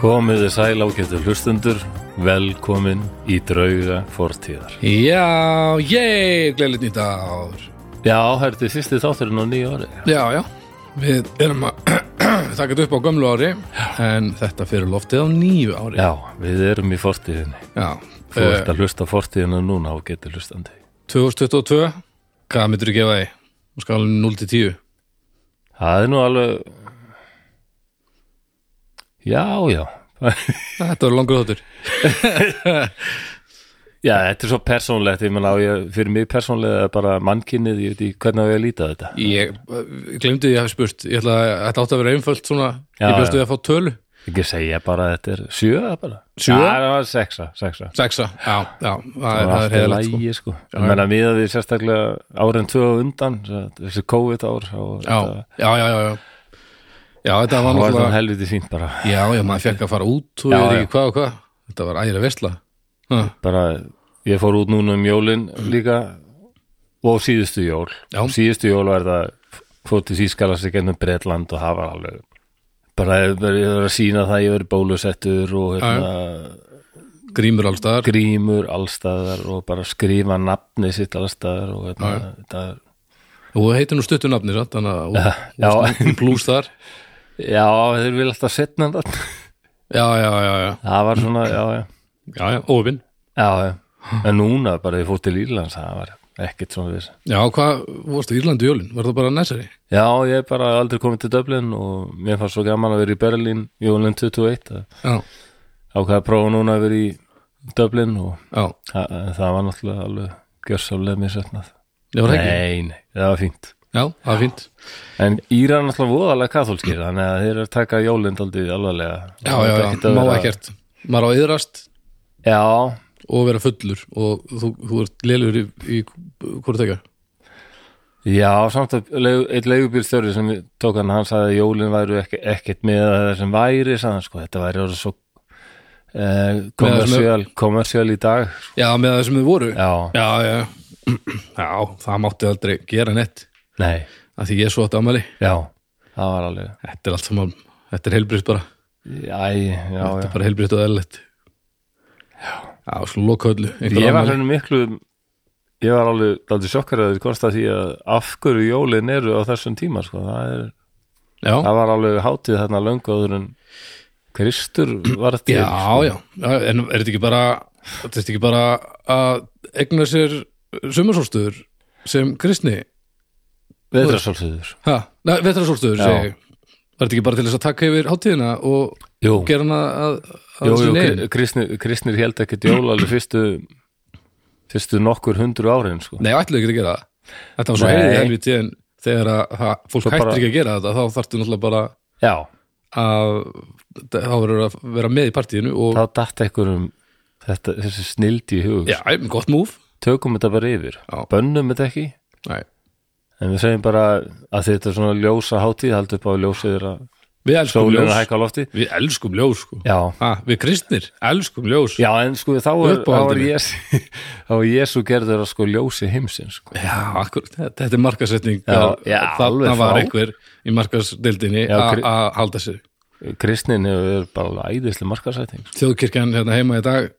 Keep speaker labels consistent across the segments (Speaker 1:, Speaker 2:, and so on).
Speaker 1: Komiði sæl ágættu hlustundur, velkomin í drauga fortíðar.
Speaker 2: Já, ég gleðið nýtt ár
Speaker 1: Já, þetta er fyrsti þátturinn á nýju ári.
Speaker 2: Já, já, við erum að taka þetta upp á gömlu ári en þetta fyrir loftið á nýju ári
Speaker 1: Já, við erum í fortíðinni. Þú
Speaker 2: eh,
Speaker 1: ert að hlusta á fortíðina núna ágættu hlustandi.
Speaker 2: 2022, hvað myndir þú gefa því? Nú skalum 0 til 10
Speaker 1: Það er nú alveg... Já, já.
Speaker 2: Þetta var langur þáttur
Speaker 1: Já, þetta er svo persónlegt, ég menna á ég, fyrir mig persónlega er bara mannkinnið, ég veit í hvernig á ég að líta á þetta.
Speaker 2: Ég eh, glemdi því að hafa spurt Ég ætla að þetta átti að vera einföld svona
Speaker 1: Já,
Speaker 2: Ég bjóstu
Speaker 1: já.
Speaker 2: því að fá tölu
Speaker 1: Ekki segja bara að þetta er sjöða bara.
Speaker 2: Sjö?
Speaker 1: Já, það var sexa, sexa.
Speaker 2: Sexa, já, já, það er,
Speaker 1: Það
Speaker 2: það
Speaker 1: var
Speaker 2: er
Speaker 1: allt í
Speaker 2: heiðalegt sko.
Speaker 1: lægi sko. Ég menna miða við sérstaklega árin tvö á undan, svo- þessi COVID ár og
Speaker 2: já,
Speaker 1: þetta
Speaker 2: já, já, já, já Já, þetta var
Speaker 1: það var það
Speaker 2: náttúrulega
Speaker 1: helviti fínt bara.
Speaker 2: Já, já, maður fekk að fara út og
Speaker 1: Já,
Speaker 2: ég veit
Speaker 1: já.
Speaker 2: ekki hvað og hvað Þetta var ægilega veistla Já
Speaker 1: bara. Ég fór út núna um jólin líka og síðustu jól.
Speaker 2: Já.
Speaker 1: Síðustu jól var það fóttis ískala sig gennum Bretland og hafa alveg bara ég var ég var að sína það ég verið bólusettur og hérna,
Speaker 2: grímur allstaðar
Speaker 1: grímur allstaðar og bara skrifa nafni sitt allstaðar og hérna, þetta er
Speaker 2: og þú heitir nú stuttu nafni satt, þannig að þú-
Speaker 1: Já.
Speaker 2: þú varst nú plús þar
Speaker 1: Já, þeir vil alltaf setna þetta
Speaker 2: já, já, já, já,
Speaker 1: Það var svona, já, já
Speaker 2: já, já, óvinn
Speaker 1: Já, já. en núna bara ég fór til Írlands það var ekkert svona viss
Speaker 2: já, hvað, þú varst í Írlandu jólin, var það bara næsari
Speaker 1: Já, ég er bara aldrei komið til Dublin og mér fannst svo gaman að vera í Berlín jólinn 21 að
Speaker 2: já,
Speaker 1: ákveða að prófa núna að vera í Dublin og
Speaker 2: já,
Speaker 1: það, það var náttúrulega alveg gjörsálega mér setnað
Speaker 2: það var ekki
Speaker 1: Nei, nei, það var fínt
Speaker 2: já, það var fínt
Speaker 1: En Íra er náttúrulega voðalega katholskir þannig að þeir eru að taka jólinn aldrei alvarlega Það
Speaker 2: já, já,
Speaker 1: er
Speaker 2: já,
Speaker 1: ekkert að
Speaker 2: má
Speaker 1: vera-
Speaker 2: ekkert maður á að yðrast
Speaker 1: Já,
Speaker 2: og vera fullur og þú, þú ert lélur í, í hvort ekki
Speaker 1: Já, samt að leigu, einn leigubýrstjóri sem við tók hann, hann sagði að jólin væru ekki, ekkert með að það sem væri, sagði hann sko, þetta væri orðið svo eh, kommersial, kommersial í dag. sko.
Speaker 2: já, með það sem þið voru
Speaker 1: Já,
Speaker 2: já, já, já, það mátti aldrei gera neitt
Speaker 1: nei,
Speaker 2: að því ég er svo átt amæli
Speaker 1: já, það var alveg,
Speaker 2: þetta er allt saman, þetta er heilbrist bara
Speaker 1: æ, já,
Speaker 2: þetta
Speaker 1: já.
Speaker 2: er bara helbriðt og eðlilegt já, svo loka öllu
Speaker 1: Ég
Speaker 2: Einhver
Speaker 1: var hérna.
Speaker 2: annar-
Speaker 1: henni miklu, ég var alveg, daldið sjokkar að þetta kosta því að af hverju jólin eru á þessum tíma, sko, það er,
Speaker 2: já,
Speaker 1: það var alveg hátíð þarna löngu áður en Kristur var til.
Speaker 2: já, já,
Speaker 1: sko.
Speaker 2: já, en er þetta ekki bara þetta er ekki bara að egna sér sumarsólstöður sem kristni
Speaker 1: Veðrasálsöður.
Speaker 2: ha, neða, vetrasólstöður
Speaker 1: Já.
Speaker 2: segi ég. var þetta ekki bara til þess að taka yfir hátíðina og
Speaker 1: Jú,
Speaker 2: gera hana að, að
Speaker 1: Jú,
Speaker 2: þessu
Speaker 1: jú,
Speaker 2: negin?
Speaker 1: kri- kristnir, kristnir held ekkert jól alveg fyrstu fyrstu nokkur hundru árin sko.
Speaker 2: nei, ætlaðu ekki að gera það þetta var svo
Speaker 1: Nei.
Speaker 2: heiðið helviti en þegar að ha, fólk
Speaker 1: Svo
Speaker 2: hættir
Speaker 1: bara-
Speaker 2: ekki að gera þetta þá þarftu náttúrulega bara
Speaker 1: Já,
Speaker 2: að þá verður að vera með í partíinu og
Speaker 1: þá datt ekkur um þetta, þessi snildi í hug
Speaker 2: já, gott múf
Speaker 1: tökum þetta bara yfir,
Speaker 2: Já.
Speaker 1: bönnum þetta ekki
Speaker 2: nei
Speaker 1: en við segjum bara að þetta er svona ljósa hátíð, haldið upp á ljósið þeirra
Speaker 2: Við elskum
Speaker 1: sólinu
Speaker 2: Sko, ljós,
Speaker 1: að hækka á lofti
Speaker 2: við elskum ljós sko.
Speaker 1: Já,
Speaker 2: ha, Við kristnir elskum ljós
Speaker 1: Já en sko þá er, þá er
Speaker 2: Uppáhaldinu.
Speaker 1: Jésu þá er Jésu gerður að sko ljósi heimsinn sko.
Speaker 2: Já, akkur, þetta þetta er markasetning
Speaker 1: Já, já,
Speaker 2: Þarna
Speaker 1: alveg
Speaker 2: var
Speaker 1: frá.
Speaker 2: einhver í markasdeildinni
Speaker 1: Já,
Speaker 2: a-
Speaker 1: kri-
Speaker 2: að halda sér
Speaker 1: kristnin er bara æðisli markarsæting
Speaker 2: Þjóðkirkjan hérna heima í dag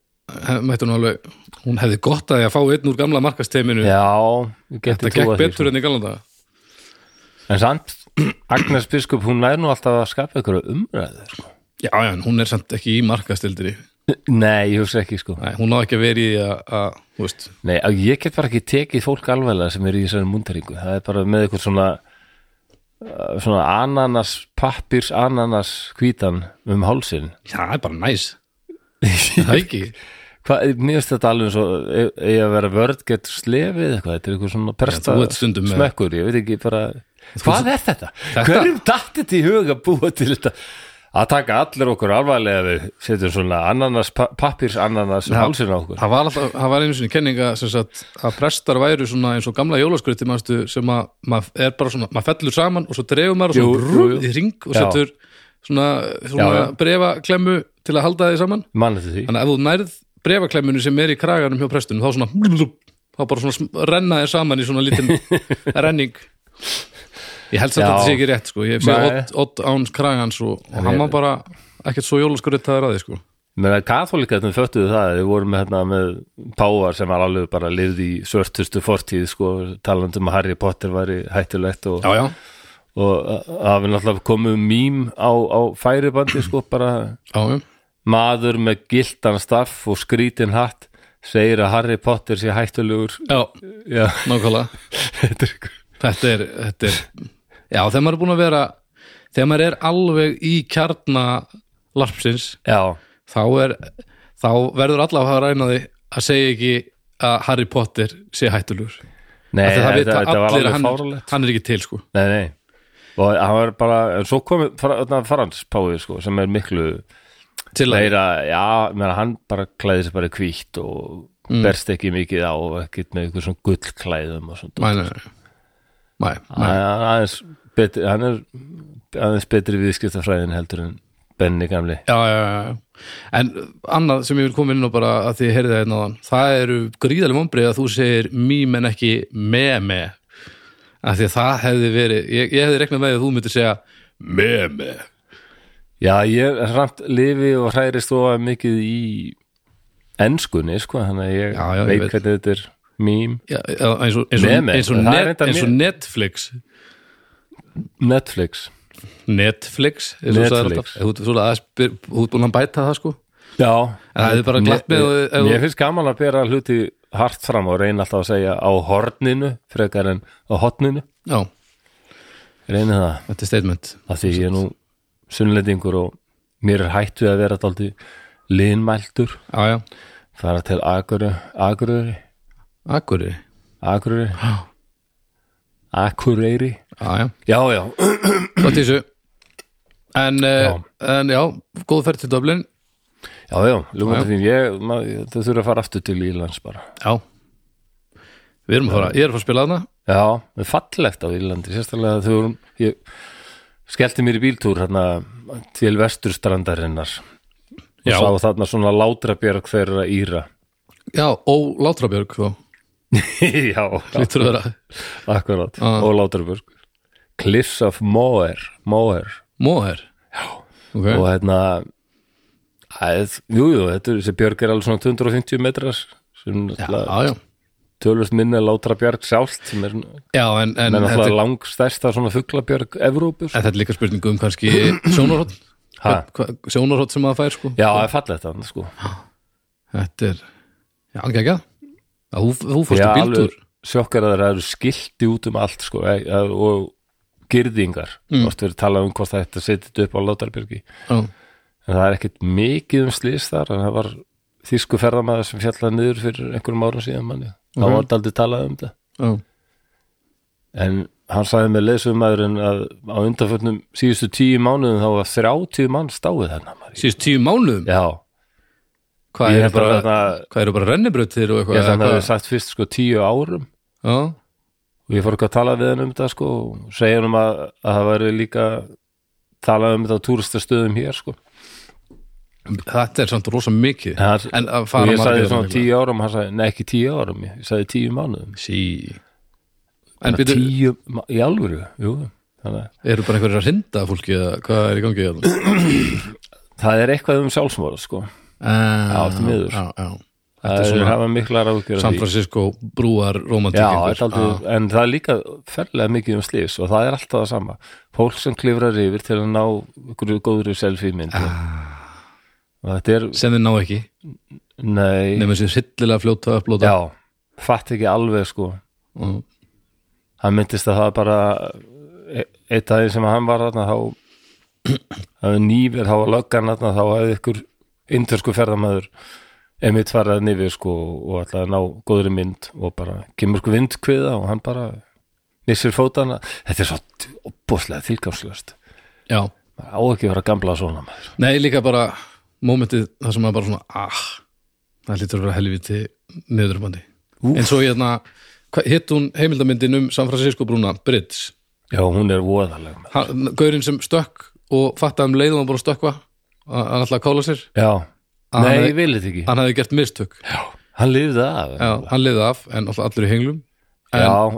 Speaker 2: he- mætti hún alveg, hún hefði gott að ég að fá einn úr gamla markasteiminu
Speaker 1: Já, ég geti
Speaker 2: Það gekk
Speaker 1: trúað því, sko.
Speaker 2: betur enn í galanda
Speaker 1: En samt, Agnes Biskup, hún nær nú alltaf að skapa ykkur umræðu sko.
Speaker 2: Já, já, en hún er samt ekki í markasteildinni
Speaker 1: Nei, ég hugsa ekki sko
Speaker 2: Nei, Hún á ekki að vera í að, að þú veist,
Speaker 1: Nei, að ég get bara ekki tekið fólk alveglega sem er í þessari mundaringu Það er bara með ykkur svona uh, svona ananas, pappirs ananas hvítan um hálsin
Speaker 2: já, það er bara næs Það er ekki
Speaker 1: Hvað, mér finnst þetta alveg svo eigi að vera vörð gett slefið eitthvað, þetta er eitthvað svona presta
Speaker 2: þú ert stundum með-
Speaker 1: smekkur, ég veit ekki bara Hvað er þetta?
Speaker 2: Þetta-
Speaker 1: Hverjum datt þetta í hug að búa til þetta? Að taka allir okkur alvarlega við setjum svona ananas, pappirs ananas hálsinn á okkur
Speaker 2: það var, alltaf, það var einu sinni kenninga sem sagt, að prestar væru svona eins og gamla jólaskriti manstu, sem að maður er bara svona maður fellur saman og svo dregur maður
Speaker 1: Jú,
Speaker 2: og svo
Speaker 1: jú,
Speaker 2: brú,
Speaker 1: jú.
Speaker 2: í ring og
Speaker 1: Já.
Speaker 2: setur svona, svona
Speaker 1: Já, já.
Speaker 2: brefaklemmu til að halda því saman
Speaker 1: Mann eftir því
Speaker 2: þannig að ef þú nærð brefaklemmunni sem er í kraganum hjá prestunum þá svona þá bara svona sm- renna þér saman í svona lítinn renning ég held samt að
Speaker 1: Já.
Speaker 2: þetta sé ekki rétt sko. ég sé
Speaker 1: Nei.
Speaker 2: Odd, Odd Áns kragans og, og hann var bara ekkert svo jólaskröta að ræði sko
Speaker 1: menn að katholikatum föttuðu það þeir voru með, hérna, með pávar sem var alveg bara lifði í svörtustu fortíð sko, talandi um að Harry Potter væri hættulegt og,
Speaker 2: já, já,
Speaker 1: og að- að hafi náttúrulega komið mím á, á færibandi sko, bara
Speaker 2: já, já.
Speaker 1: maður með gildan staff og skrítin hatt segir að Harry Potter sé hættulegur
Speaker 2: já
Speaker 1: já,
Speaker 2: nákvæmlega
Speaker 1: þetta er ykkur
Speaker 2: þetta er, þetta er já, þegar maður er búin að vera þegar maður er alveg í kjarna larpsins,
Speaker 1: já,
Speaker 2: þá er þá verður allavega að ræna því að segja ekki að Harry Potter sé hættulur
Speaker 1: nei,
Speaker 2: Af því það
Speaker 1: þetta,
Speaker 2: vita
Speaker 1: þetta var
Speaker 2: allir að
Speaker 1: alveg
Speaker 2: hann,
Speaker 1: fáralegt
Speaker 2: hann er ekki til sko
Speaker 1: Nei, nei og hann var bara, en svo kom þarna Frans Páði sko, sem er miklu
Speaker 2: til að,
Speaker 1: meira, já, meira, hann bara klæði sér bara hvítt og berst ekki mikið á og ekkert með ykkur svona gullklæðum og svona
Speaker 2: mæ, nei, nei. mæ, mæ.
Speaker 1: hann, hann, aðeins betri, hann er aðeins betri viðskiptafræðin heldur en Benni gamli
Speaker 2: Já, já, já, já. En annað sem ég vil koma inn á bara að því ég heyrði það einn á þann, það eru gríðaleg vombrið að þú segir mím en ekki meme. Af því að það hefði verið, ég, ég hefði reknað með því að þú myndir segja meme.
Speaker 1: já, ég er samt lifi og hrærist þó að mikið í enskunni, sko, þannig að ég
Speaker 2: Já, já, ég
Speaker 1: veit
Speaker 2: veit.
Speaker 1: hvernig þetta er mím,
Speaker 2: Já, já, eins og, eins og,
Speaker 1: Meme,
Speaker 2: eins og,
Speaker 1: það er
Speaker 2: net,
Speaker 1: reyndar
Speaker 2: eins og
Speaker 1: mjög-
Speaker 2: Netflix.
Speaker 1: Netflix
Speaker 2: Netflix, eins og sagði
Speaker 1: Netflix.
Speaker 2: alltaf. Þú ert svona aðeins byr- þú ert búin að bæta það sko.
Speaker 1: Já,
Speaker 2: En það hefði bara glatt með og- ef-
Speaker 1: Mér finnst gaman að bera hluti hart fram og reyna alltaf að segja á horninu frekar en á hotninu
Speaker 2: Já,
Speaker 1: reyna það,
Speaker 2: þetta er statement.
Speaker 1: af því ég er nú sunnlendingur og mér er hætt við að vera daldi linmæltur
Speaker 2: Já, já.
Speaker 1: fara til Akureyri Akureyri,
Speaker 2: Akkurri.
Speaker 1: Akureyri Akureyri
Speaker 2: Já, já.
Speaker 1: Já, já,
Speaker 2: Gott í þessu. En, já.
Speaker 1: Já.
Speaker 2: en já, góð ferð til Dublin.
Speaker 1: já, já, ljúmandi fín ég, maður, það þurfa að fara aftur til Írlands bara
Speaker 2: Já Við erum að fara, ég er að fara að spila þarna
Speaker 1: Já, það er fallegt á Írlandi sérstaklega þau vorum ég skellti mér í bíltúr hérna til vesturstrandarinnar og
Speaker 2: Já.
Speaker 1: sá þarna svona látrabjörg þeirra Íra
Speaker 2: Já, og Látrabjörg þá
Speaker 1: Já,
Speaker 2: Lítur að vera
Speaker 1: akkurát og látrabjörg Cliffs of Moher Moher
Speaker 2: Móher okay.
Speaker 1: og hérna að, jú, jú, þetta er, þessi björg er alveg svona 250 metrar sem náttúrulega
Speaker 2: Já, já
Speaker 1: tölvöld minna látrabjörg sjálft sem er
Speaker 2: Já, en, en,
Speaker 1: en
Speaker 2: þetta,
Speaker 1: náttúrulega langstærsta svona fuglabjörg sko. Evrópur
Speaker 2: en þetta er líka spurning um kannski sjónarhótt
Speaker 1: Ha?
Speaker 2: Sjónarhótt sem maður fær sko
Speaker 1: Já, það er fallegt þarna sko
Speaker 2: Þetta er, já, ekki ekki Þú, þú fórst
Speaker 1: Já,
Speaker 2: á bíltúr
Speaker 1: alveg sjokkar að það eru skilti út um allt sko, e- e- og girðingar mm. oft verið talað um hvort það ætti að setja þetta upp á Látarbergi
Speaker 2: Já,
Speaker 1: en það er ekkit mikið um slýs þar en það var þýsku ferðamaður sem fjallaði niður fyrir einhverjum árum síðan manni það var aldrei talað um þetta
Speaker 2: já,
Speaker 1: en hann sagði með leysumæðurinn að á undanförnum síðustu tíu mánuðum þá var 30 mann stáið hennar maður.
Speaker 2: síðust tíu mánuðum
Speaker 1: Já,
Speaker 2: Hvað
Speaker 1: ég
Speaker 2: eru
Speaker 1: er bara
Speaker 2: bara,
Speaker 1: þarna
Speaker 2: hvað eru bara rennibrautir og
Speaker 1: ég
Speaker 2: eitthvað
Speaker 1: held að hann
Speaker 2: eða
Speaker 1: hefði
Speaker 2: hvað?
Speaker 1: sagt fyrst sko tíu árum
Speaker 2: Já,
Speaker 1: og ég fór ekki að tala við hann um þetta sko og segja hann um að, að það væri líka talað um þetta á túristastöðum hér sko
Speaker 2: Þetta er samt rosa mikið
Speaker 1: Það-
Speaker 2: En að
Speaker 1: og
Speaker 2: fara
Speaker 1: ég sagði
Speaker 2: margir hérna.
Speaker 1: svona
Speaker 2: þarna.
Speaker 1: tíu árum hann sagði, nei ekki tíu árum, ég ég sagði tíu mánuðum
Speaker 2: Sí En
Speaker 1: Bara
Speaker 2: byrju,
Speaker 1: tíu, ma- í alvöru, jú þannig að
Speaker 2: Eru bara einhverjir að hrinda fólki eða hvað er í gangi hérna?
Speaker 1: það er eitthvað um sjálfsmóra sko
Speaker 2: Já,
Speaker 1: því miður.
Speaker 2: Já, já. Þetta
Speaker 1: það
Speaker 2: er
Speaker 1: er
Speaker 2: svona
Speaker 1: hafa miklar ágjör
Speaker 2: San Francisco brúar romantík
Speaker 1: Já,
Speaker 2: einhver.
Speaker 1: þetta er aldrei,
Speaker 2: Ah.
Speaker 1: en það er líka ferlega mikið um slífs og það er alltaf það sama fólk sem klifrar yfir til að ná ykkur góðri selfie mynd ah. og þetta er,
Speaker 2: sem þið ná ekki
Speaker 1: nei,
Speaker 2: nema sér sillilega fljóta að upplóta
Speaker 1: já fatt ekki alveg sko
Speaker 2: og,
Speaker 1: hann myndist að það bara e- eitt aðeins sem hann var þarna þá það var nýfir, þá var löggan þarna þá hefði ykkur indversku ferðamæður emitt farað nýfir sko og ætlaði að ná góðri mynd og bara kemur sko vindkviða og hann bara missir fótana þetta er svo opbúslega þýrkámslöst
Speaker 2: já,
Speaker 1: á ekki að vera gamla svona maður
Speaker 2: nei líka bara momentið það sem maður bara svona ah, það lítur að vera helviti niðurumandi
Speaker 1: Úff.
Speaker 2: eins og hérna hva- hitt hún heimildamyndin um San Francisco brúna Bridge,
Speaker 1: já, hún er voðalega maður
Speaker 2: hann, gaurinn sem stökk og fattaði um leiðum að bara stökkva að- hann ætlaði að kála sér
Speaker 1: já,
Speaker 2: Að
Speaker 1: nei,
Speaker 2: hann-
Speaker 1: ég vil þetta ekki
Speaker 2: hann hefði gert mistök
Speaker 1: já, hann lifði af já,
Speaker 2: já, hann liði af en alltaf allir í henglum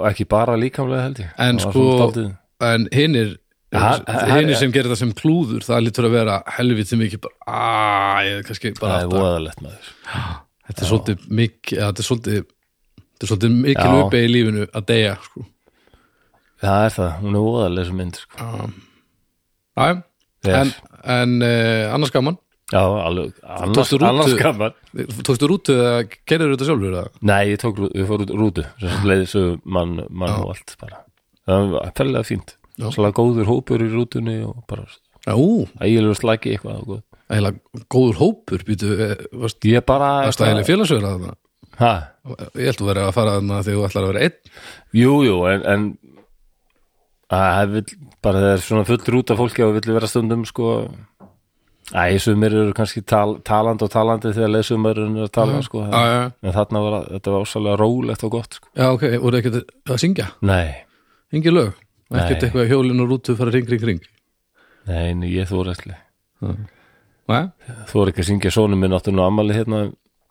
Speaker 1: ekki bara líkamlega held ég
Speaker 2: En
Speaker 1: Það var
Speaker 2: sko-
Speaker 1: svona dálítið-
Speaker 2: en hinnir
Speaker 1: Ha- ha- ha-
Speaker 2: einu sem gerir það sem klúður það lítur að vera helviti mikið bara, aaa, ég er kannski bara
Speaker 1: það er
Speaker 2: átt að-
Speaker 1: voðalegt maður
Speaker 2: þetta er svolítið mikið þetta er svolítið, þetta er svolítið mikil
Speaker 1: Já.
Speaker 2: uppi í lífinu að deyja sko.
Speaker 1: það er það, hún er voðaleg sem mynd sko.
Speaker 2: Æ,
Speaker 1: Yes.
Speaker 2: en, en uh, annars gaman
Speaker 1: já, alveg, annars,
Speaker 2: tókstu rútu?
Speaker 1: annars gaman
Speaker 2: tókstu rútu eða gerður þetta sjálfur eða?
Speaker 1: nei, ég tók, rú- við fórum út rútu sem leiði svo mann, mann og allt bara það var fællega fínt
Speaker 2: Já.
Speaker 1: svolítið góður hópur í rútunni og bara
Speaker 2: Já, Ú,
Speaker 1: ægilegur slæki eitthvað og góð.
Speaker 2: eiginlega góður hópur býtu, eh, varst
Speaker 1: ég bara
Speaker 2: varst það eiginlega félagsverða þarna
Speaker 1: ha,
Speaker 2: ég held að vera að fara þarna þegar þú ætlar að vera einn
Speaker 1: jú, jú, en, en að, vill, bara það er svona full rúta fólki og vill vera stundum sko Æ, sumir eru kannski tal, talandi og talandi þegar leysumurinn er að tala sko,
Speaker 2: Já, já,
Speaker 1: en þarna var að- þetta var ósalega rólegt og gott sko.
Speaker 2: já, ok, voru ekkert að syngja
Speaker 1: nei,
Speaker 2: engi lög, ekkert
Speaker 1: Nei.
Speaker 2: eitthvað hjólin og rútu fara ring, ring, ring
Speaker 1: nei, nei, ég þóra ekki
Speaker 2: Nei?
Speaker 1: þóra ekki að syngja sonum minn áttu nú ammali hérna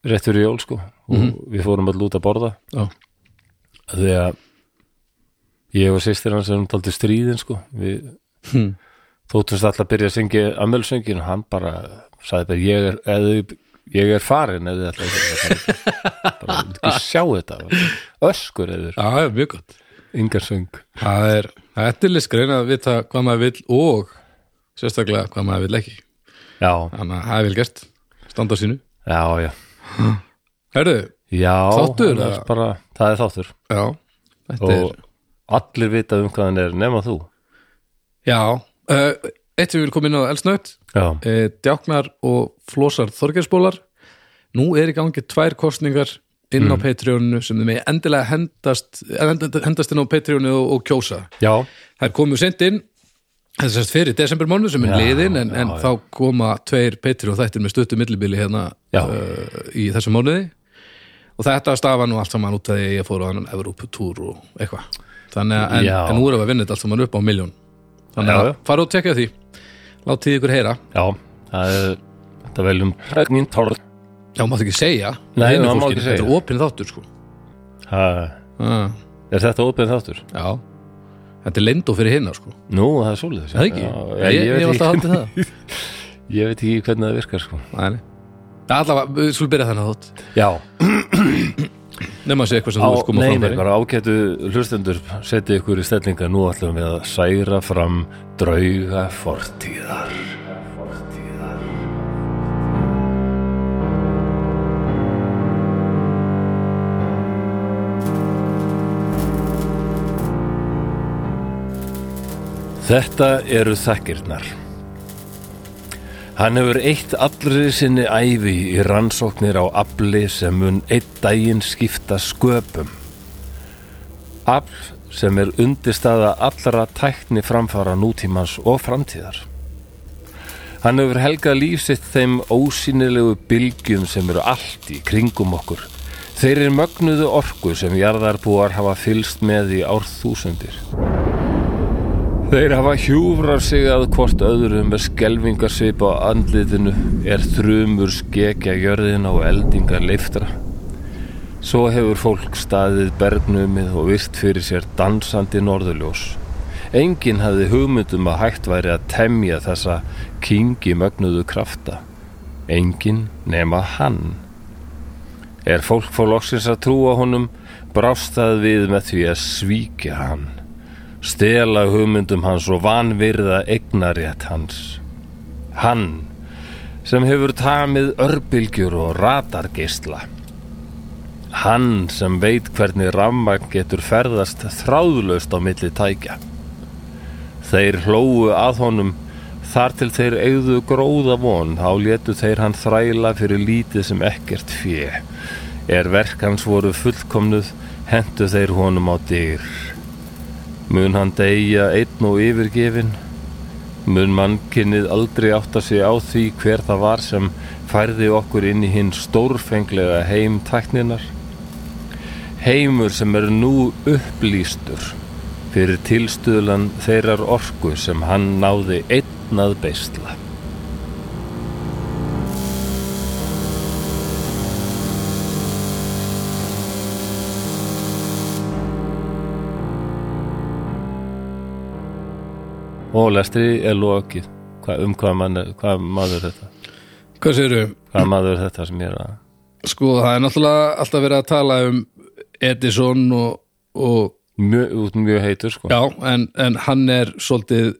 Speaker 1: rétt fyrir jól sko og
Speaker 2: Mhm.
Speaker 1: við fórum að lúta að borða
Speaker 2: Já,
Speaker 1: því að ég og sýstir hans erum taldið stríðin sko við
Speaker 2: hm.
Speaker 1: Hmm. þóttumst alltaf að byrja að syngja ammjölsöngin og hann bara sagði bara ég er, eð, ég er farin eða alltaf ekki bara ekki sjá þetta öskur eður,
Speaker 2: já, já, mjög gott
Speaker 1: yngar söng
Speaker 2: Það er, þetta er listgrein að vita hvað maður vill og sérstaklega hvað maður vill ekki.
Speaker 1: já,
Speaker 2: Þannig að það er vel gert, standa á sínu.
Speaker 1: já, já,
Speaker 2: Herðu,
Speaker 1: já
Speaker 2: Þáttur,
Speaker 1: hann er
Speaker 2: eða?
Speaker 1: bara, það er þáttur
Speaker 2: já, þetta
Speaker 1: og allir vita um hvað hann er nema þú
Speaker 2: er, já, uh, eitt sem við vil koma inn á elsnögt,
Speaker 1: já,
Speaker 2: uh, djáknar og flósar þorgjarsbólar. Nú er í gangi tvær kostningar inn á Patreonu sem þið megi endilega hendast, eh, hend- hendast inn á Patreonu og, og kjósa.
Speaker 1: já,
Speaker 2: Það er komið sent inn þess að fyrir desembermánu sem er
Speaker 1: Já,
Speaker 2: liðin en, en
Speaker 1: já, já.
Speaker 2: þá koma tveir Petri og þættir með stöttu millibili hérna
Speaker 1: Já.
Speaker 2: uh, í þessum mánuði og þetta stafa nú allt saman út að ég fór á annan Evróputúr og eitthvað þannig að en,
Speaker 1: Já.
Speaker 2: en nú erum við að vinna þetta allt saman upp á miljón þannig
Speaker 1: Já,
Speaker 2: að
Speaker 1: já.
Speaker 2: fara og tekja því látið ykkur heyra,
Speaker 1: já það er, þetta er veljum regnin torð
Speaker 2: já máttu ekki segja
Speaker 1: Nei,
Speaker 2: hinu
Speaker 1: það má
Speaker 2: fólkinu,
Speaker 1: ekki segja.
Speaker 2: þetta er opin þáttur sko
Speaker 1: ha,
Speaker 2: ah,
Speaker 1: er þetta opið þáttur?
Speaker 2: já, þetta er lindó fyrir hinna sko
Speaker 1: nú, það er svolítið
Speaker 2: það ekki,
Speaker 1: já,
Speaker 2: ég,
Speaker 1: ég,
Speaker 2: ég,
Speaker 1: veit
Speaker 2: hef alltaf
Speaker 1: ekki,
Speaker 2: haldið það
Speaker 1: ég veit ekki hvernig það virkar sko
Speaker 2: Nei, nei. Það er allavega, við skulum byrja þennan þátt
Speaker 1: já,
Speaker 2: Nefn að sé eitthvað sem
Speaker 1: Á,
Speaker 2: þú vilt koma
Speaker 1: nei,
Speaker 2: frá
Speaker 1: nei, bara ágætu hlustendur setið ykkur í stellinga nú ætlum við að særa fram drauga fortíðar Þetta eru þakkirnar Hann hefur eitt allri sinni æfi í rannsóknir á afli sem mun eitt daginn skipta sköpum. Afl sem er undirstaða allra tækni framfara nútímans og framtíðar. Hann hefur helgað lífsitt þeim ósýnilegu bylgjum sem eru allt í kringum okkur. Þeir eru mögnuðu orku sem jarðarbúar hafa fylst með í árþúsundir. Þeir hafa hjúfrar sig að hvort öðru með skelvingarsvip á andlitinu er þrumur skekja jörðina og eldingar leiftra. Svo hefur fólk staðið bergnumið og virt fyrir sér dansandi norðurljós. Enginn hafði hugmyndum að hægt væri að temja þessa kingi mögnuðu krafta. Enginn nema hann. Er fólk fór loksins að trúa honum, brást það við með því að svíkja hann stela hugmyndum hans og vanvirða eignarétt hans. Hann sem hefur tamið örbylgjur og radargeisla. Hann sem veit hvernig rammagn getur ferðast þráðlaust á milli tækja. Þeir hlóu að honum þar til þeir eigðu gróða von þá létu þeir hann þræla fyrir lítið sem ekkert fjö. Er verk hans voru fullkomnuð hentu þeir honum á dyr. Mun hann deyja einn og yfirgefin? Mun mannkinnið aldrei átta sig á því hver það var sem færði okkur inn í hinn stórfenglega heim tækninar? Heimur sem er nú upplýstur fyrir tilstuðlan þeirrar orku sem hann náði einn að beisla. og lestri er lokið hvað, um hvað, mann, hvað maður er þetta
Speaker 2: Hvað segirðu?
Speaker 1: hvað maður er þetta sem ég er að
Speaker 2: Sko, það er náttúrulega alltaf verið að tala um Edison og, og
Speaker 1: mjög, út mjög heitur sko
Speaker 2: já, en, en hann er svolítið,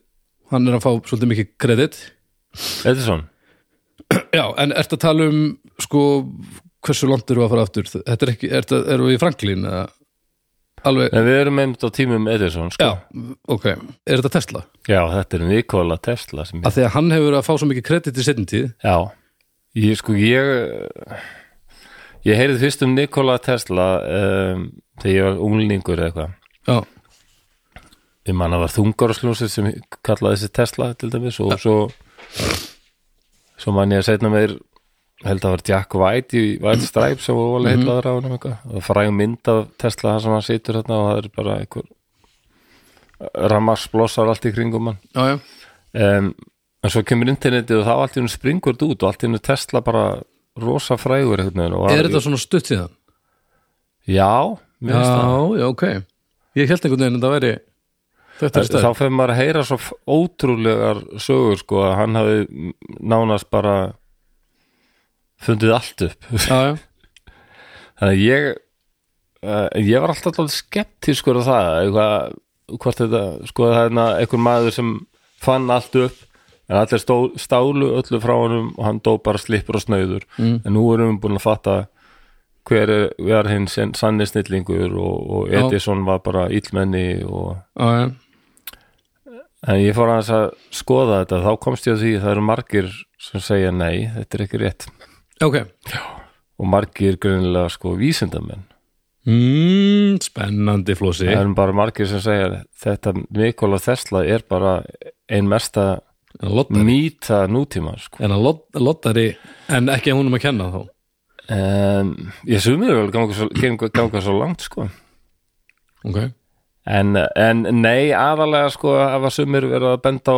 Speaker 2: hann er að fá svolítið mikið kredit.
Speaker 1: Edison,
Speaker 2: Já, en ertu að tala um sko, hversu langt eru að fara aftur? Þetta er ekki, ertu, eru við í Franklín eða alveg,
Speaker 1: en við erum einmitt á tímum Edison sko
Speaker 2: já, ok er þetta Tesla?
Speaker 1: Já, þetta er Nikola Tesla sem ég,
Speaker 2: Af því að hann hefur verið að fá svo mikið kredit í setjum tíð
Speaker 1: já, ég sko ég ég heyrði fyrst um Nikola Tesla um, þegar ég var unglingur eða eitthvað
Speaker 2: Já,
Speaker 1: ég man að var þungarsljónsið sem kallaði þessi Tesla til dæmis og svo svo man ég að setna meir held að var Jack White í White Stripes sem var alveg heitlaður á honum eitthvað og fræg mynd af Tesla þar sem hann situr þarna og það er bara einhver ramarsblossar allt í kringum hann
Speaker 2: já, já,
Speaker 1: um, en svo kemur internetið og þá allt í hennu springur þetta út og allt í hennu Tesla bara rosa frægur einhvern veginn og
Speaker 2: er þetta svona stutt síðan?
Speaker 1: já, mér finnst það
Speaker 2: já, ok Ég held einhvern veginn að það væri þetta er
Speaker 1: þá
Speaker 2: stærð
Speaker 1: fyrir maður að heyra svo f- ótrúlegar sögur sko að hann hafi nánast bara fundið allt upp
Speaker 2: Já, já,
Speaker 1: þannig að ég uh, ég var alltaf alltaf skeptískur á það eitthvað, hvort þetta sko það er hérna einhver maður sem fann allt upp en allir stó, stálu öllu frá honum og hann dó bara slippur og snauður
Speaker 2: Mm.
Speaker 1: en nú erum við búin að fatta hver er, er hinn sen- sanni snillingur og, og
Speaker 2: Já.
Speaker 1: Edison var bara illmenni og
Speaker 2: já, já,
Speaker 1: En ég fór aðeins að skoða þetta þá komst ég að því að það eru margir sem segja nei, þetta er ekki rétt
Speaker 2: ok
Speaker 1: og margir greinilega sko vísindamenn
Speaker 2: mm, Spennandi flósi
Speaker 1: það eru bara margir sem segja þetta Nikola Tesla er bara ein mesta
Speaker 2: En loddari,
Speaker 1: mýta nútíma sko.
Speaker 2: en að lod- loddari En ekki að húnum að kenna þá
Speaker 1: en ég sumir vel ganga svo, ganga, ganga svo langt sko
Speaker 2: Ok,
Speaker 1: en, en nei, aðalega sko ef að sumir verið að benda á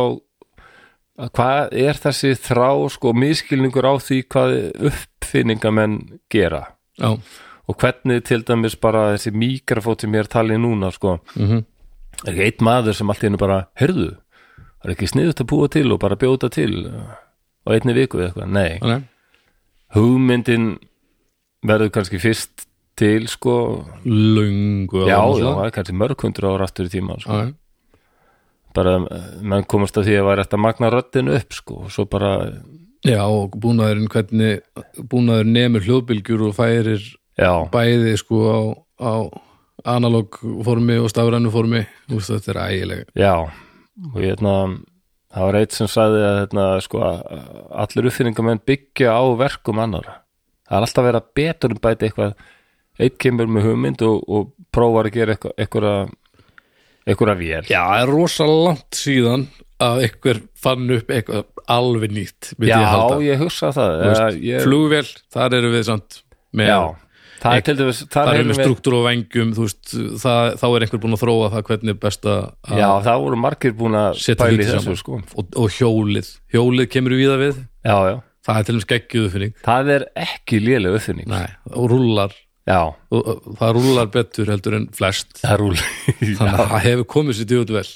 Speaker 1: að hvað er þessi þrá sko miskilningur á því hvað uppfinningamenn gera
Speaker 2: já,
Speaker 1: og hvernig til dæmis bara þessi mikrofóti mér talið núna sko,
Speaker 2: mhm
Speaker 1: er ekki einn maður sem allt í hennu bara, heyrðu það er ekki sniðut að búa til og bara bjóta til á einni viku eða eitthvað, nei
Speaker 2: Nei,
Speaker 1: hugmyndin verður kannski fyrst til sko,
Speaker 2: löngu
Speaker 1: já, já,
Speaker 2: áður, náttúrulega.
Speaker 1: það er kannski mörg hundru ára aftur í tíma sko.
Speaker 2: Já, já.
Speaker 1: bara, eh, menn komast að því að væri þetta magna röddinu upp sko, og svo bara,
Speaker 2: já, og búnaðurinn hvernig búnaður nemur hljóðbylgjur og færir
Speaker 1: já
Speaker 2: bæði sko á, á analog formi og stafrænu formi Úst, þetta er ægileg
Speaker 1: Já, og ég hefna það var eitt sem sagði að hefna, sko, að allir uppfinningamenn byggja á verkum annara. Það er alltaf að vera betur en bæti eitthvað eitt kemur með hugmynd og, og prófar að gera eitthvað- einhverja einhverja vél.
Speaker 2: Já, það er rosa langt síðan að einhver fann upp eitthvað alveg nýtt myndi ég halda.
Speaker 1: ég, hugsa það.
Speaker 2: Þú
Speaker 1: Ja,
Speaker 2: veist,
Speaker 1: ég,
Speaker 2: flugvél, þar eru við samt með,
Speaker 1: já, það er til dæmis
Speaker 2: þar
Speaker 1: það
Speaker 2: eru
Speaker 1: er
Speaker 2: við struktúr og vengjum þú veist, það, þá er einhver búin að þróa það hvernig best að
Speaker 1: Já, það voru margir búin að
Speaker 2: Setja
Speaker 1: pæli
Speaker 2: hluti
Speaker 1: þessu
Speaker 2: saman.
Speaker 1: sko.
Speaker 2: og, og hjólið, hjólið kemur við það við
Speaker 1: Já, já.
Speaker 2: það er til dæmis geggjuðu finning
Speaker 1: Það er ekki lélega uppfinning.
Speaker 2: Nei, og rúlar
Speaker 1: Já,
Speaker 2: og, og, það rúlar betur heldur en flest
Speaker 1: það er rúl.
Speaker 2: þannig að það hefur komið sér djúið vel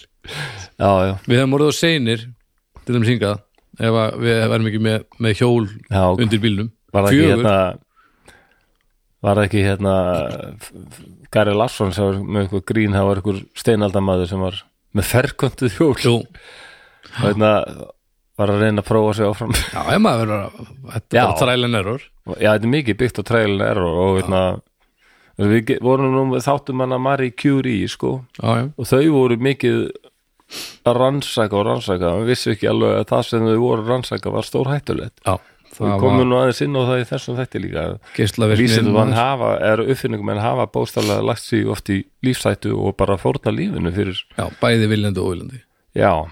Speaker 1: já, já.
Speaker 2: við hefum orðið á seinir til þeim syngað ef að við verðum ekki með, með hjól
Speaker 1: já
Speaker 2: undir bílnum
Speaker 1: var það ekki
Speaker 2: fjögur,
Speaker 1: hérna var það ekki hérna f- f- Gary Larsson sem var með eitthvað grín það var eitthvað steinaldamaður sem var með ferköntuð hjól
Speaker 2: jú,
Speaker 1: og hérna var að reyna að prófa sig áfram
Speaker 2: já, ef maður verður að
Speaker 1: Já.
Speaker 2: þetta er bara trial and error
Speaker 1: já, þetta er mikið byggt á trail error og hérna við ge- vorum nú með þáttum hana Marie Curie sko
Speaker 2: já, já,
Speaker 1: og þau voru mikið að rannsaka og rannsaka við vissu ekki alveg að það sem þau voru að rannsaka var stór hættulegt
Speaker 2: já
Speaker 1: við
Speaker 2: það
Speaker 1: komum
Speaker 2: var
Speaker 1: nú aðeins inn á það í þessum þætti líka
Speaker 2: geislavirknin
Speaker 1: Vísindum
Speaker 2: maður.
Speaker 1: hafa, er uppfinningum en hafa bóstalega lagt sig oft í lífsættu og bara fórna lífinu fyrir,
Speaker 2: já, bæði viljandi og óviljandi
Speaker 1: já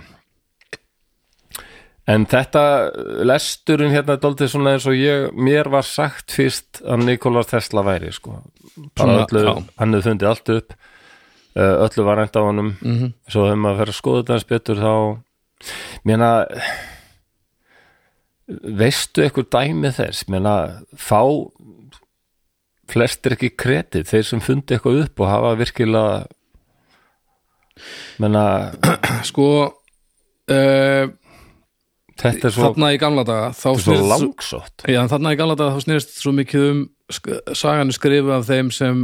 Speaker 1: En þetta lesturinn hérna er dálítið svona eins og ég, mér var sagt fyrst að Nikola Tesla væri sko. bara
Speaker 2: Svona,
Speaker 1: öllu,
Speaker 2: já.
Speaker 1: hann hefði fundið allt upp eh, öllu var enda á honum
Speaker 2: Mhm.
Speaker 1: svo þegar maður fer að skoða þetta eins betur þá mérna veistu eitthvað dæmi þess mérna fá flestir ekki kredit þeir sem fundi eitthvað upp og hafa virkilega mérna
Speaker 2: sko uh,
Speaker 1: Þetta er svo,
Speaker 2: þarna í gamla daga
Speaker 1: þetta
Speaker 2: þá
Speaker 1: er svo
Speaker 2: snýrist svo-
Speaker 1: langsótt
Speaker 2: Já, en þarna í gamla daga þá snýrist svo mikið um sk- sagan er skrifuð af þeim sem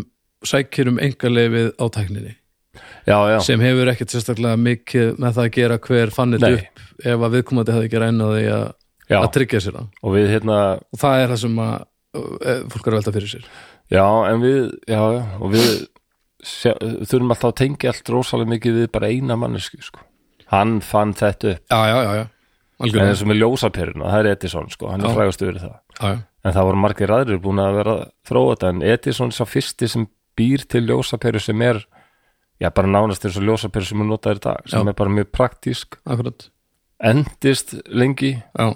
Speaker 2: sækir um engalefið á tækninni
Speaker 1: Já, já,
Speaker 2: sem hefur ekkert sérstaklega mikið með það að gera hver fann þetta
Speaker 1: Nei.
Speaker 2: upp ef að viðkomandi hefði ekki rænað því að,
Speaker 1: já
Speaker 2: að tryggja sér það
Speaker 1: og við hérna
Speaker 2: og það er það sem að eh, fólk er að velta fyrir sér
Speaker 1: Já, en við, já, já og við sjá, þurfum alltaf að tengja allt rosalega mikið við bara eina mannesku sko. Hann fann þetta upp
Speaker 2: Já, já, já, já,
Speaker 1: en
Speaker 2: algjörlega
Speaker 1: eins og með ljósapyruna, það er Edison sko, hann
Speaker 2: Já.
Speaker 1: er frægast yfir það
Speaker 2: já, já.
Speaker 1: en það voru margir aðrir búin að vera að þróa þetta en Edison er sá fyrsti sem býr til ljósaperu sem er já bara nánast eins og ljósaperu sem er notaðir í dag sem
Speaker 2: Já.
Speaker 1: er bara mjög praktísk
Speaker 2: Akkurat,
Speaker 1: endist lengi
Speaker 2: já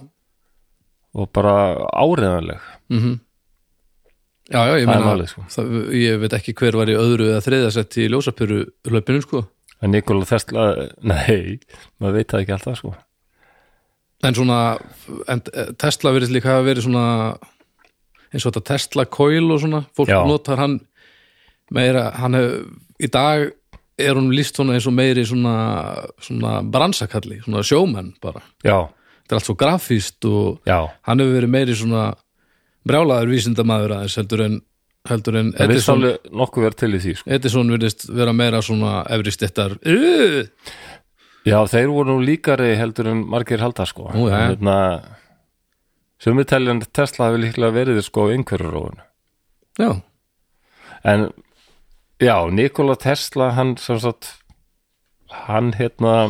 Speaker 1: og bara áreðanleg
Speaker 2: mm Já, já,
Speaker 1: Það
Speaker 2: ég
Speaker 1: er
Speaker 2: meina
Speaker 1: málið, sko.
Speaker 2: það, ég vett ekki hver var í öðru eða þriðasett í ljósapyru hlaupinu, sko
Speaker 1: en Nikola Tesla, nei maður veit það ekki alltaf sko
Speaker 2: en svona, en eh, Tesla verið líka hafa verið svona eins og þetta Tesla coil og svona fólk
Speaker 1: Já.
Speaker 2: notar hann meira, hann hef, í dag er hún líst svona eins og meiri svona, svona bransakalli, svona sjómenn bara,
Speaker 1: já,
Speaker 2: þetta er allt svo grafíst og
Speaker 1: já,
Speaker 2: hann hefur verið meiri svona brjálaður vísindamaður aðeins heldur en, heldur en
Speaker 1: það vist
Speaker 2: Edison,
Speaker 1: alveg nokkuð verð til í því sko.
Speaker 2: Edison virðist vera meira svona efri Uh! stittar já,
Speaker 1: já, þeir voru nú líkari heldur en margir halda sko
Speaker 2: Nú, já, já.
Speaker 1: hérna sumið teljan Tesla hefur líklega verið sko einhverju róun en já, Nikola Tesla hann sem sagt hann hérna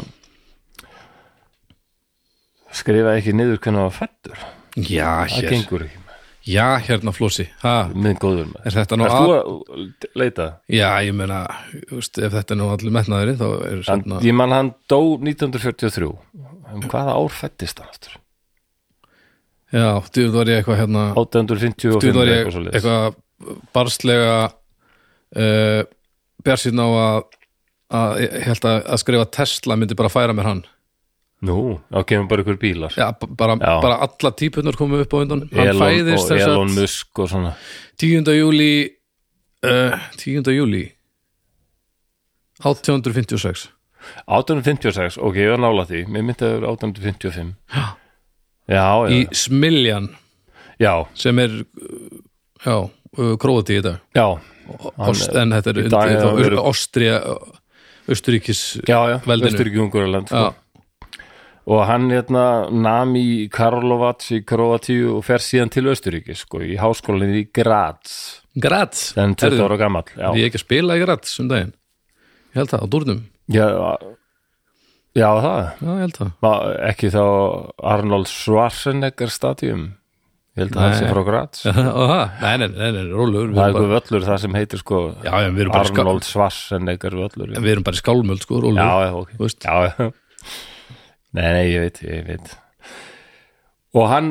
Speaker 1: skrifaði ekki niður hvernig hann var fættur
Speaker 2: já,
Speaker 1: það
Speaker 2: hér,
Speaker 1: gengur ekki með,
Speaker 2: já, hérna flósi ha,
Speaker 1: minn góður með
Speaker 2: er þetta nú
Speaker 1: Erst þú að leita?
Speaker 2: Já, ég meina, þú veist, ef þetta er nú allir metnaðurinn, þá hérna- er
Speaker 1: Hann,
Speaker 2: svona,
Speaker 1: ég man hann dó 1943 um hvaða ár fættist hann aftur?
Speaker 2: já, djúð var ég eitthvað hérna,
Speaker 1: 855
Speaker 2: djúð var ég
Speaker 1: eitthvað svoleiðis.
Speaker 2: eitthvað barslega uh, bjarsinn á að, að ég held að, að skrifa Tesla myndi bara færa mér hann.
Speaker 1: Nú, þá kemur bara ykkur bílar
Speaker 2: Já, b- bara,
Speaker 1: Já.
Speaker 2: bara alla típunar komu upp á undan. Hann
Speaker 1: Elon,
Speaker 2: fæðist
Speaker 1: og
Speaker 2: þess
Speaker 1: Elon
Speaker 2: að
Speaker 1: Musk og svona
Speaker 2: 10. júli, uh, 10. júli, 1856.
Speaker 1: 1856, ok, ég var nála því mér myndi að það vera 1855 já, já,
Speaker 2: Í Smiljan,
Speaker 1: já,
Speaker 2: sem er, uh, já, uh, króti í dag.
Speaker 1: já
Speaker 2: Ost, en þetta er
Speaker 1: í dag
Speaker 2: undir
Speaker 1: hefur
Speaker 2: þá
Speaker 1: verið-
Speaker 2: Ástria Östuríkis
Speaker 1: já, já,
Speaker 2: veldinu.
Speaker 1: Vestur-Jungurland sko.
Speaker 2: Já,
Speaker 1: og hann hérna nam í Karlovac í Kroatíu og fer síðan til Östuríki sko, í háskólinni í Graz
Speaker 2: Graz
Speaker 1: en 20
Speaker 2: Herðu,
Speaker 1: ára gamall
Speaker 2: er
Speaker 1: já,
Speaker 2: Ég ekki að spila í Graz um daginn Ég held það, á Dúrnum
Speaker 1: já, já það
Speaker 2: Já, ég held það
Speaker 1: Ma- ekki þá Arnold Schwarzenegger stadium ég held að hann
Speaker 2: Nei.
Speaker 1: sé frá Graz
Speaker 2: Já, það- Nei, nei, nei, nei, rólegur við
Speaker 1: það er
Speaker 2: erum bara,
Speaker 1: eitthvað völlur það sem heitir sko
Speaker 2: Já, já, við erum bara, í
Speaker 1: Arnold Schwarzenegger völlur
Speaker 2: ská-
Speaker 1: já,
Speaker 2: við erum bara í skálmöld sko, rólegur
Speaker 1: já, ok
Speaker 2: Þú veist.
Speaker 1: já, já. Nei, nei, ég veit, ég veit Og hann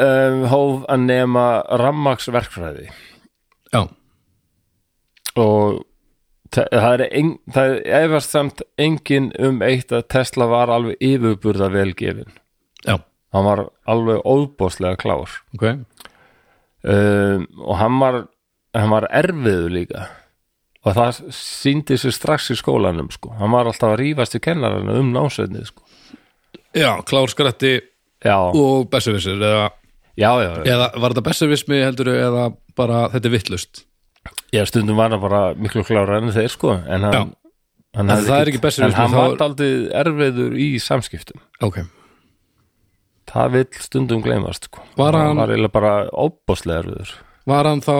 Speaker 1: um, hóf að nema rammaksverkfræði
Speaker 2: Já,
Speaker 1: og te- það er, ein, það er efast samt engin um eitt að Tesla var alveg yfirburða velgefin
Speaker 2: já,
Speaker 1: hann var alveg óbóðslega klár
Speaker 2: ok
Speaker 1: um, og hann var, hann var erfiðu líka og það síndi sér strax í skólanum sko. hann var alltaf að rífast í kennarana um námsveitnið sko.
Speaker 2: Já, klár skrætti
Speaker 1: já,
Speaker 2: og besservissir eða,
Speaker 1: já, já, já.
Speaker 2: eða var þetta besservismi heldur eða bara þetta er vittlust
Speaker 1: Já, stundum var hann bara miklu klára en þeir sko en hann,
Speaker 2: Já.
Speaker 1: hann,
Speaker 2: En
Speaker 1: hafði
Speaker 2: það er ekki bestur
Speaker 1: en
Speaker 2: við,
Speaker 1: hann
Speaker 2: þá
Speaker 1: var
Speaker 2: er-
Speaker 1: aldrei erfiður í samskiptum
Speaker 2: Ok,
Speaker 1: það vill stundum gleymast sko.
Speaker 2: Var hann-
Speaker 1: var eiginlega bara óbáslega erfiður
Speaker 2: var hann þá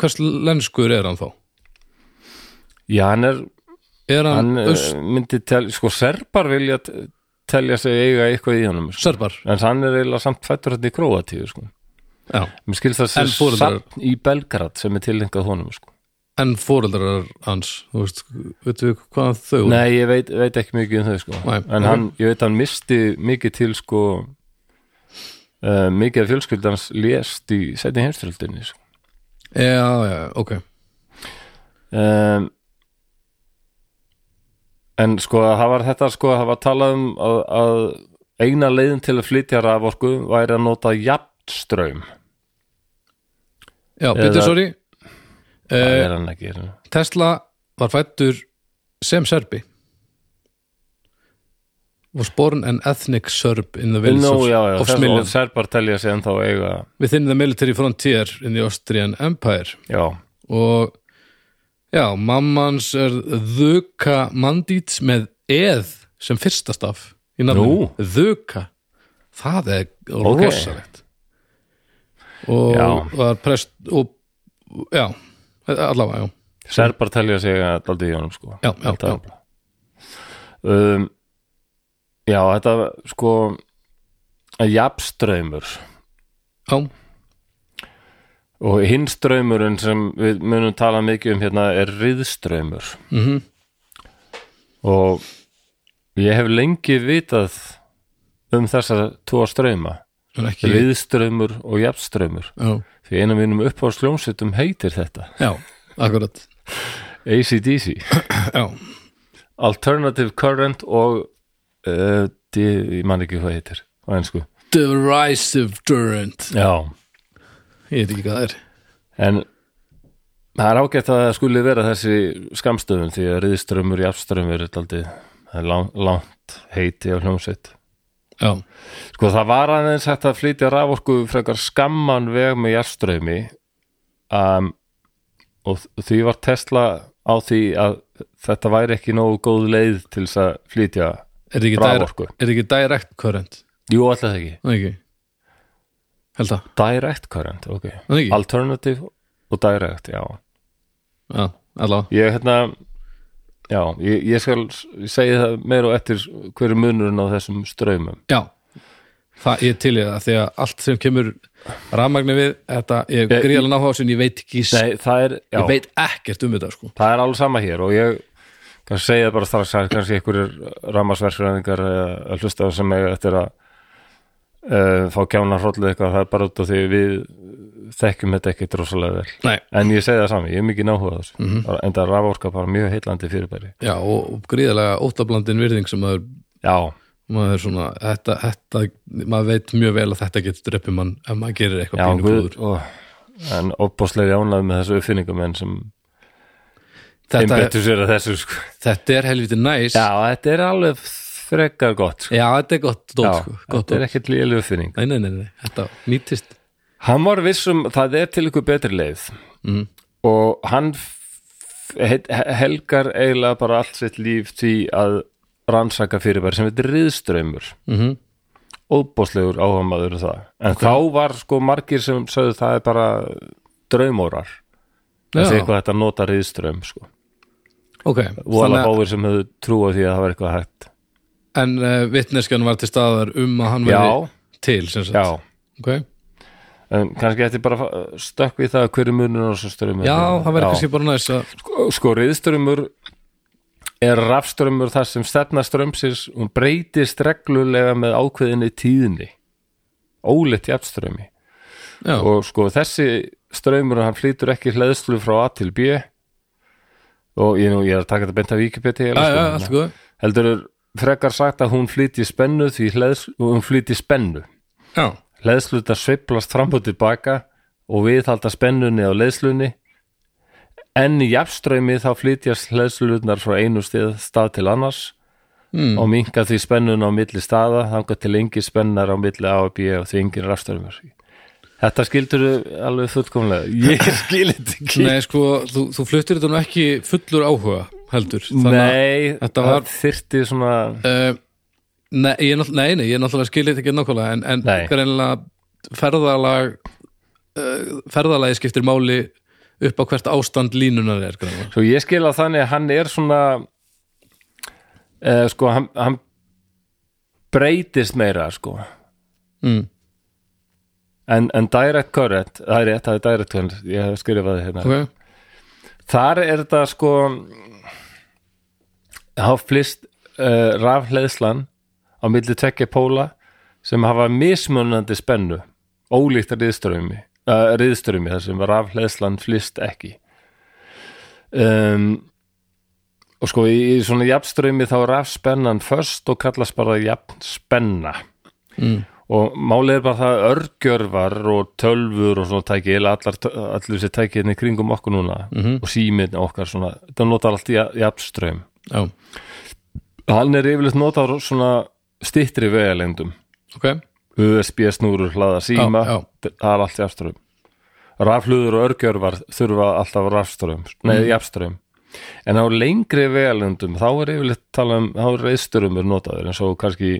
Speaker 2: Hvers lenskur er hann þá?
Speaker 1: já, hann er
Speaker 2: Er hann,
Speaker 1: hann eh,
Speaker 2: hann
Speaker 1: Öst... myndi tel, sko serbar vilja t- telja sig eiga eitthvað í honum sko.
Speaker 2: Sörbar?
Speaker 1: en hann er eiginlega samt fættur hérna í Króatíu sko.
Speaker 2: Já,
Speaker 1: mér skilst það
Speaker 2: En
Speaker 1: sem
Speaker 2: foreldrar-
Speaker 1: samt í Belgrad sem er tilhengað honum sko.
Speaker 2: en foreldrar hans þú veist, veitum við hvað þau voru?
Speaker 1: Nei, ég veit, veit ekki mikið um þau sko.
Speaker 2: Nei,
Speaker 1: en
Speaker 2: ok.
Speaker 1: hann, ég veit hann misti mikið til sko uh, mikið af fjölskyldans lést í setni heimströldinni sko.
Speaker 2: Já, já, ok
Speaker 1: um, en sko það var þetta sko það var talað um að, að eina leiðin til að flytja raforku væri að nota jafnströym
Speaker 2: Já,
Speaker 1: Eða-
Speaker 2: byrju, sorry
Speaker 1: það
Speaker 2: eh,
Speaker 1: er hann ekki er hann-
Speaker 2: Tesla var fættur sem serbi was born an ethnic Serb in the village
Speaker 1: Nú,
Speaker 2: of,
Speaker 1: já, já,
Speaker 2: of
Speaker 1: þess
Speaker 2: Smiljan
Speaker 1: og serbar telja sig ennþá eiga
Speaker 2: within the military frontier in the Austrian Empire
Speaker 1: já,
Speaker 2: og já, mammans er Þuka Mandíts með eð sem fyrsta staf í
Speaker 1: Nú.
Speaker 2: nafnum, Þuka það er
Speaker 1: Ok.
Speaker 2: rosalegt og
Speaker 1: Já.
Speaker 2: var prest og já, allavega, já
Speaker 1: serbar telja sig eiga daldið í honum sko
Speaker 2: Já, já,
Speaker 1: Þetta afla. um, já, þetta sko jafnströymur
Speaker 2: já,
Speaker 1: og hinn ströymurinn sem við munum tala mikið um hérna er riðströymur
Speaker 2: mhm
Speaker 1: og ég hef lengi vitað um þessa tvo ströyma
Speaker 2: en ekki
Speaker 1: riðströymur og jafnströymur
Speaker 2: já,
Speaker 1: því einum mínum uppháskljómsveitum heitir þetta
Speaker 2: já, akkurat
Speaker 1: ACDC
Speaker 2: já,
Speaker 1: Alternative Current og uh, di, ég man ekki hvað heitir á ennsku
Speaker 2: derisive durant
Speaker 1: Já.
Speaker 2: ég veit ekki hvað það er
Speaker 1: en það er ágætt að það skuli vera þessi skamstöðun því að riðströmmur í afströmmur er aldrei það er lang, langt heiti á hljómsveit
Speaker 2: já,
Speaker 1: sko það var aðeins hægt að flytja raforku frekar skamman veg með jarströmi um, og því var Tesla á því að þetta væri ekki nógu góð leið til þess að flytja
Speaker 2: er ekki,
Speaker 1: Raforku.
Speaker 2: er ekki direct current
Speaker 1: jú alltaf ekki,
Speaker 2: en ekki held það,
Speaker 1: direct current ok,
Speaker 2: en ekki
Speaker 1: alternative og direct, já
Speaker 2: já, allavega
Speaker 1: ég hérna já, ég, ég skal s- segja það meir og eftir hverju munurinn á þessum ströymum
Speaker 2: já, það ég til ég það því að allt sem kemur rafmagni við þetta, ég
Speaker 1: Ég-
Speaker 2: gríðalega náhuga sem ég veit ekki,
Speaker 1: Nei, það er, já,
Speaker 2: ég veit ekkert um þetta sko,
Speaker 1: það er alveg sama hér og ég kannski segja það bara strax að kannski einhverjir rammasversfræðingar að hlusta á sem eiga eftir að uh, fá kjána hrollið eitthvað það er bara út af því við þekkjum þetta ekki drosalega vel
Speaker 2: nei
Speaker 1: en ég segi það sami, ég er mikið náhugað þessu
Speaker 2: Mhm.
Speaker 1: mm -hmm. en það raforka bara mjög heillandi fyrirbæri
Speaker 2: já, og, og gríðalega óttablandin virðing sem maður,
Speaker 1: já,
Speaker 2: maður svona þetta, þetta, maður veit mjög vel að þetta getur dreppið mann ef maður gerir eitthvað
Speaker 1: já,
Speaker 2: pínu
Speaker 1: guð
Speaker 2: klúður.
Speaker 1: og, en opbóðslega ánlega með þessu uppfinningum en sem
Speaker 2: þetta, er-
Speaker 1: einbettur sér að þessu sko.
Speaker 2: þetta er helviti næs
Speaker 1: Já, þetta er alveg frekar gott sko.
Speaker 2: Já, þetta er gott dót,
Speaker 1: Já,
Speaker 2: sko, gott
Speaker 1: þetta
Speaker 2: dót.
Speaker 1: er ekkert lélega uppfinning
Speaker 2: Nei, nei, nei, nei, þetta nýtist
Speaker 1: Hann var vissum, það er til ykkur betri leið
Speaker 2: Mm.
Speaker 1: og hann f- he- helgar eiginlega bara allt sitt líf því að rannsaka fyrirbæri sem heitir riðströmmur
Speaker 2: mm -hmm.
Speaker 1: óbóðslegur áhamaður um það en þá var sko margir sem sögðu það er bara draumórar
Speaker 2: Já,
Speaker 1: þessi eitthvað hægt að nota riðströmm sko.
Speaker 2: ok
Speaker 1: og alveg
Speaker 2: Þannig,
Speaker 1: fáir sem höfðu trú á því að það var eitthvað hægt
Speaker 2: að- En uh, vitneskjan var til staðar um að hann
Speaker 1: Já,
Speaker 2: verði til sem sagt.
Speaker 1: já
Speaker 2: Ok.
Speaker 1: en kannski þetta er bara að uh, stökk við það hverju munur á þessu strömmur
Speaker 2: já það verði kannski bara næs að
Speaker 1: sko, sko riðströmmur er rafströmmur þar sem stefna strömsins hún breytist reglulega með ákveðinni tíðinni ólitt jafnströmmi
Speaker 2: Já,
Speaker 1: og sko þessi strömmur hann flýtur ekki hleðslu frá A til B og ég, nú, ég er að taka þetta beint af Wikipedia
Speaker 2: já,
Speaker 1: eiginlega,
Speaker 2: já,
Speaker 1: sko,
Speaker 2: allt góð
Speaker 1: heldur er frekar sagt að hún flýti spennu því hleðslu, hún flýti spennu
Speaker 2: Já,
Speaker 1: leðsluta sveiflast fram og tilbaka og viðhalda spennunni á leðslunni en í jafnströmi þá flytjast leðslutnar frá einu stið, stað til annars
Speaker 2: Mm.
Speaker 1: og minka því spennun á milli staða þangar til engin spennar á milli A og B og því engin rafströmmur Þetta skildur alveg fullkomlega Ég skil þetta ekki
Speaker 2: nei, sko, þú, þú fluttir þetta nú ekki fullur áhuga heldur að
Speaker 1: Nei,
Speaker 2: þetta var-
Speaker 1: það þyrfti svona
Speaker 2: uh, nei, ég, náttúrulega- nei, nei, ég náttúrulega skilið þetta ekki nákvæmlega en, en
Speaker 1: Nei.
Speaker 2: greinlega ferðalag uh, ferðalagi skiptir máli upp á hvert ástand línunar er greinlega
Speaker 1: Svo ég skil að þannig að hann er svona eh, sko, hann, hann breytist meira sko
Speaker 2: mm.
Speaker 1: en, en direct current það er rétt, það er direct current ég hef skrifað það hérna
Speaker 2: Ok,
Speaker 1: þar er þetta sko hafa flist uh, rafhleðslan á milli tvekja póla sem hafa mismunandi spennu ólíkt riðströmi uh, riðströmi þar sem rafhleðslan flist ekki um, og sko í, í svona jafnströmi þá er rafspennan först og kallast bara jafnspenna
Speaker 2: Mm.
Speaker 1: og málið er bara það að örgjörvar og tölfur og svona tæki eða allar, allir þessi tæki hérna í kringum okkur núna og síminn okkar svona þetta notar allt í jafnströym
Speaker 2: já,
Speaker 1: hann er yfirleitt notar svona stittri vegalengdum
Speaker 2: ok,
Speaker 1: USB snúrur hlaða síma
Speaker 2: Já,
Speaker 1: það er allt í afströum rafluður og örgjörvar þurfa alltaf rafströum, nei
Speaker 2: Mm.
Speaker 1: í afströum en á lengri vegalendum þá er yfirleitt tala um, þá er reyðströmmur notaður eins og kannski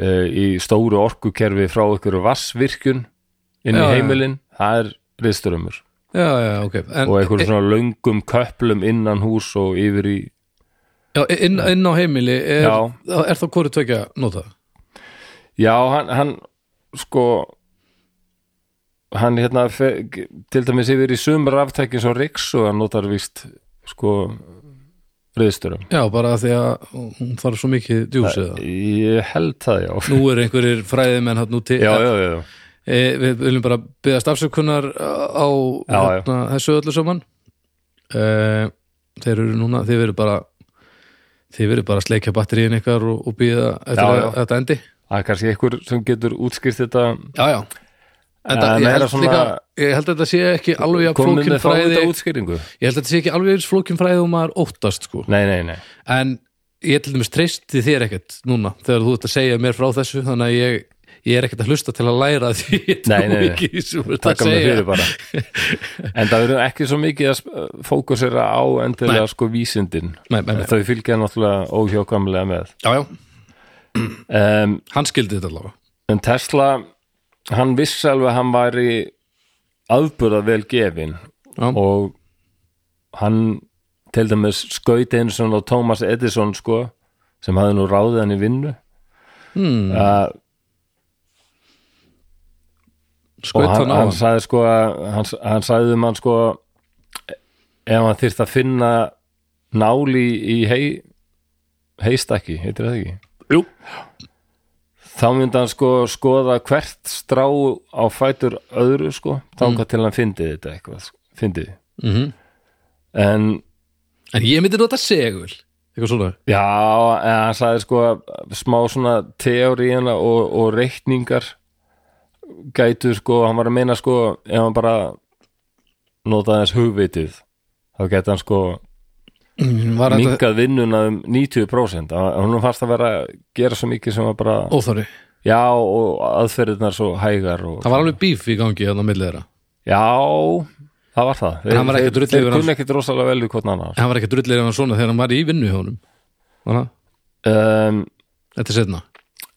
Speaker 1: e, í stóru orkukerfi frá ykkur vassvirkjun inn í
Speaker 2: Já, já.
Speaker 1: heimilin, það er reyðströmmur
Speaker 2: já, já, ok en, e-
Speaker 1: og einhverjum svona löngum köplum innan hús og yfir í,
Speaker 2: já, inn, inn á heimili er,
Speaker 1: Já.
Speaker 2: er þá hvori tvekja notað
Speaker 1: já hann, hann sko hann hérna fe, til dæmis yfir í sumar aftækjum svo riks og hann notar víst sko reyðströmm
Speaker 2: já, bara af því að hún þarf svo mikið djús eða
Speaker 1: ég held það já
Speaker 2: nú er einhverjir fræðimenn hann úti
Speaker 1: já, já, já, já.
Speaker 2: E, við viljum bara byggja stafsökunar á
Speaker 1: Já, já.
Speaker 2: hérna, þessu öllu saman e, þeir eru núna þeir verður bara þeir verður bara að sleikja batteríin ykkar og, og býða eftir
Speaker 1: Já,
Speaker 2: að
Speaker 1: já.
Speaker 2: að þetta endi
Speaker 1: það er kannski einhver sem getur útskýrt þetta
Speaker 2: já, já en
Speaker 1: Já, en
Speaker 2: það, ég,
Speaker 1: meira
Speaker 2: held
Speaker 1: svona-
Speaker 2: líka, ég held að þetta sé ekki alveg jafn
Speaker 1: komin
Speaker 2: flókin
Speaker 1: með þá
Speaker 2: fræði
Speaker 1: þetta
Speaker 2: ég
Speaker 1: útskýringu
Speaker 2: held að þetta sé ekki alveg eins flókin fræði og maður óttast sko
Speaker 1: nei, nei, nei,
Speaker 2: en ég til dæmis treysti þér ekkert núna þegar þú ert að segja mér frá þessu þannig að ég, ég er ekkert að hlusta til að læra því ég
Speaker 1: Nei,
Speaker 2: trúi
Speaker 1: nei, nei.
Speaker 2: ekki í þessu þú ert að
Speaker 1: taka mig
Speaker 2: segja.
Speaker 1: fyrir bara en það verður ekki svo mikið að sp- fókusera á endilega sko vísindin
Speaker 2: Nei, nei, nei.
Speaker 1: þau fylgja náttúrulega óhjókamlega með
Speaker 2: Já, já,
Speaker 1: um,
Speaker 2: hann skildi þetta allavega
Speaker 1: en Tesla hann vissi alveg að hann væri afburða vel gefin
Speaker 2: Já.
Speaker 1: og hann til dæmis skauti einu svona á Thomas Edison sko sem hafði nú ráðið hann í vinnu Uh,
Speaker 2: hmm,
Speaker 1: að og
Speaker 2: Skaut
Speaker 1: hann,
Speaker 2: hann á
Speaker 1: hann
Speaker 2: hann
Speaker 1: sagði sko að- hann, hann sagði um hann sko ef hann þyrst að finna náli í hei, heistakki, heitir það ekki
Speaker 2: Jú.
Speaker 1: þá myndi hann sko skoða hvert strá á fætur öðru sko, þangað til hann fyndi þetta eitthvað, sko, fyndi
Speaker 2: mm
Speaker 1: en
Speaker 2: En ég myndi nota segul Eitthvað svona
Speaker 1: já, en hann sagði sko að smá svona teóriðina og, og reikningar gætu sko, hann var að meina sko ef hann bara notaði hans hugvitið þá gæti hann sko
Speaker 2: Var þetta
Speaker 1: minkað vinnuna um 90% Hann- honum fannst að vera að gera svo mikið sem var bara,
Speaker 2: óþóri?
Speaker 1: já og aðferðirnar svo hægar og
Speaker 2: Það var alveg bíf í gangi þannig að milli þeirra
Speaker 1: Já, það var það
Speaker 2: hann var ekkert drullið
Speaker 1: Þeir
Speaker 2: yfir
Speaker 1: kunni ekkert rosalega vel við hvort annar
Speaker 2: En hann var ekki drullir ef hann svona þegar hann var í vinnu hjá honum Þannig að
Speaker 1: um,
Speaker 2: þetta er setna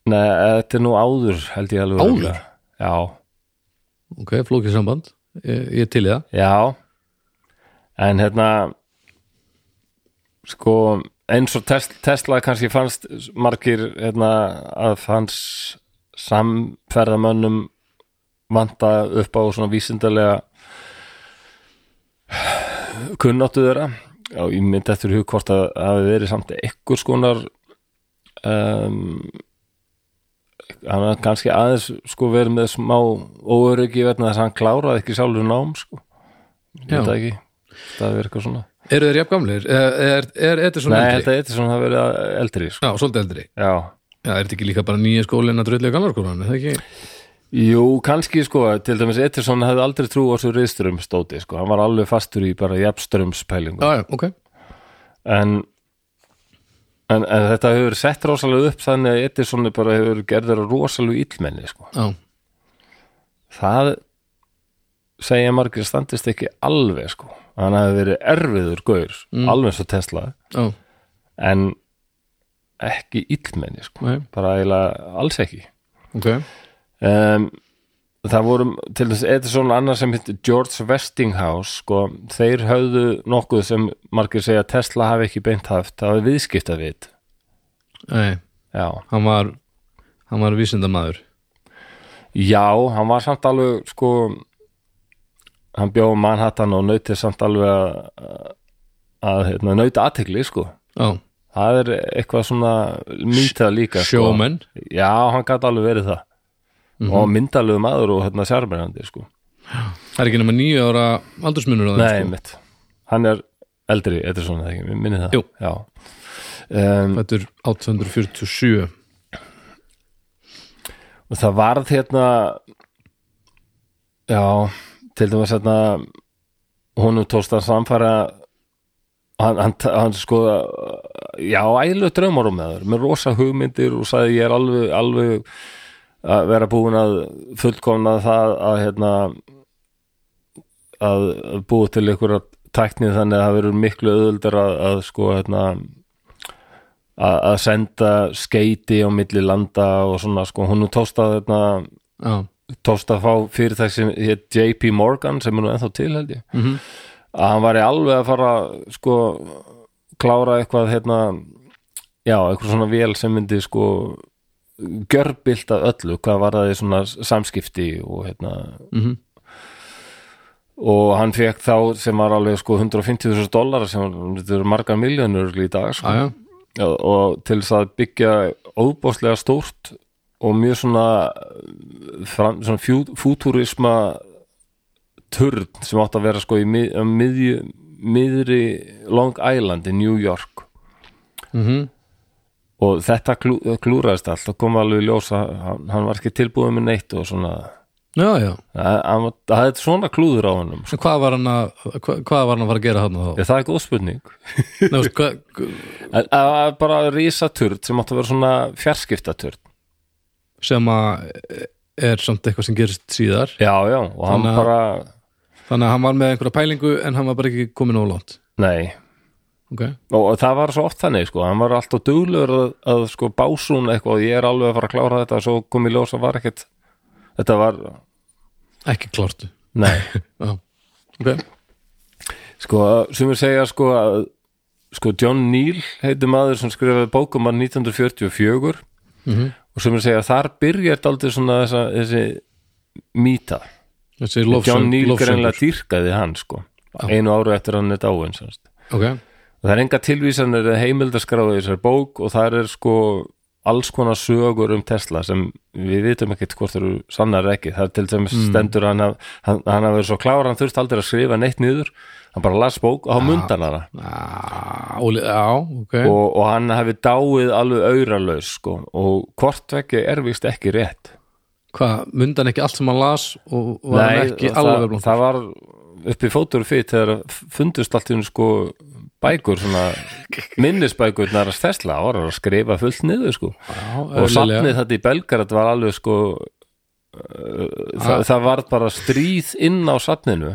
Speaker 1: Nei, þetta er nú áður held ég alveg
Speaker 2: Áður?
Speaker 1: örugglega. Já,
Speaker 2: Ok, flókið samband Ég, ég til í það
Speaker 1: já En hérna Sko eins og Tesla, Tesla kannski fannst margir hérna, að hans samferðamönnum vanta upp á svona vísindalega kunnáttu þeirra Já, ég myndi eftir hug hvort að að hafi verið samt einhvers konar um, hann var kannski aðeins sko verið með smá óöryggi vegna þess að hann kláraði ekki sjálfur nám sko, ég
Speaker 2: Já.
Speaker 1: veit það ekki það er eitthvað svona
Speaker 2: Eru þeir jafn gamlir? Er, er, er Edison
Speaker 1: Nei,
Speaker 2: eldri?
Speaker 1: þetta er eitthvað svona að vera eldri sko.
Speaker 2: Já, svolítið eldri
Speaker 1: Já,
Speaker 2: Já, er þetta ekki líka bara nýja skólinn að drullir gamlar skólan? Er það ekki?
Speaker 1: jú, kannski sko til dæmis Etterson hefði aldrei trú á þessu reyðströmsdóti sko, hann var alveg fastur í bara jafnströmspælingu
Speaker 2: Já, já, ok
Speaker 1: en, en, en þetta hefur sett rosalega upp þannig að Etterson er bara hefur gerður rosalega illmenni sko.
Speaker 2: Já,
Speaker 1: það segja margir standist ekki alveg sko, hann hefði verið erfiður gaur, alveg svo Tesla
Speaker 2: já,
Speaker 1: en ekki illmenni sko,
Speaker 2: nei,
Speaker 1: bara eiginlega alls ekki
Speaker 2: ok
Speaker 1: um, það voru til þess Edison og annar sem hitt George Westinghouse sko, þeir höfðu nokkuð sem margir segja að Tesla hafi ekki beint haft það hafi viðskipta við
Speaker 2: Nei,
Speaker 1: já.
Speaker 2: hann var hann var vísindamaður
Speaker 1: já, hann var samt alveg sko hann bjóð Manhattan og nautið samt alveg að, að hérna, nauta aðtegli sko
Speaker 2: Já,
Speaker 1: það er eitthvað svona myndað líka sko.
Speaker 2: sjómenn
Speaker 1: já, hann gæti alveg verið það og myndalegu maður og hérna sjármennandi sko.
Speaker 2: Það er ekki nema nýju ára aldursmunur á þeim sko.
Speaker 1: Nei, mitt Hann er eldri, þetta er svona ekki, mér minni það
Speaker 2: Jú.
Speaker 1: Já um,
Speaker 2: Þetta er 847
Speaker 1: og Það varð hérna Já, til dæmis hérna honum tókst að samfara hann, hann, hann sko já, ægilega draumarum með þar með rosa hugmyndir og sagði ég er alveg, alveg að vera búin að fullkomna það að hérna að búa til einhverja tækni þannig að það verður miklu auðvöldar að, að sko hérna að, að senda skeiti á milli landa og svona sko hún tósta hérna
Speaker 2: já,
Speaker 1: tósta að fá fyrirtæk sem hétt JP Morgan sem er nú ennþá til held ég
Speaker 2: Mhm.
Speaker 1: að hann væri alveg að fara sko klára eitthvað hérna já, eitthvað svona vél sem myndi sko görbilt af öllu hvað var það í svona samskipti og hérna
Speaker 2: mhm,
Speaker 1: og hann fekk þá sem var alveg sko 150.000 dólar sem var- þetta eru margar miljónur í dag sko
Speaker 2: já, já,
Speaker 1: og, og til þess að byggja óbáslega stórt og mjög svona, eh, fram, svona fjú, fútúrisma turn sem átt að vera sko í mið, á miðju, miðri Long Island í New York
Speaker 2: mhm,
Speaker 1: og þetta klú, klúraðist allt og kom alveg í ljós að hann, hann var ekki tilbúið með neitt og svona
Speaker 2: já, já.
Speaker 1: að- hann var- það er svona klúður á hannum
Speaker 2: En Hvað var hann að, hvað, hvað var hann að fara að gera hann þá?
Speaker 1: Já, það er góð spurning
Speaker 2: Nei, veist, hvað,
Speaker 1: en, að, að bara risaturð sem átt að vera svona fjarskiptaturð
Speaker 2: sem að er samt eitthvað sem gerist síðar
Speaker 1: já, já, og hann
Speaker 2: Þannig að-
Speaker 1: bara
Speaker 2: þannig að hann var með einhverja pælingu en hann var bara ekki komin ólátt
Speaker 1: nei,
Speaker 2: ok,
Speaker 1: og og það var svo oft þannig sko, hann var alltaf duglegur að, að sko básún eitthvað og ég er alveg að fara að klára þetta og svo kom í ljós að var ekkert þetta var,
Speaker 2: ekki klart
Speaker 1: nei
Speaker 2: já, ok,
Speaker 1: sko, sem ég segja sko að sko John Neal heiti maður sem skrifaði bókum hann 1944
Speaker 2: Mhm.
Speaker 1: og sem ég segja þar byrjar aldrei svona þessa, þessi mýta,
Speaker 2: þessi
Speaker 1: John
Speaker 2: lofsöng-
Speaker 1: Neal greinlega
Speaker 2: lofsöngur
Speaker 1: dýrkaði hann sko einu áru eftir hann er dáin semst
Speaker 2: ok,
Speaker 1: og það er enga tilvísanir eða heimildaskráði í þessari bók og það er sko alls konar sögur um Tesla sem við vitum ekkert hvort eru sannar eða ekki það er til dæmis
Speaker 2: Mm.
Speaker 1: stendur að hann haf- hann, hann hafi verið svo klár, hann þurfti aldrei að skrifa neitt niður hann bara las bók og þá mundan hana
Speaker 2: ah, óli- já, ok
Speaker 1: og, og hann hafi dáið alveg auralaus sko og hvort vekki er vist ekki rétt
Speaker 2: hvað, mundi hann ekki allt sem hann las og var hann ekki
Speaker 1: og
Speaker 2: alveg
Speaker 1: það,
Speaker 2: blónt
Speaker 1: það var upp í fótur og fyrir þegar fundust allt í hennu sko bækur svona minnisbækurnar að Tesla var hann að skrifa fullt niður sko og safnið þetta í Belgrad var alveg sko uh, það, það var bara stríð inn á safninu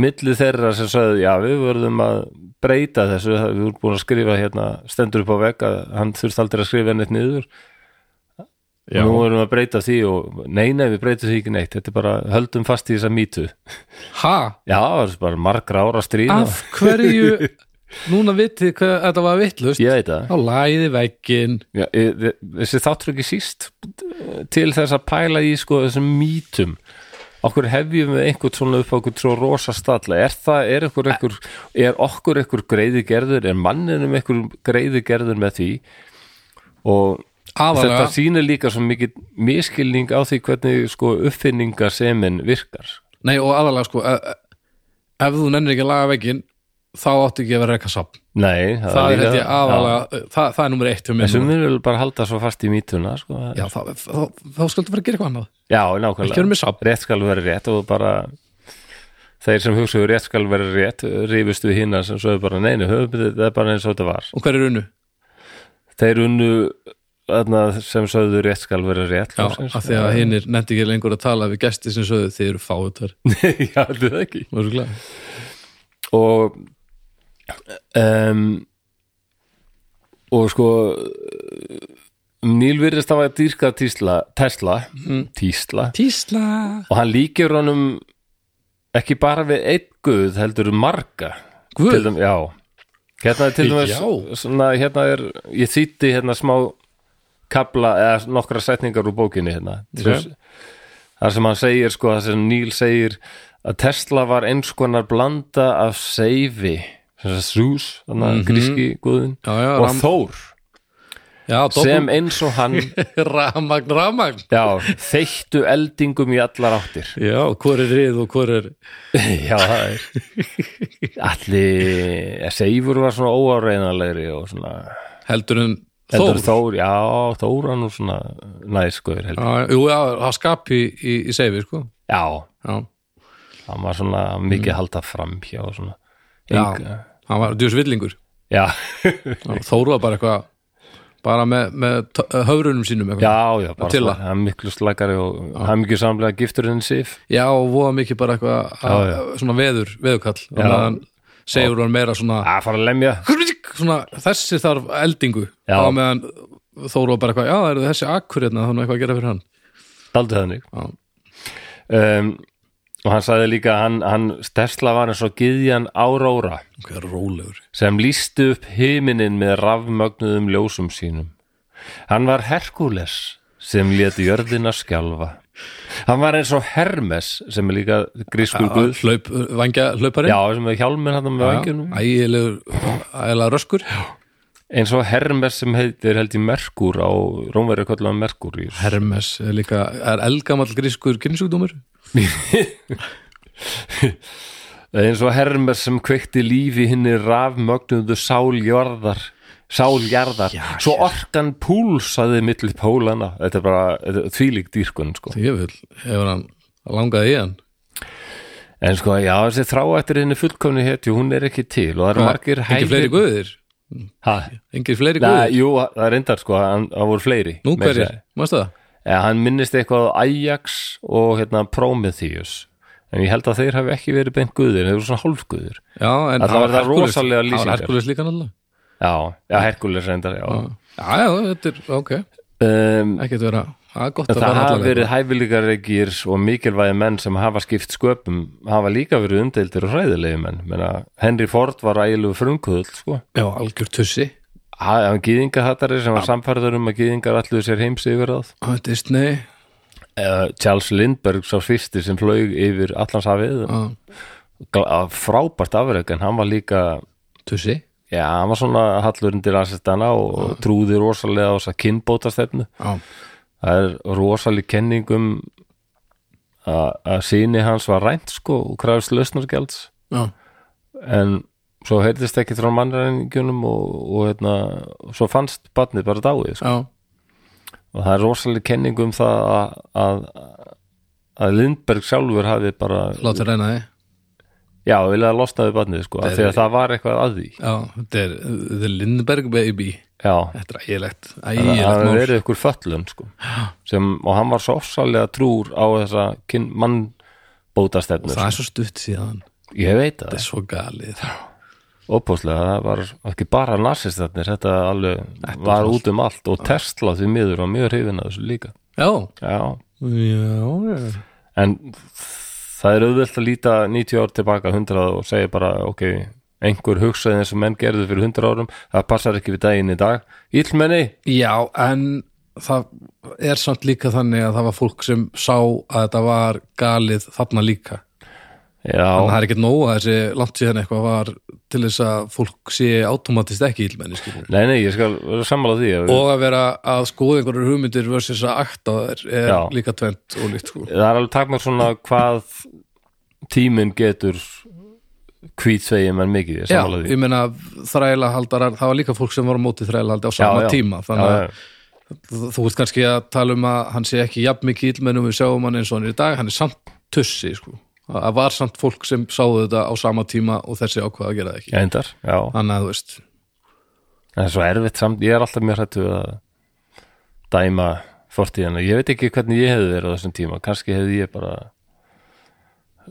Speaker 1: milli þeirra sem sagði já við verðum að breyta þessu það- við vorum búin að skrifa hérna stendur upp á vegg að hann þurfti aldrei að skrifa neitt niður
Speaker 2: Já.
Speaker 1: og nú verðum við að breyta því og nei nei við breytum því ekki neitt þetta er bara höldum fast í þessa mýtu já
Speaker 2: ha,
Speaker 1: það var bara margra ára stríð og-
Speaker 2: af hverju núna vitið hvað þetta var vittlust
Speaker 1: ég veit það
Speaker 2: þá læði veggin
Speaker 1: Já, e- e- þessi þáttur ekki síst eh, til þess að pæla í sko þessum mýtum okkur hefjum við einhvern svona upp á okkur svo rosa stalla, er það, er einhver, einhver er okkur einhver greiði gerður er manninum einhver greiði gerður með því og
Speaker 2: aðalega,
Speaker 1: þetta sýnir líka svo mikið miskilning á því hvernig sko uppfinningasemin virkar
Speaker 2: nei og aðalega sko e- e- ef þú nennir ekki að laga veggin þá áttu ekki að vera eitthvað safn
Speaker 1: Nei,
Speaker 2: það er
Speaker 1: líka-
Speaker 2: held ég aðalega, það, það er nummer eitt hjá mér
Speaker 1: Þessum
Speaker 2: núna.
Speaker 1: við vil bara halda svo fast í mýtuna sko.
Speaker 2: já, þá, þá, þá, þá skaldu bara gera eitthvað annað
Speaker 1: Já,
Speaker 2: ekki
Speaker 1: nákvæmlega
Speaker 2: vera með safn
Speaker 1: rétt skal vera rétt og bara þeir sem hugsaðu rétt skal vera rétt rífust við hina sem sögðu bara neini, höfum þetta er bara eins og þetta var
Speaker 2: og hver er unnu,
Speaker 1: þeir unnu þarna, sem sögðu rétt skal vera rétt
Speaker 2: já,
Speaker 1: loksins.
Speaker 2: af því að hinn er nefndi ekki lengur að tala við gesti sem sögðu þið eru fáutar
Speaker 1: Nei, já, þetta er ekki
Speaker 2: já,
Speaker 1: og um, og sko um, Níl virðist að vera dýrka tísla, Tesla
Speaker 2: Mhm.
Speaker 1: Tísla
Speaker 2: tísla
Speaker 1: og hann líkir honum ekki bara við einn guð heldur marga
Speaker 2: Guð?
Speaker 1: Til dæmis- já hérna er til
Speaker 2: Já.
Speaker 1: dæmis svona, hérna er, ég þýtti hérna smá kabla eða nokkra setningar úr bókinni hérna
Speaker 2: Ok.
Speaker 1: okay. þar sem hann segir sko, þar sem Neil segir að Tesla var eins konar blanda af seifi Sús, þannig
Speaker 2: Mhm.
Speaker 1: að gríski guðin
Speaker 2: Já, já,
Speaker 1: og
Speaker 2: ram-
Speaker 1: Þór
Speaker 2: já,
Speaker 1: sem
Speaker 2: doppel,
Speaker 1: eins og hann
Speaker 2: ramagn, ramagn
Speaker 1: já, þeittu eldingum í allar áttir
Speaker 2: já, hvor er rið og hvor er
Speaker 1: Já, það er Allir Seifur var svona óáreinanlegri og svona
Speaker 2: heldur en
Speaker 1: Heldur
Speaker 2: þór
Speaker 1: Þór, já, Þór var nú svona næskuður heldur.
Speaker 2: Já, jú, já, það skapi í, í seifi, sko
Speaker 1: Já,
Speaker 2: já,
Speaker 1: hann var svona mikið mm. halda fram hjá og svona
Speaker 2: já
Speaker 1: Enga-
Speaker 2: hann var djús villingur
Speaker 1: já,
Speaker 2: Þóru var bara eitthvað bara með, með tö- höfrunum sínum eitthvað.
Speaker 1: já, já bara
Speaker 2: Til
Speaker 1: svona,
Speaker 2: það.
Speaker 1: hann er miklu slagari og hann er mikið samlega giftur en sif
Speaker 2: já og voða mikið bara eitthvað að-
Speaker 1: Já,
Speaker 2: svona veður, veðurkall
Speaker 1: Já.
Speaker 2: þannig að hann segur hann meira svona
Speaker 1: að fara að lemja
Speaker 2: svona, þessi þarf eldingu
Speaker 1: Já.
Speaker 2: á meðan Þóru var bara eitthvað já, það eru þessi akkur hérna, þannig eitthvað að gera fyrir hann
Speaker 1: daldið þannig
Speaker 2: Já.
Speaker 1: um, og hann sagði líka að hann, hann Tesla var eins og gyðjan áróra
Speaker 2: ok, rólegur
Speaker 1: sem lístu upp himinin með rafmögnuðum ljósum sínum. Hann var Herkules sem léti jörðina skjálfa. Hann var eins og Hermes sem er líka grískur guð.
Speaker 2: hlaup, vangja, hlauparinn
Speaker 1: Já, sem er hjálminn hann með vangjunum.
Speaker 2: ægilegur, ægilega röskur
Speaker 1: Eins og Hermes sem heitir held í Merkur á Rómverið kallar hann Merkur í.
Speaker 2: Hermes er líka, er elgamall grískur kynnsjúkdómur
Speaker 1: Eins og Hermes sem kveikti lífi hinni rafmögnuðu sáljarðar sáljarðar, svo orkan púlsaði millir pólana þetta er bara þetta er þvílík dýrkun sko.
Speaker 2: ég vil, hefur hann langaði í hann
Speaker 1: En sko, já, þessi þrá eftir henni fullkomni hetju, hún er ekki til og það eru margir
Speaker 2: engir fleiri guðir
Speaker 1: Ha?
Speaker 2: engir fleiri
Speaker 1: Nei,
Speaker 2: guðir,
Speaker 1: jú, það er reyndar sko, hann, það voru fleiri.
Speaker 2: nú
Speaker 1: meira að
Speaker 2: hverjir,
Speaker 1: segja.
Speaker 2: mástu það?
Speaker 1: Ja, hann minnist eitthvað á Ajax og hérna Prometheus. En ég held að þeir hafi ekki verið beint guðir, þeir eru svona hálfguðir.
Speaker 2: já, en
Speaker 1: Alla
Speaker 2: hann
Speaker 1: var það
Speaker 2: Hercules-
Speaker 1: rosalega
Speaker 2: hann var
Speaker 1: lýsingar.
Speaker 2: Hercules líka náttúrulega
Speaker 1: Já, já, Herkules reyndar, já.
Speaker 2: Mm. já, já, þetta er, ok,
Speaker 1: Um,
Speaker 2: ekkert vera að gott að
Speaker 1: það
Speaker 2: fara
Speaker 1: hafa
Speaker 2: alla leið.
Speaker 1: verið hæfileikareikir og mikilvægi menn sem hafa skipt sköpum, hafa líka verið umdeildir og hræðilegi menn. Menna, Henry Ford var ægilegu frumkvöld, sko.
Speaker 2: já, algjör tussi,
Speaker 1: hann gýðingahattari sem var samfærður um að gýðingar allu sér heims yfir það
Speaker 2: Á Disney
Speaker 1: Charles Lindbergh sá fyrsti sem flög yfir allanshafið
Speaker 2: á,
Speaker 1: Gla- frábært afrek en hann var líka
Speaker 2: tussi,
Speaker 1: já, hann var svona hallur undir assistana og og trúði rosalega á þess að kynbóta
Speaker 2: á,
Speaker 1: það er rosaleg kenning um að að síni hans var rænt sko og krafst lausnargjalds
Speaker 2: á
Speaker 1: en svo heyrðist ekki frá mannræningjunum og, og hérna, svo fannst barnið bara dáið sko.
Speaker 2: á,
Speaker 1: og það er rosalega kenning um það að, að, að Lindberg sjálfur hafi bara,
Speaker 2: láta reyna því
Speaker 1: já, vilja að losna við barnið sko, af því að það var eitthvað að því
Speaker 2: já, þetta er uh, The Lindbergh Baby
Speaker 1: já,
Speaker 2: þetta er ægilegt,
Speaker 1: það
Speaker 2: ægilegt
Speaker 1: hafi
Speaker 2: mál
Speaker 1: verið ykkur föllun sko, sem, og hann var svo ofsalega trúr á þessa kyn, mannbótastefnu sko.
Speaker 2: það er svo stutt síðan,
Speaker 1: ég veit
Speaker 2: þetta
Speaker 1: það,
Speaker 2: er svo galið
Speaker 1: opóslega það var ekki bara narsistarnir, þetta alveg var út um allt og Tesla því miður var mjög hrifin að þessu líka
Speaker 2: já,
Speaker 1: já,
Speaker 2: já, já.
Speaker 1: en það er auðvelt að líta 90 ár tilbaka 100 og segja bara ok, einhver hugsaði eins og menn gerðu fyrir 100 árum það passar ekki við daginn í dag Íllmenni,
Speaker 2: Já, en það er samt líka þannig að það var fólk sem sá að þetta var galið þarna líka. Þannig að
Speaker 1: já,
Speaker 2: það er ekkert nóg að þessi langt síðan eitthvað var til þess að fólk sé automatist ekki illmenni skilur.
Speaker 1: nei nei, ég skal vera sammála því að
Speaker 2: Og að vera að skoða einhverjar hugmyndir versus að akta þær er
Speaker 1: Já.
Speaker 2: líka tvent og líkt sko.
Speaker 1: það er alveg takmar svona hvað tíminn getur hvítsvegi menn mikið, ég er
Speaker 2: Já,
Speaker 1: sammála því
Speaker 2: ég meina þræla haldarar, það var líka fólk sem var á móti þræla haldi á sama
Speaker 1: já.
Speaker 2: tíma þannig að
Speaker 1: já, já.
Speaker 2: þú þú veist kannski að tala um að hann sé ekki jafn mikið illmennum við sjáum hann eins og hann er í dag hann er samt tussi sko að að var samt fólk sem sáðu þetta á sama tíma og þessi ákvaða að gera það ekki
Speaker 1: Já, endar, já,
Speaker 2: þannig að þú veist,
Speaker 1: það er svo erfitt samt, ég er alltaf mjög hrættu að dæma fortíðina, ég veit ekki hvernig ég hefði verið á þessum tíma, kannski hefði ég bara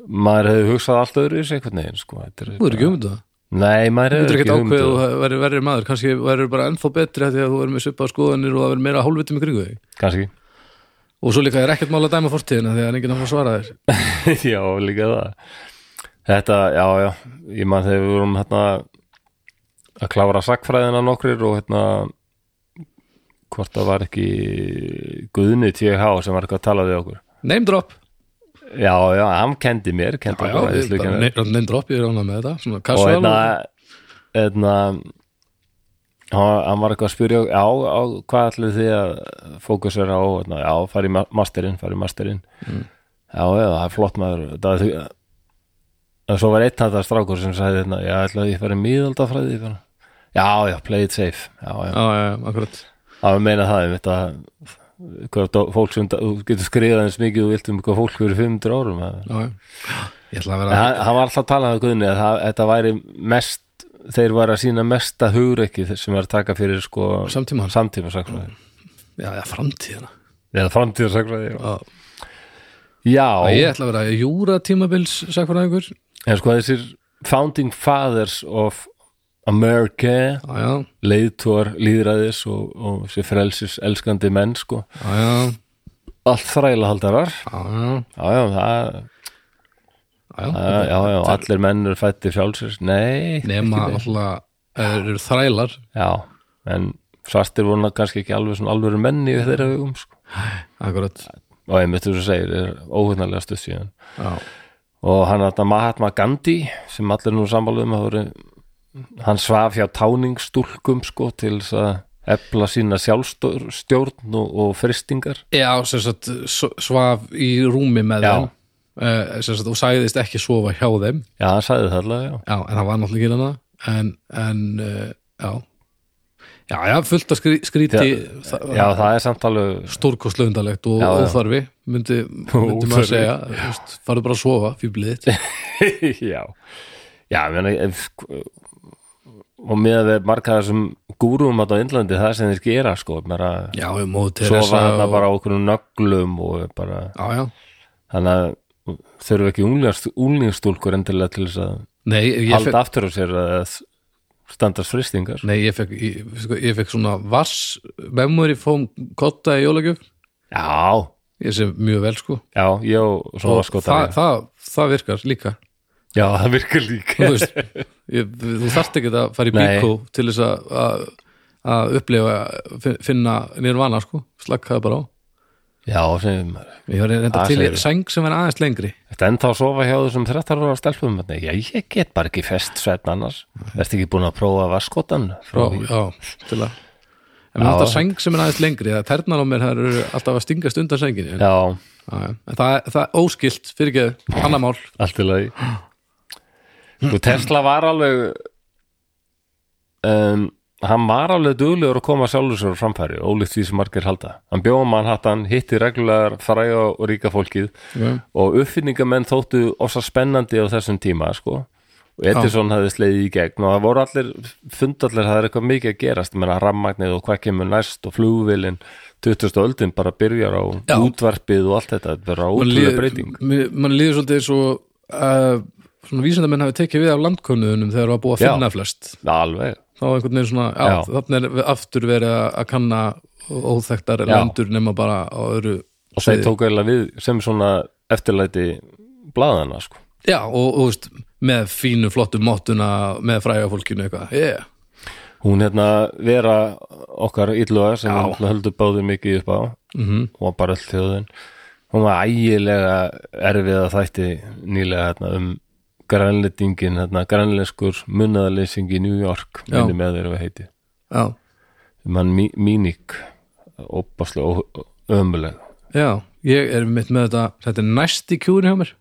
Speaker 1: maður hefði hugsað allt öðru í sig einhvern veginn sko. Þetta
Speaker 2: þú er ekki um þetta
Speaker 1: Nei, maður
Speaker 2: þú er
Speaker 1: hefði
Speaker 2: ekki
Speaker 1: ekki
Speaker 2: ákveð
Speaker 1: hugmynd
Speaker 2: og
Speaker 1: um
Speaker 2: verður verri maður kannski verður bara ennþá betri af því að þú verður með svipað skoðanir og það verður meira hálfvitum í kringu þig
Speaker 1: kannski,
Speaker 2: og svo líka er ekkert mál að dæma fortíðina því að hann enginn að fara að svara þér
Speaker 1: já, líka það Þetta, já, já ég maður þegar við vorum hérna að klára sakfræðina nokkrir og hérna hvort það var ekki Guðni TH sem var eitthvað að tala við okkur
Speaker 2: name drop,
Speaker 1: Já, já, hann kendi mér kendi
Speaker 2: já,
Speaker 1: okkur
Speaker 2: já, ég
Speaker 1: aðeins
Speaker 2: bara
Speaker 1: hlutina.
Speaker 2: name, name drop, ég er ánað með þetta svona
Speaker 1: og
Speaker 2: casual
Speaker 1: hérna hérna hann hann var eitthvað að spyrja já, á, hvað ætlið þið að fókusera á, hérna, já, fari masterinn fari masterinn já, já, það er flott maður það er því en svo var einn þetta strákur sem sagði hérna, já, ætla að ég fari miðaldafræði ég bara, já, já, play it safe já, já,
Speaker 2: já, já, akkurat
Speaker 1: það meina það, ég veit að hvað dó- fólk sem, þú getur skriðað eins mikið og vilt um hvað fólk fyrir 500 árum það er
Speaker 2: já, já. ég ætla að
Speaker 1: En
Speaker 2: vera
Speaker 1: hann, hann var alltaf að tala um Guðni að það, þetta væri mest þeir var að sína mesta hugreiki sem var að taka fyrir sko
Speaker 2: Samtímann.
Speaker 1: samtíma sagfræði
Speaker 2: já, já, framtíðina
Speaker 1: eða framtíða sagfræði já,
Speaker 2: já.
Speaker 1: já.
Speaker 2: ég ætla að vera júra tímabils sakfræðingur,
Speaker 1: en sko þessir founding fathers of America
Speaker 2: já, já,
Speaker 1: leiðtúar líðræðis og, og sér frelsis elskandi menn sko
Speaker 2: já, já
Speaker 1: allt þræla haldarar
Speaker 2: Já, já,
Speaker 1: já já, það,
Speaker 2: já, já.
Speaker 1: það, já, já, allir menn eru fættir frjálsins, nei
Speaker 2: nema alltaf eru þrælar
Speaker 1: já, en svartir voru nú kannski ekki alveg svona alvöru menni við þeirra hugum sko
Speaker 2: akkurat
Speaker 1: og einmitt þú svo segir, er óhugnarlega stuð síðan
Speaker 2: já,
Speaker 1: og hann þetta Mahatma Gandhi sem allir nú sammáluðum voru, hann svaf hjá táningstúlkum sko til þess að efla sína sjálfstjórn og, og fristingar
Speaker 2: já sem sagt s- svaf í rúmi með
Speaker 1: Já.
Speaker 2: þeim uh, sem sagt og sagðist ekki sofa hjá þeim
Speaker 1: já, hann sagði það allavega, já
Speaker 2: já, en það var náttúrulega ekki hana en, en uh, já já, já, fullt að skrí, skríti
Speaker 1: Já, Já, það er samt alveg
Speaker 2: stórkostlöndalegt og
Speaker 1: Já, já.
Speaker 2: óþarfi myndi, myndi
Speaker 1: Óþarfi.
Speaker 2: maður segja þú veist, farðu bara að sofa, fýblið þitt
Speaker 1: sko. Já, já, ég meina ef, sko, og með að við marga þessum gúrum að á Indlandi það sem þeir gera sko, bara
Speaker 2: já, við móðu
Speaker 1: sofa
Speaker 2: Teresa
Speaker 1: þarna
Speaker 2: og-
Speaker 1: bara á okkur nöglum og bara,
Speaker 2: já, já,
Speaker 1: þannig að þurfum ekki unglingast- unglingstúlkur endilega til þess að
Speaker 2: nei, ég
Speaker 1: halda
Speaker 2: fekk
Speaker 1: aftur af sér að standast fristingar
Speaker 2: Nei, ég fekk, ég, sko, ég fekk svona vass memory foam kotta í jólagjöf
Speaker 1: Já,
Speaker 2: ég sé mjög vel sko
Speaker 1: já, já, svo var sko
Speaker 2: það, það, það virkar líka
Speaker 1: Já, það virkar líka
Speaker 2: þú veist, ég, þú þarft ekki að fara í
Speaker 1: Nei.
Speaker 2: bíkó til þess að- að að upplifa, fin- finna nirvana sko, slakkaði bara á Ah,
Speaker 1: Já, sem
Speaker 2: ég var reynda
Speaker 1: Það
Speaker 2: til í
Speaker 1: segirðu.
Speaker 2: sæng sem er aðeins lengri
Speaker 1: Þetta ennþá að sofa hjá þessum 13 ára stelpum þarna? Já, ég get bara ekki fest svefn annars Ertu ekki búin að prófa vaskotan?
Speaker 2: frá,
Speaker 1: Frá,
Speaker 2: já, til að en mér
Speaker 1: Já.
Speaker 2: vantar sæng sem er aðeins lengri það ternar á mér, það eru alltaf að stingast undan sænginni en,
Speaker 1: já,
Speaker 2: já, já. En það, það er óskilt, fyrirgeðu, annamál
Speaker 1: allt í lagi Sko, Tesla var alveg um, Hann var alveg duglegur að koma sjálfur sér á framfæri Ólíkt því sem margir halda Hann bjóða mann hattan, hitti reglulegar fræja og ríka fólkið
Speaker 2: já,
Speaker 1: og uppfinningamenn þóttu ofsa spennandi á þessum tíma sko og Edison hafði sleiði í gegn og það voru allir fundallir, það er eitthvað mikið að gerast menna rammagnið og hvað kemur næst og flugvilin 20. öldin bara byrjar á
Speaker 2: Já.
Speaker 1: útvarpið og allt þetta þetta er bara
Speaker 2: Man
Speaker 1: ótrúlega
Speaker 2: líður-
Speaker 1: breyting
Speaker 2: mér- mann líður svolítið eins og uh, svona vísindamenn hafi tekið við af landkönnuðunum þegar það var búið að
Speaker 1: Já.
Speaker 2: finna flest
Speaker 1: alveg,
Speaker 2: þá var einhvern veginn svona, já,
Speaker 1: Já.
Speaker 2: þannig er við aftur verið að að kanna óþekktar
Speaker 1: Já.
Speaker 2: landur nema bara á öðru
Speaker 1: og þeir tók eiginlega við sem svona eftirlæti blaðana sko
Speaker 2: já, og, og veist, með fínu flottu móttuna með fræga fólkinu eitthvað yeah.
Speaker 1: hún hérna vera okkar illuga sem
Speaker 2: Já.
Speaker 1: við náttúrulega höldum báðir mikið upp á -hmm. og bara öll þjóðin hún var ægilega erfiða þætti nýlega hérna, um grænlendingin, hérna, grænlenskur munnaðaleysing í New York
Speaker 2: Já.
Speaker 1: minni með þeirra við heiti
Speaker 2: já,
Speaker 1: mann mí, míník opaslega ömuleg
Speaker 2: já, ég er mitt með þetta þetta er næst í kjúinu hjá mér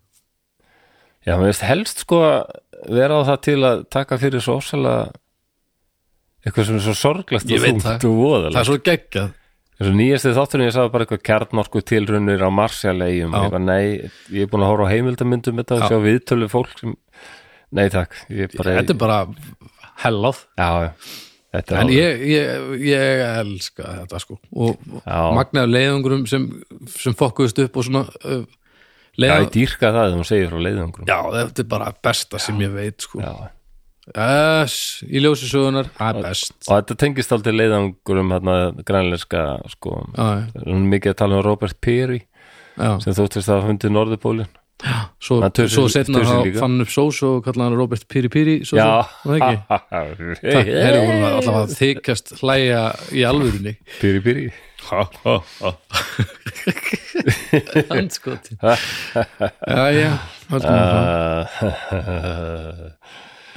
Speaker 1: já, mér veist helst sko að vera á það til að taka fyrir svo ósalega eitthvað sem er svo sorglegt
Speaker 2: Ég
Speaker 1: og
Speaker 2: veit
Speaker 1: þungt
Speaker 2: það.
Speaker 1: og voðalegt
Speaker 2: það er svo geggjað
Speaker 1: þessu nýjasti þátturinn ég sagði bara eitthvað kjarnorku tilrunir á Marsjalegjum
Speaker 2: Já.
Speaker 1: ég bara nei, ég er búin að horfa á heimildamyndum þetta og sjá viðtölu fólk sem nei takk, ég bara
Speaker 2: þetta er bara hellað
Speaker 1: já, já, þetta er
Speaker 2: En
Speaker 1: alveg-
Speaker 2: ég, ég, ég elska þetta sko og
Speaker 1: Já.
Speaker 2: magnaður leiðungurum sem, sem fokkuðust upp og svona uh,
Speaker 1: já,
Speaker 2: leiða,
Speaker 1: ég dýrka það þegar hún segir frá leiðangrum
Speaker 2: já, þetta er bara besta sem ég veit sko
Speaker 1: já.
Speaker 2: yes, í ljósi sögunar, það er best
Speaker 1: og þetta tengist aldrei leiðangrum hérna grænlenska sko
Speaker 2: já,
Speaker 1: hún er mikið að tala um Robert Peary
Speaker 2: já,
Speaker 1: sem þóttist að hafa fundið Norðupólin
Speaker 2: svo,
Speaker 1: Hann tussi-
Speaker 2: svo setna
Speaker 1: tussi
Speaker 2: þá
Speaker 1: líka.
Speaker 2: fann hann upp sós og kallaði hann Robert Piri Piri sósu,
Speaker 1: já, Ah,
Speaker 2: var það ekki Það er hún að allavega að þykjast hlæja í alvörinni
Speaker 1: Peary Peary
Speaker 2: Hanskotin Já, já, haldum við það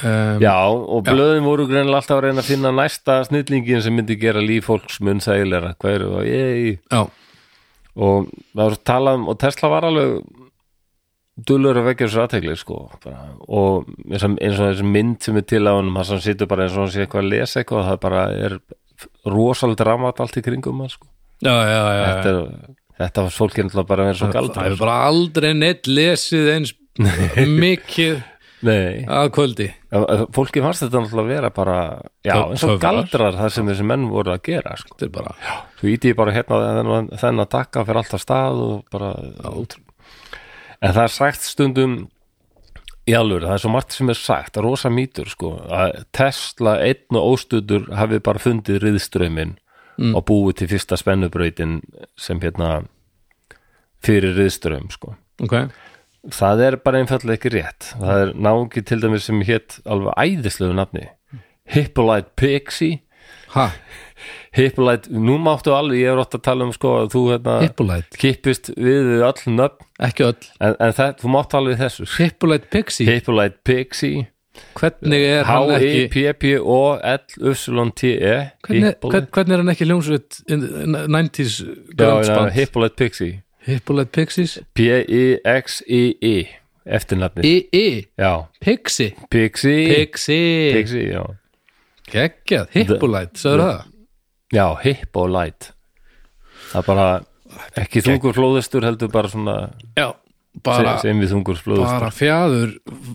Speaker 1: Uh,
Speaker 2: Um,
Speaker 1: Já, og blöðin voru greinlega alltaf að reyna að finna næsta snillingin sem myndi gera líf fólks mun sægilega, hvað eru það, ég
Speaker 2: Já,
Speaker 1: og það var talað um, og Tesla var alveg dullur að vekja þessu aðtegli, sko bara. og eins og, eins og þessi mynd sem er til á honum, það sem situr bara eins og hann sé eitthvað að lesa eitthvað, það bara er rosal dramat allt í kringum hann, sko.
Speaker 2: já, já, já, já.
Speaker 1: þetta, er, þetta var fólk er náttúrulega bara að vera svo
Speaker 2: Það
Speaker 1: galdra
Speaker 2: hefur bara aldrei neitt lesið eins mikið
Speaker 1: Nei,
Speaker 2: að kvöldi
Speaker 1: fólki fannst þetta náttúrulega að vera bara já,
Speaker 2: Töf-
Speaker 1: eins og
Speaker 2: töfrar.
Speaker 1: galdrar það sem þessi menn voru að gera sko.
Speaker 2: þetta er bara,
Speaker 1: svo íti ég bara hérna á þennan, þennan takka fyrir alltaf stað og bara ótrú. en það er sagt stundum í alvöru, það er svo margt sem er sagt það er rosa mýtur sko að Tesla einn og óstudur hafi bara fundið riðströmmin og búið til fyrsta spennubrautin sem hérna fyrir riðströmm sko
Speaker 2: ok
Speaker 1: það er bara einfallega ekki rétt það er náungi til dæmis sem hétt alveg æðislegu nafni Hippolyte Pixie
Speaker 2: ha,
Speaker 1: Hippolyte, nú máttu alveg, ég er ótt að tala um sko að þú hérna
Speaker 2: Hippolyte,
Speaker 1: kippist við við öll nöfn
Speaker 2: ekki öll
Speaker 1: en, en það, þú mátt alveg þessu
Speaker 2: Hippolyte Pixie,
Speaker 1: Hippolyte Pixie
Speaker 2: hvernig er hann ekki
Speaker 1: H-I-P-P-O-L-U-S-L-O-N-T-E
Speaker 2: hvernig, hvern- hvernig er hann ekki hljómsveit in- in- 90s grunnsband
Speaker 1: Hippolyte Pixie
Speaker 2: Hippolyte Pixies
Speaker 1: P-I-X-I-E eftirnafni,
Speaker 2: I-I,
Speaker 1: já
Speaker 2: Pixie
Speaker 1: Pixie,
Speaker 2: Pixie,
Speaker 1: Pixie, já
Speaker 2: geggjað, Hippolyte sagður það,
Speaker 1: Já, hip og light Það er bara ekki þungur flóðustur heldur bara svona
Speaker 2: já,
Speaker 1: bara,
Speaker 2: bara
Speaker 1: sem við þungur flóðustur
Speaker 2: bara fjæður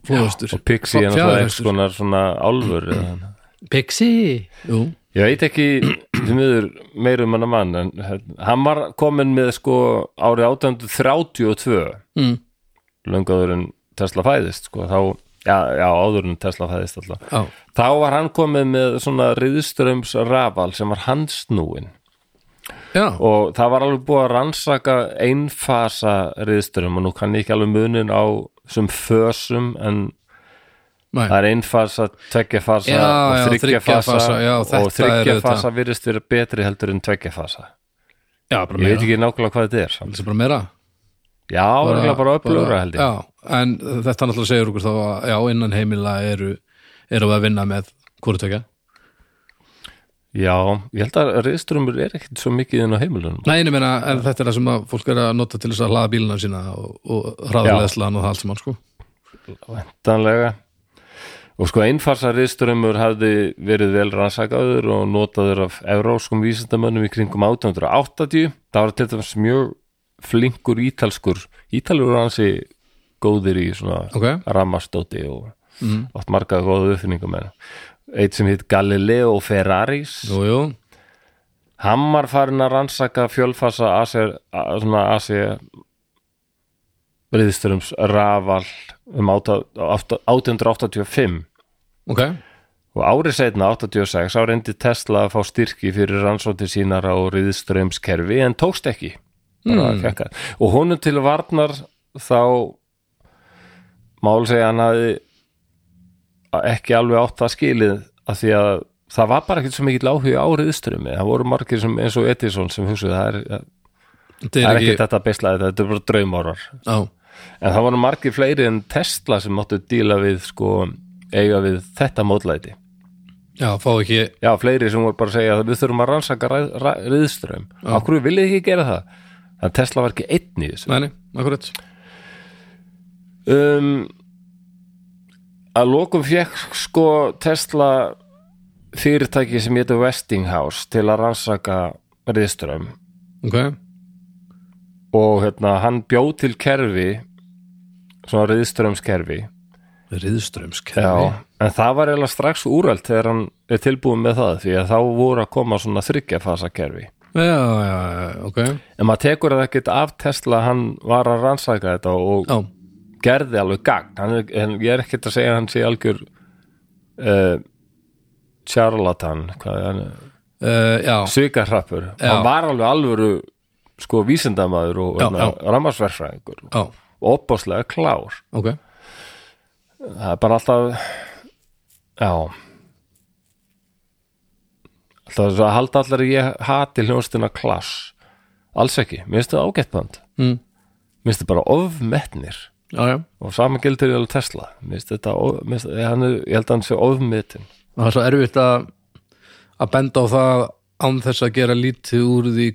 Speaker 2: flóðustur
Speaker 1: og Pixie er náttúrulega einhvers
Speaker 2: Fjæðurhestur.
Speaker 1: konar svona álfur eða þannig.
Speaker 2: Pixie Jú.
Speaker 1: Ég veit ekki því miður meira um hann að mann en hann var komin með sko árið 1832
Speaker 2: Mm.
Speaker 1: löngaður en Tesla fæðist sko þá, já, já áður en Tesla fæðist alltaf
Speaker 2: Já.
Speaker 1: þá var hann komin með svona riðströms rafal sem var hansnúin
Speaker 2: Já.
Speaker 1: og það var alveg búið að rannsaka einfasa riðsturum og nú kann ég ekki alveg munin á sem fösum en
Speaker 2: Nei.
Speaker 1: það er einfasa, tveggjafasa
Speaker 2: Já, já,
Speaker 1: og þryggjafasa
Speaker 2: þryggjafasa, já, þetta
Speaker 1: og
Speaker 2: er
Speaker 1: þryggjafasa
Speaker 2: auðvitað.
Speaker 1: virðist vera betri heldur en tveggjafasa
Speaker 2: já, bara
Speaker 1: ég
Speaker 2: meira
Speaker 1: veit ekki nákvæmlega hvað þetta er samt.
Speaker 2: Þessi bara meira
Speaker 1: já, bara, bara upplöfra held ég
Speaker 2: já, En þetta náttúrulega segir okkur þá að já, innan heimila eru, eru við að vinna með hvort tökja
Speaker 1: já, ég held að riðstrumur er ekkit svo mikið inn á heimilunum
Speaker 2: Nei, ég meina, en þetta er það sem að fólk er að nota til þess að hlaða bílina sína og, og hraðarleðslan og það allt sem hann sko
Speaker 1: Væntanlega Og sko einfasa riðströmmur hafði verið vel rannsakaður og notaður af evróskum vísindamönnum í kringum 1880. Það var til dæmis mjög flinkur ítalskur. Ítalur var hansi góðir í svona
Speaker 2: Ok,
Speaker 1: ramastóti og átt marga góða uppfinningum en eitt sem hitt Galileo Ferraris
Speaker 2: jú, jú,
Speaker 1: hann var farin að rannsaka fjölfasa ASER, a- svona ASER reyðsturums rafal um átta- átta- 1885
Speaker 2: ok
Speaker 1: og árið setna 86 á reyndi Tesla að fá styrki fyrir rannsóti sínar á reyðströmskerfi en tókst ekki bara mm. fekka og honum til varnar þá mál segja hann hafi ekki alveg átt það skilið að því að það var bara ekkert svo mikill áhuga á reyðströmi, það voru margir sem, eins og Edison sem hugsaði það er,
Speaker 2: Þetta
Speaker 1: það
Speaker 2: er
Speaker 1: er ekki
Speaker 2: ekki,
Speaker 1: þetta beislaði þetta er bara draumárar
Speaker 2: já,
Speaker 1: en það voru margir fleiri en Tesla sem máttu díla við sko eiga við þetta mótlæti
Speaker 2: já, fá ekki
Speaker 1: Já, fleiri sem voru bara að segja að við þurfum að rannsaka ræð, ræð, riðström. Af hverju viljið þið ekki gera það? Þannig að Tesla var ekki einn í þessu.
Speaker 2: Nei, nei, akkurat
Speaker 1: Um, að lokum fekk sko Tesla fyrirtæki sem hétu Westinghouse til að rannsaka riðström
Speaker 2: Ok,
Speaker 1: og hérna, hann bjó til kerfi svona riðströmskerfi
Speaker 2: riðströmskerfi
Speaker 1: Já, en það var eiginlega strax úröld þegar hann er tilbúin með það því að þá voru að koma svona þryggjafasa kerfi
Speaker 2: Já, já, já, ok
Speaker 1: en maður tekur það ekkert af Tesla hann var að rannsaka þetta og
Speaker 2: Já,
Speaker 1: gerði alveg gagn hann er, en ég er ekkert að segja að hann sé algjör uh, charlatan hvað er hann
Speaker 2: uh, já,
Speaker 1: svikarhrappur, hann var alveg alvöru sko vísindamaður og
Speaker 2: Já, já.
Speaker 1: rammarsverfræðingur
Speaker 2: já,
Speaker 1: og opbáslega klár
Speaker 2: ok
Speaker 1: það er bara alltaf já alltaf þess að halda allar að ég hati hljónstina klass alls ekki, mér finnst það ágætt band
Speaker 2: mm.
Speaker 1: mér finnst það bara ofmetnir
Speaker 2: Já, já,
Speaker 1: og sama gildir ég alveg Tesla mér finnst þetta, of- mér finnst, ég, hann, er- ég held að hann sé ofmetin
Speaker 2: það er svo erfitt að að benda á það án þess að gera lítið úr því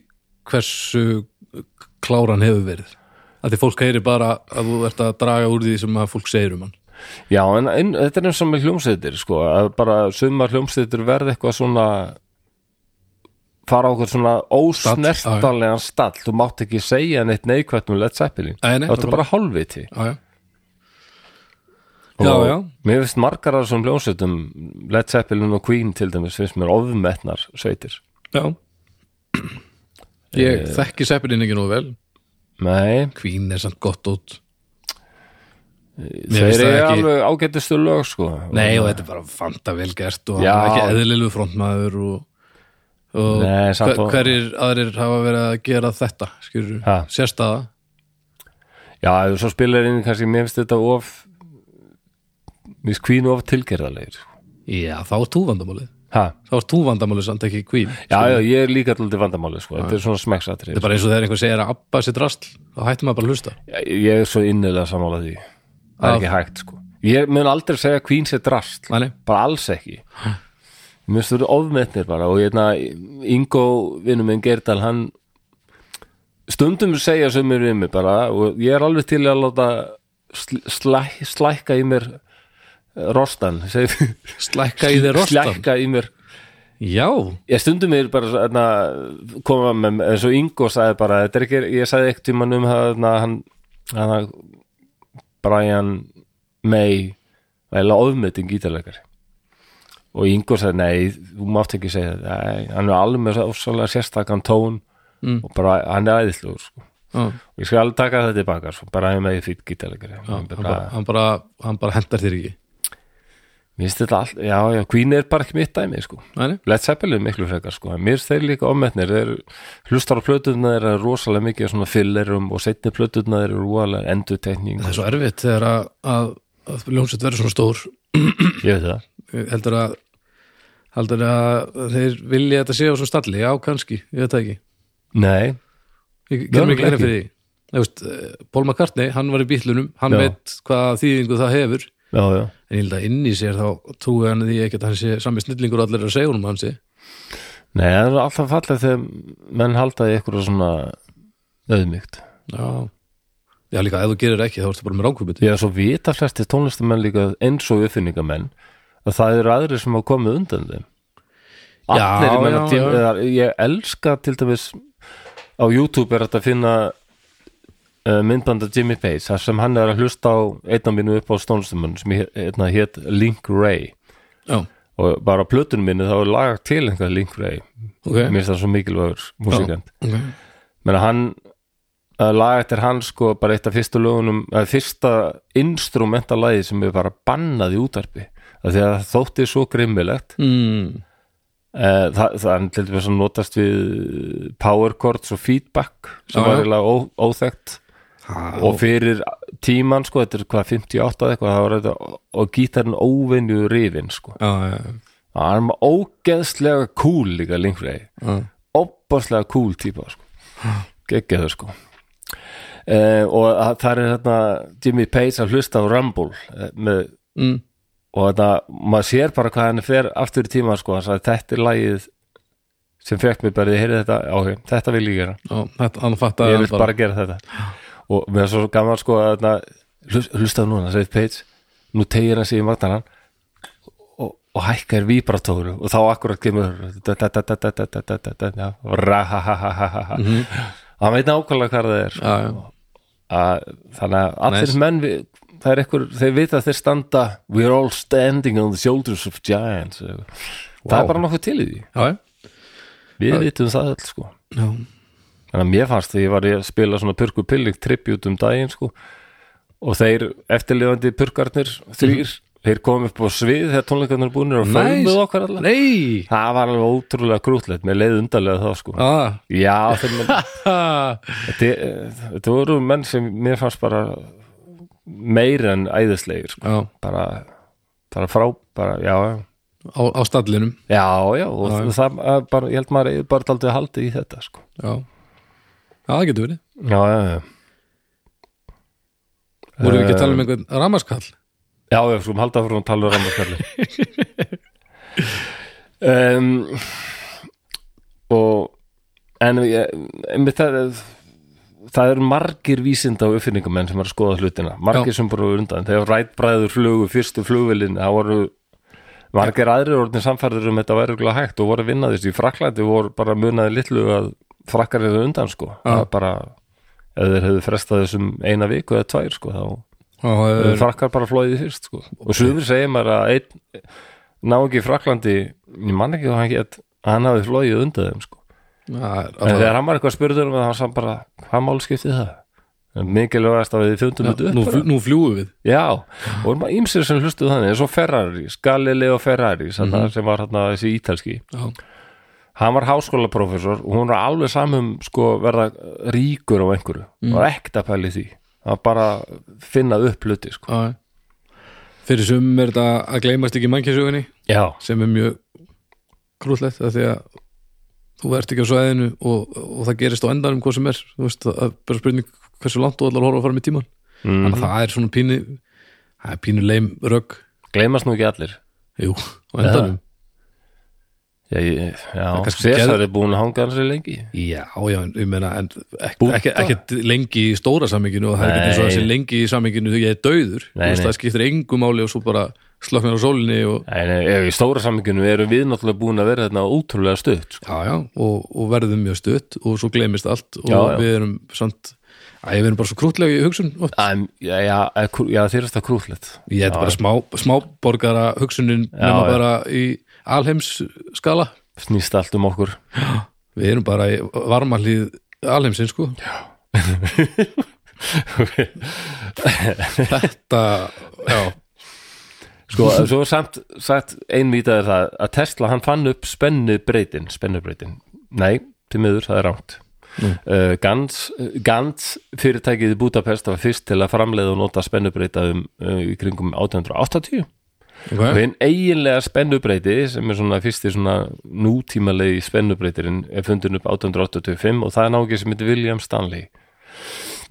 Speaker 2: hversu kláran hefur verið að því fólk heyri bara að þú ert að draga úr því sem að fólk segir um hann
Speaker 1: já, en ein, þetta er eins og með hljómsveitir sko, að bara sumar hljómsveitir verð eitthvað svona fara á okkur svona ósnertanlegan stall, þú mátt ekki segja neitt neikvætt um Led Zeppelin,
Speaker 2: Nei,
Speaker 1: þetta
Speaker 2: nei,
Speaker 1: er
Speaker 2: nákvæmlega.
Speaker 1: bara hálfviti
Speaker 2: Já, já,
Speaker 1: og
Speaker 2: Já, já.
Speaker 1: mér finnst margar af þessum hljómsveitum Led Zeppelin og Queen til dæmis finnst mér ofmetnar sveitir
Speaker 2: Já Ég
Speaker 1: Eh.
Speaker 2: þekki seppilinn ekki nú vel
Speaker 1: Nei,
Speaker 2: Queen er samt gott út
Speaker 1: þeir
Speaker 2: finnst
Speaker 1: eru
Speaker 2: það ekki-
Speaker 1: alveg ágættustu lög sko
Speaker 2: Nei og þetta er bara fanta vel gert og
Speaker 1: Já.
Speaker 2: hann er ekki eðlilegu frontmaður og, og
Speaker 1: Nei, samt
Speaker 2: hver,
Speaker 1: og-
Speaker 2: hverjir aðrir hafa verið að gera þetta skilur,
Speaker 1: Ha.
Speaker 2: sérstaða
Speaker 1: Já, ef svo spilar inn kannski mér finnst þetta of mér finnst Queen of tilgerðarlegir
Speaker 2: Já, þá er tú vandamálið
Speaker 1: Ha,
Speaker 2: Þá er tú vandamálið samt ekki Queen
Speaker 1: já, já, ég er líka alltaf vandamáli sko, þetta er svona smekksatri
Speaker 2: Sko- Þetta er bara eins og þegar einhver segir að Abba sér drasl þá hættum maður bara að hlusta
Speaker 1: Ég er svo innilega sammála því Það er
Speaker 2: Af-
Speaker 1: ekki hægt sko Ég mun aldrei segja Queen sé drast
Speaker 2: Nei, nei.
Speaker 1: bara alls ekki Mér stóður ofmetnir bara og hérna Ingo vinnum minn Gerdal hann stundum segja sömur við mig bara og ég er alveg til að láta sl slæ slækka í mér eh, rostan seg-
Speaker 2: Slækka í þeir rostan
Speaker 1: slækka í mér
Speaker 2: Já,
Speaker 1: ég stundum mér bara hérna, koma með eins og Ingo sagði bara þetta er ekki, ég sagði ekkert tímann um það, hérna, hann, hann Brian May var eiginlega ofmetin gítarleikari og Ingo sagði nei, þú mátt ekki segja þetta Nei, hann er alveg með svo- svolítið sérstakann tón
Speaker 2: Mm.
Speaker 1: og bara hann er æðislegur sko.
Speaker 2: já.
Speaker 1: og ég skal alveg taka þetta tilbaka sko. Brian May fýtt gítarleikari Ég
Speaker 2: Hann, bara,
Speaker 1: bara-
Speaker 2: hann, bara, hann bara hentar þér ekki
Speaker 1: mér finnst þetta allt, já já, Queen er bara ekki mitt dæmi sko
Speaker 2: Nei, nei.
Speaker 1: Led Zeppelin miklu frekar sko, en mér finnst þeir líka ofmetnir, þeir hlustar á plötuna þeir eru rosalega mikið af svona fillerum og setni plötuna þeir eru rosalega endurtekning
Speaker 2: Það er svo erfitt þegar að, að, að ljónsett verður svona stór
Speaker 1: ég veit það,
Speaker 2: heldur að heldur að þeir vilja þetta séu á svo stalli, já kannski, ég veit það ekki
Speaker 1: nei
Speaker 2: ég kemur
Speaker 1: Mögulega
Speaker 2: ekki hérna
Speaker 1: ekki.
Speaker 2: fyrir því Þú veist, eh, Paul McCartney, hann var í bílunum hann
Speaker 1: Já.
Speaker 2: veit hvað þýðingu það hefur en
Speaker 1: já, já,
Speaker 2: ég held að inn í sér þá trúi hann því ekki að hann sé sami snillingur og allir eru að segja honum að hann sé
Speaker 1: nei, það er alltaf fallið þegar menn haldaði ykkur svona auðmygt
Speaker 2: já, já líka ef þú gerir ekki þá ertu bara með ránkvömyndi
Speaker 1: ég er svo vita flesti tónlistamenn líka eins og uppfinningamenn að það eru aðrir sem hafa komið undan þeim
Speaker 2: Já,
Speaker 1: allir, ég menna
Speaker 2: já,
Speaker 1: tím,
Speaker 2: já.
Speaker 1: eða, ég elska til dæmis á YouTube er þetta að finna uh, myndbanda Jimmy Page þar sem hann er að hlusta á einn af mínu upp á stónlistamann sem hét- hérna hétt Link Ray
Speaker 2: já,
Speaker 1: og bara á plötunum minni þá er lagað til einhver Link Ray
Speaker 2: ok,
Speaker 1: mér finnst það svo mikilvægur músikant
Speaker 2: ok
Speaker 1: menn að hann að lag eftir hann sko bara eitt af fyrstu lögunum að fyrsta instrumentalagi sem við bara bannaði í útarpi að því að það þótti svo grimmilegt
Speaker 2: mm,
Speaker 1: eh, það, það er til dæmis að notast við power chords og feedback sem
Speaker 2: Já,
Speaker 1: var
Speaker 2: já.
Speaker 1: eiginlega ó- óþekkt
Speaker 2: Ha,
Speaker 1: og fyrir tíman sko þetta er hvað 58 eða eitthvað það var þetta og gítarinn óvenju rifin sko
Speaker 2: já, já,
Speaker 1: hann var ógeðslega cool líka lengur
Speaker 2: já,
Speaker 1: opaslega cool típa sko. geggjaður sko eh, og að- þar er hérna Jimmy Page að hlusta á Rumble eh, með,
Speaker 2: mm,
Speaker 1: og þetta, maður sér bara hvað hann fer aftur í tíma sko, hann sagði þetta er lagið sem fekk mér bara, ég heyrði þetta áhug, þetta vil ég gera
Speaker 2: já, þetta hann fattar
Speaker 1: ég
Speaker 2: hann
Speaker 1: vil bara gera þetta og mér er svo gaman sko að þarna, hlust- hlustaðu núna, segir Page nú tegir hann sig í magnanan og, og hækkar víbratóru og þá akkurat kemur da- da- da- da- da- da- da- da- da- da- da- ra-ha-ha-ha-ha-ha hann veit nákvæmlega hvað það er
Speaker 2: já, já,
Speaker 1: að, þannig að allir
Speaker 2: Nice.
Speaker 1: menn við, það er ekkur, þeir vita að þeir standa we're all standing on the shoulders of giants wow. það
Speaker 2: Vá.
Speaker 1: er bara nokkuð til í því
Speaker 2: já, já,
Speaker 1: við vitum það öll sko
Speaker 2: já.
Speaker 1: Þannig að mér fannst þegar ég var að spila svona purku pilling tribute um daginn sko og þeir eftirlifandi purkarnir þrýr, þeir komum upp á svið þegar tónleikarnir búinir og
Speaker 2: Nice.
Speaker 1: fögnuðu okkar allar
Speaker 2: Nei
Speaker 1: Það var alveg ótrúlega krútlegt, mér leið undarlega þá sko
Speaker 2: ah.
Speaker 1: Já, þeir menn,
Speaker 2: Ha,
Speaker 1: þetta þetta voru menn sem mér fannst bara meira en æðislegir sko.
Speaker 2: já,
Speaker 1: bara, bara frá, bara, já, já
Speaker 2: á, á stallinum
Speaker 1: Já, já, og það er bara, ég held maður eigi bara daldið haldið í þetta sko
Speaker 2: Já, já það getur verið
Speaker 1: Já, já, já
Speaker 2: Vorum við ekki að tala um einhvern ramaskall
Speaker 1: Já, við skulum halda frá að tala um rammarskalli um, og en ég, einmitt það, það eru margir vísinda og uppfinningamenn sem er að skoða hlutina margir sem bara voru undan, þegar Wright bræður flugu fyrstu flugvillin, það voru margir aðrir orðin samfærður um þetta væri örugglega hægt og voru að vinna þessi í Fraklandi voru bara munaði litlu að frakkar hefðu undan sko, það er bara ef þeir hefðu frestað þessum eina viku eða tvær sko, þá
Speaker 2: og
Speaker 1: Eru
Speaker 2: hefur,
Speaker 1: frakkar bara flóðið fyrst sko. og sögur segir maður að einn ná ekki í Fraklandi, ég man ekki hvað hann get hann hafi flóðið undan þeim sko.
Speaker 2: að,
Speaker 1: en
Speaker 2: að,
Speaker 1: þegar hann var eitthvað spurður um það hann sagði bara, hvað mál skiptið það mikilvægast að við fundum þetta upp
Speaker 2: nú,
Speaker 1: bara.
Speaker 2: fl- nú fljúum við
Speaker 1: já, og erum að ýmsir sem hlustuð þannig eins og Ferrari, Galileo Ferrari mm sem var hann þessi ítalski
Speaker 2: já,
Speaker 1: hann var háskólaprófessor og hún var alveg samum sko verða ríkur á einhverju, mm. var ekkert að pæli því að bara finna upp hluti sko.
Speaker 2: já. fyrir sum er þetta að gleymast ekki mannkjössugunni
Speaker 1: já,
Speaker 2: sem er mjög krúllett af því að þú ert ekki á svæðinu og, og það gerist á endanum hvað sem er þú veist, það er bara spurning hversu langt þú allar horfa að fara með tíman
Speaker 1: Mhm.
Speaker 2: þannig að það er svona pínu það er pínu leim rögg
Speaker 1: gleymast nú ekki allir
Speaker 2: jú, á endanum
Speaker 1: já, ég- já
Speaker 2: kannski
Speaker 1: César
Speaker 2: geð-
Speaker 1: er búin að hanga hans í lengi
Speaker 2: já, já, en ég meina en ekki,
Speaker 1: Búdda.
Speaker 2: ekki, ekki lengi í stóra saminginu og það er ekki
Speaker 1: Nei.
Speaker 2: eins og þessi lengi í saminginu þegar ég er döður
Speaker 1: Nei,
Speaker 2: veist,
Speaker 1: nei.
Speaker 2: það skiptir engu máli og svo bara slöknar á sólinni og
Speaker 1: en ef í stóra saminginu erum við náttúrulega búin að vera þarna ótrúlega stutt sko.
Speaker 2: já, já, og, og verðum mjög stutt og svo gleymist allt og
Speaker 1: Já, já.
Speaker 2: við erum samt, að við erum bara svo krútlega í hugsun oft.
Speaker 1: en, já, já, eh, krú- já þeir eru þetta krúllett
Speaker 2: ég er bara smá, smáborgara hugsunin nema
Speaker 1: já.
Speaker 2: bara í alheims skala
Speaker 1: snýst allt um okkur
Speaker 2: við erum bara í varmahlið alheimsin sko þetta, já,
Speaker 1: sko, svo er samt sagt einvítað er það að Tesla hann fann upp spennubreitin spennubreitin, nei, til miður það er rámt
Speaker 2: Nú.
Speaker 1: uh, Gans, Gans fyrirtækið í Budapest var fyrst til að framleiða og nota spennubreita um, uh, í kringum 1880 og
Speaker 2: okay.
Speaker 1: hinn eiginlega spennubreiti sem er svona fyrsti svona nútímalegi spennubreitirinn er fundin upp 1885 og það er nákið sem heitir William Stanley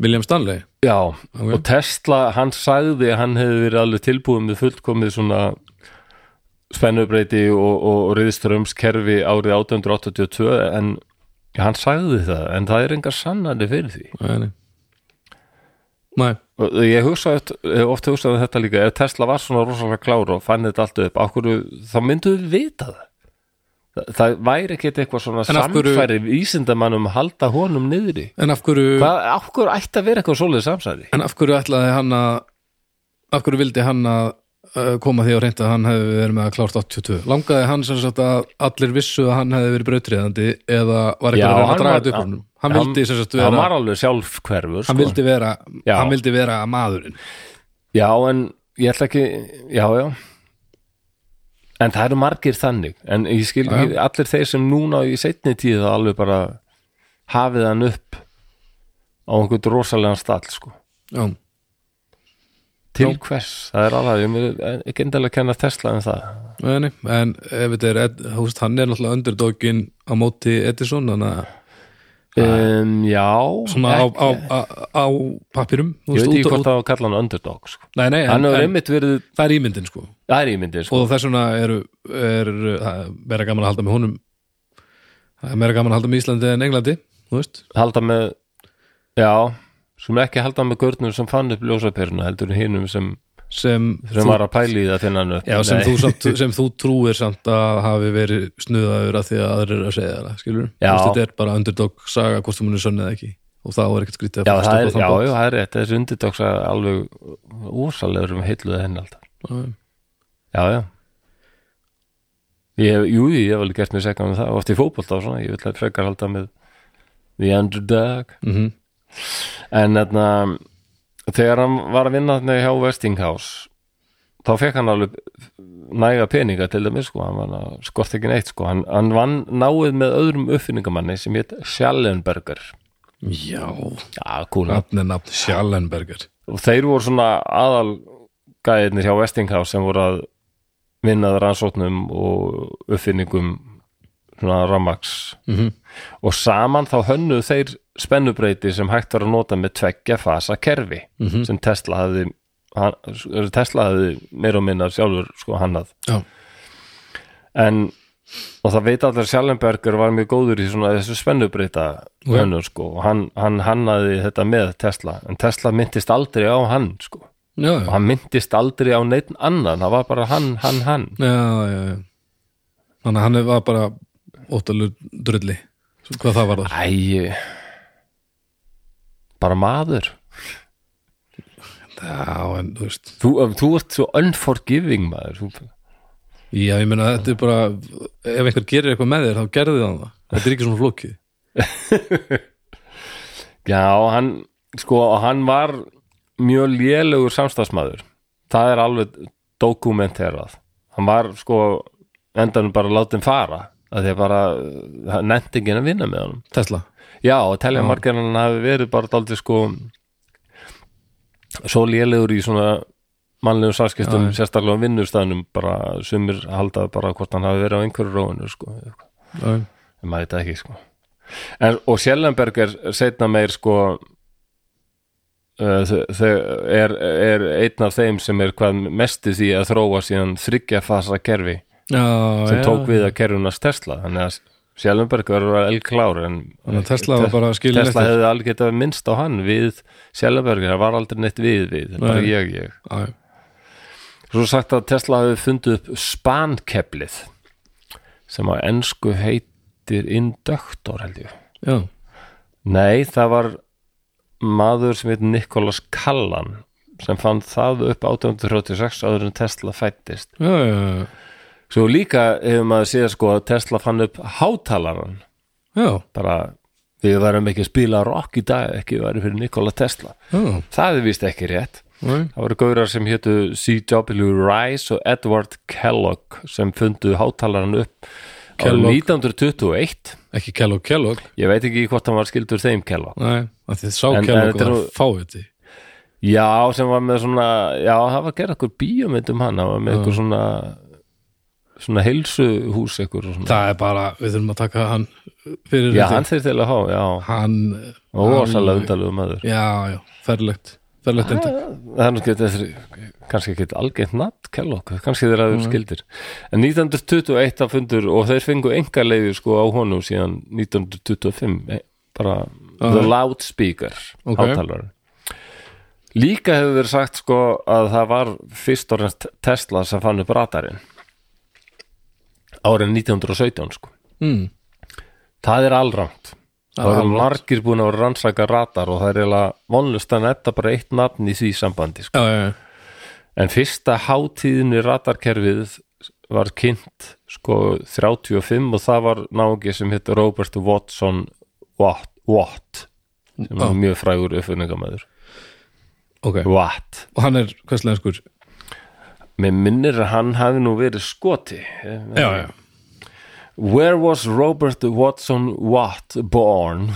Speaker 2: William Stanley
Speaker 1: Já, og Tesla, hann sagði að hann hefði verið alveg tilbúið með fullkomið svona spennubreiti og, og, og riðströmskerfi árið 1882 en hann sagði það, en það er engar sannandi fyrir því.
Speaker 2: nei, nei. nei,
Speaker 1: Og eh, ég hugsa oft, oft hugsaði þetta líka, ef Tesla var svona rosalega klár og fann þetta allt upp, okkur, þá myndu við vita það. Það, það væri ekki eitthvað svona
Speaker 2: En af hverju-
Speaker 1: samfæri vísindamannum að halda honum niðri.
Speaker 2: en af hverju
Speaker 1: Hvað, okkur ætti að vera eitthvað svoleið samsæði?
Speaker 2: En af hverju ætlaði hann að af hverju vildi hann að uh, koma því á reynd að hann hefði verið með að klárt 82 langaði hann sem sagt að allir vissu að hann hefði verið brautriðandi eða var ekki
Speaker 1: Já,
Speaker 2: að reyna að
Speaker 1: hann
Speaker 2: draga
Speaker 1: var-
Speaker 2: þetta upp úr honum hann vildi sem sagt
Speaker 1: hann
Speaker 2: vera
Speaker 1: var alveg sjálfhverfur
Speaker 2: hann
Speaker 1: sko.
Speaker 2: vildi vera,
Speaker 1: Já.
Speaker 2: hann vildi vera maðurinn
Speaker 1: já en ég ætla ekki já já en það eru margir þannig en ég skil
Speaker 2: Já, já.
Speaker 1: ekki allir þeir sem núna í seinni tíð alveg bara hafið hann upp á einhvern rosalegan stall sko.
Speaker 2: já,
Speaker 1: til hvers, það er alveg ég mér ekki endalega að kenna Tesla en það
Speaker 2: en, en ef þetta er Ed- þú veist, hann er náttúrulega öndurdókin á móti Edison þannig að
Speaker 1: um, já
Speaker 2: svona á,
Speaker 1: ekki,
Speaker 2: á, á, á papirum
Speaker 1: ég veit ekki hvort það á að kalla hann underdog sko.
Speaker 2: nei, nei, en,
Speaker 1: hann hefur
Speaker 2: en,
Speaker 1: einmitt verið
Speaker 2: það er ímyndin sko
Speaker 1: það er ímyndir sko.
Speaker 2: og þess vegna er, er, er meira gaman að halda með honum það er meira gaman að halda með Íslandi en Englandi þú veist,
Speaker 1: halda með já, skulum ekki halda með görnum sem fann upp ljósaperuna heldur hinnum sem,
Speaker 2: sem,
Speaker 1: sem var að pæli í það að finna hann upp
Speaker 2: já, sem,
Speaker 1: Nei.
Speaker 2: þú samt, sem þú trúir samt að hafi verið snuðaður að því að aðrir eru að segja það skilur,
Speaker 1: Já.
Speaker 2: þetta er bara underdog saga hvort þú munir sönni eða ekki og þá er ekkert skrítið
Speaker 1: já,
Speaker 2: að
Speaker 1: það er,
Speaker 2: stoppa
Speaker 1: já,
Speaker 2: þann
Speaker 1: já, það er rétt þessi undirtóksa alveg úrsalegur um heilluð henni alltaf
Speaker 2: bót.
Speaker 1: já, já ég, hef- jú, ég hef alveg gert mér segna með það oft í fótbolta og svona, ég vil að frekar halda með the underdog
Speaker 2: Mhm.
Speaker 1: en þarna þegar hann var að vinna þarna hjá Westinghouse þá fekk hann alveg næga peninga til dæmis sko, hann var að skort ekki neitt sko, hann, hann vann náið með öðrum uppfinningamanni sem hétt Schallenberger
Speaker 2: já,
Speaker 1: já, kúla
Speaker 2: nafn er nafn Schallenberger
Speaker 1: og þeir voru svona aðal gæðinir hjá Westinghouse sem voru að vinnað rannsóknum og uppfinningum svona rammaks
Speaker 2: Mhm.
Speaker 1: og saman þá hönnuð þeir spennubreyti sem hægt var að nota með tveggja fasa kerfi
Speaker 2: Mhm.
Speaker 1: sem Tesla hafði hann, Tesla hafði meira og minna sjálfur sko hannað
Speaker 2: já,
Speaker 1: en og það veit allir Sjallenberger var mjög góður í svona þessu spennubreita
Speaker 2: Ok.
Speaker 1: hönnur sko og hann, hann hannaði þetta með Tesla en Tesla myndist aldrei á hann sko
Speaker 2: já,
Speaker 1: og
Speaker 2: já,
Speaker 1: hann myndist aldrei á neitt annan það var bara hann, hann, hann
Speaker 2: já, já, já. þannig að hann var bara óttalur drulli hvað það var þar
Speaker 1: Æ bara maður
Speaker 2: Já, en þú veist
Speaker 1: Þú, þú ert svo unforgiving maður þú,
Speaker 2: Já, ég meina þetta er bara ef einhver gerir eitthvað með þér þá gerði það það Þetta er ekki svona flókið
Speaker 1: Já, hann sko, hann var mjög lélugur samstagsmaður það er alveg dokumenterað hann var sko endanum bara látin fara að því að bara, hann nefndi ekki að vinna með honum
Speaker 2: Tesla
Speaker 1: Já, og telja margir að hann hafi verið bara daldið sko svo lélegur í svona mannlegum sarskiptum, sérstaklega á vinnustæðnum bara sumir halda bara hvort hann hafi verið á einhverju róinu sko en
Speaker 2: Já,
Speaker 1: maður þetta ekki sko en, og Sjellenberg er setna meir sko uh, þau- þau er, er einn af þeim sem er hvað mest í því að þróa síðan þryggja fasa kerfi sem
Speaker 2: já
Speaker 1: tók við að kerfunast Tesla þannig að Sjellenberg er elklár en
Speaker 2: Þannig að Tesla var bara skilin
Speaker 1: Tesla hefði alveg getað minnst á hann við Sjælaberger, það var aldrei neitt við við, það er bara
Speaker 2: Nei.
Speaker 1: ég, ég.
Speaker 2: Já, já.
Speaker 1: Svo er sagt að Tesla hefði fundið upp spankeflið sem að ensku heitir induktor held ég.
Speaker 2: já,
Speaker 1: Nei, það var maður sem heit Nikolas Kallan sem fann það upp 1836 áður en Tesla fættist.
Speaker 2: já, já, já.
Speaker 1: Svo líka hefur maður séð sko að Tesla fann upp hátalaran
Speaker 2: já,
Speaker 1: bara við verðum ekki að spila rock í dag ekki við verðum fyrir Nikola Tesla
Speaker 2: já.
Speaker 1: það er vist ekki rétt
Speaker 2: Nei.
Speaker 1: það voru gaurar sem hétu C.W. Rice og Edward Kellogg sem fundu hátalaran upp
Speaker 2: Kellogg.
Speaker 1: Kellogg. 1921
Speaker 2: Ekki Kellogg Kellogg
Speaker 1: ég veit ekki hvort hann var skildur þeim Kellogg
Speaker 2: Nei, að þið sá
Speaker 1: En- en
Speaker 2: Kellogg og
Speaker 1: þetta er
Speaker 2: það
Speaker 1: nú-
Speaker 2: fáviti
Speaker 1: já sem var með svona já það var að gera eitthvað bíómynd um hann það var með eitthvað svona svona heilsuhús eitthvað svona.
Speaker 2: Það er bara, við þurfum að taka hann fyrir
Speaker 1: já
Speaker 2: þetta.
Speaker 1: hann þeir til að fá já
Speaker 2: hann
Speaker 1: og
Speaker 2: hann-
Speaker 1: rosalega undalegu maður
Speaker 2: Já, já, ferlegt ferlegt enda
Speaker 1: það er nú ekki- þetta er kannski ekki algengt nafn Kellogg, kannski þeir aður skildir en 1921 það fundur og þeir fengu enga leiði sko á honum síðan 1925 eh, bara the loudspeaker
Speaker 2: Ok.
Speaker 1: hátalar líka hefur verið sagt sko að það var fyrst og orðin Tesla sem fann upp radarinn árið 1917 sko
Speaker 2: mm.
Speaker 1: það er allramt það
Speaker 2: er
Speaker 1: eru margir búin að rannsaka radar og það er eiginlega vonlust að netta bara eitt nafn í því sambandi sko
Speaker 2: Já, já, já,
Speaker 1: En fyrsta hátíðinni radarkerfið var kynnt sko 35 og það var náungi sem hitt Robert Watson Watt, Watt sem var
Speaker 2: Já.
Speaker 1: mjög frægur uppfinningamæður
Speaker 2: ok
Speaker 1: Watt
Speaker 2: Og hann er hverslenskur
Speaker 1: Mér minnir að hann hafi nú verið skoti
Speaker 2: Já, já,
Speaker 1: Where was Robert Watson Watt born?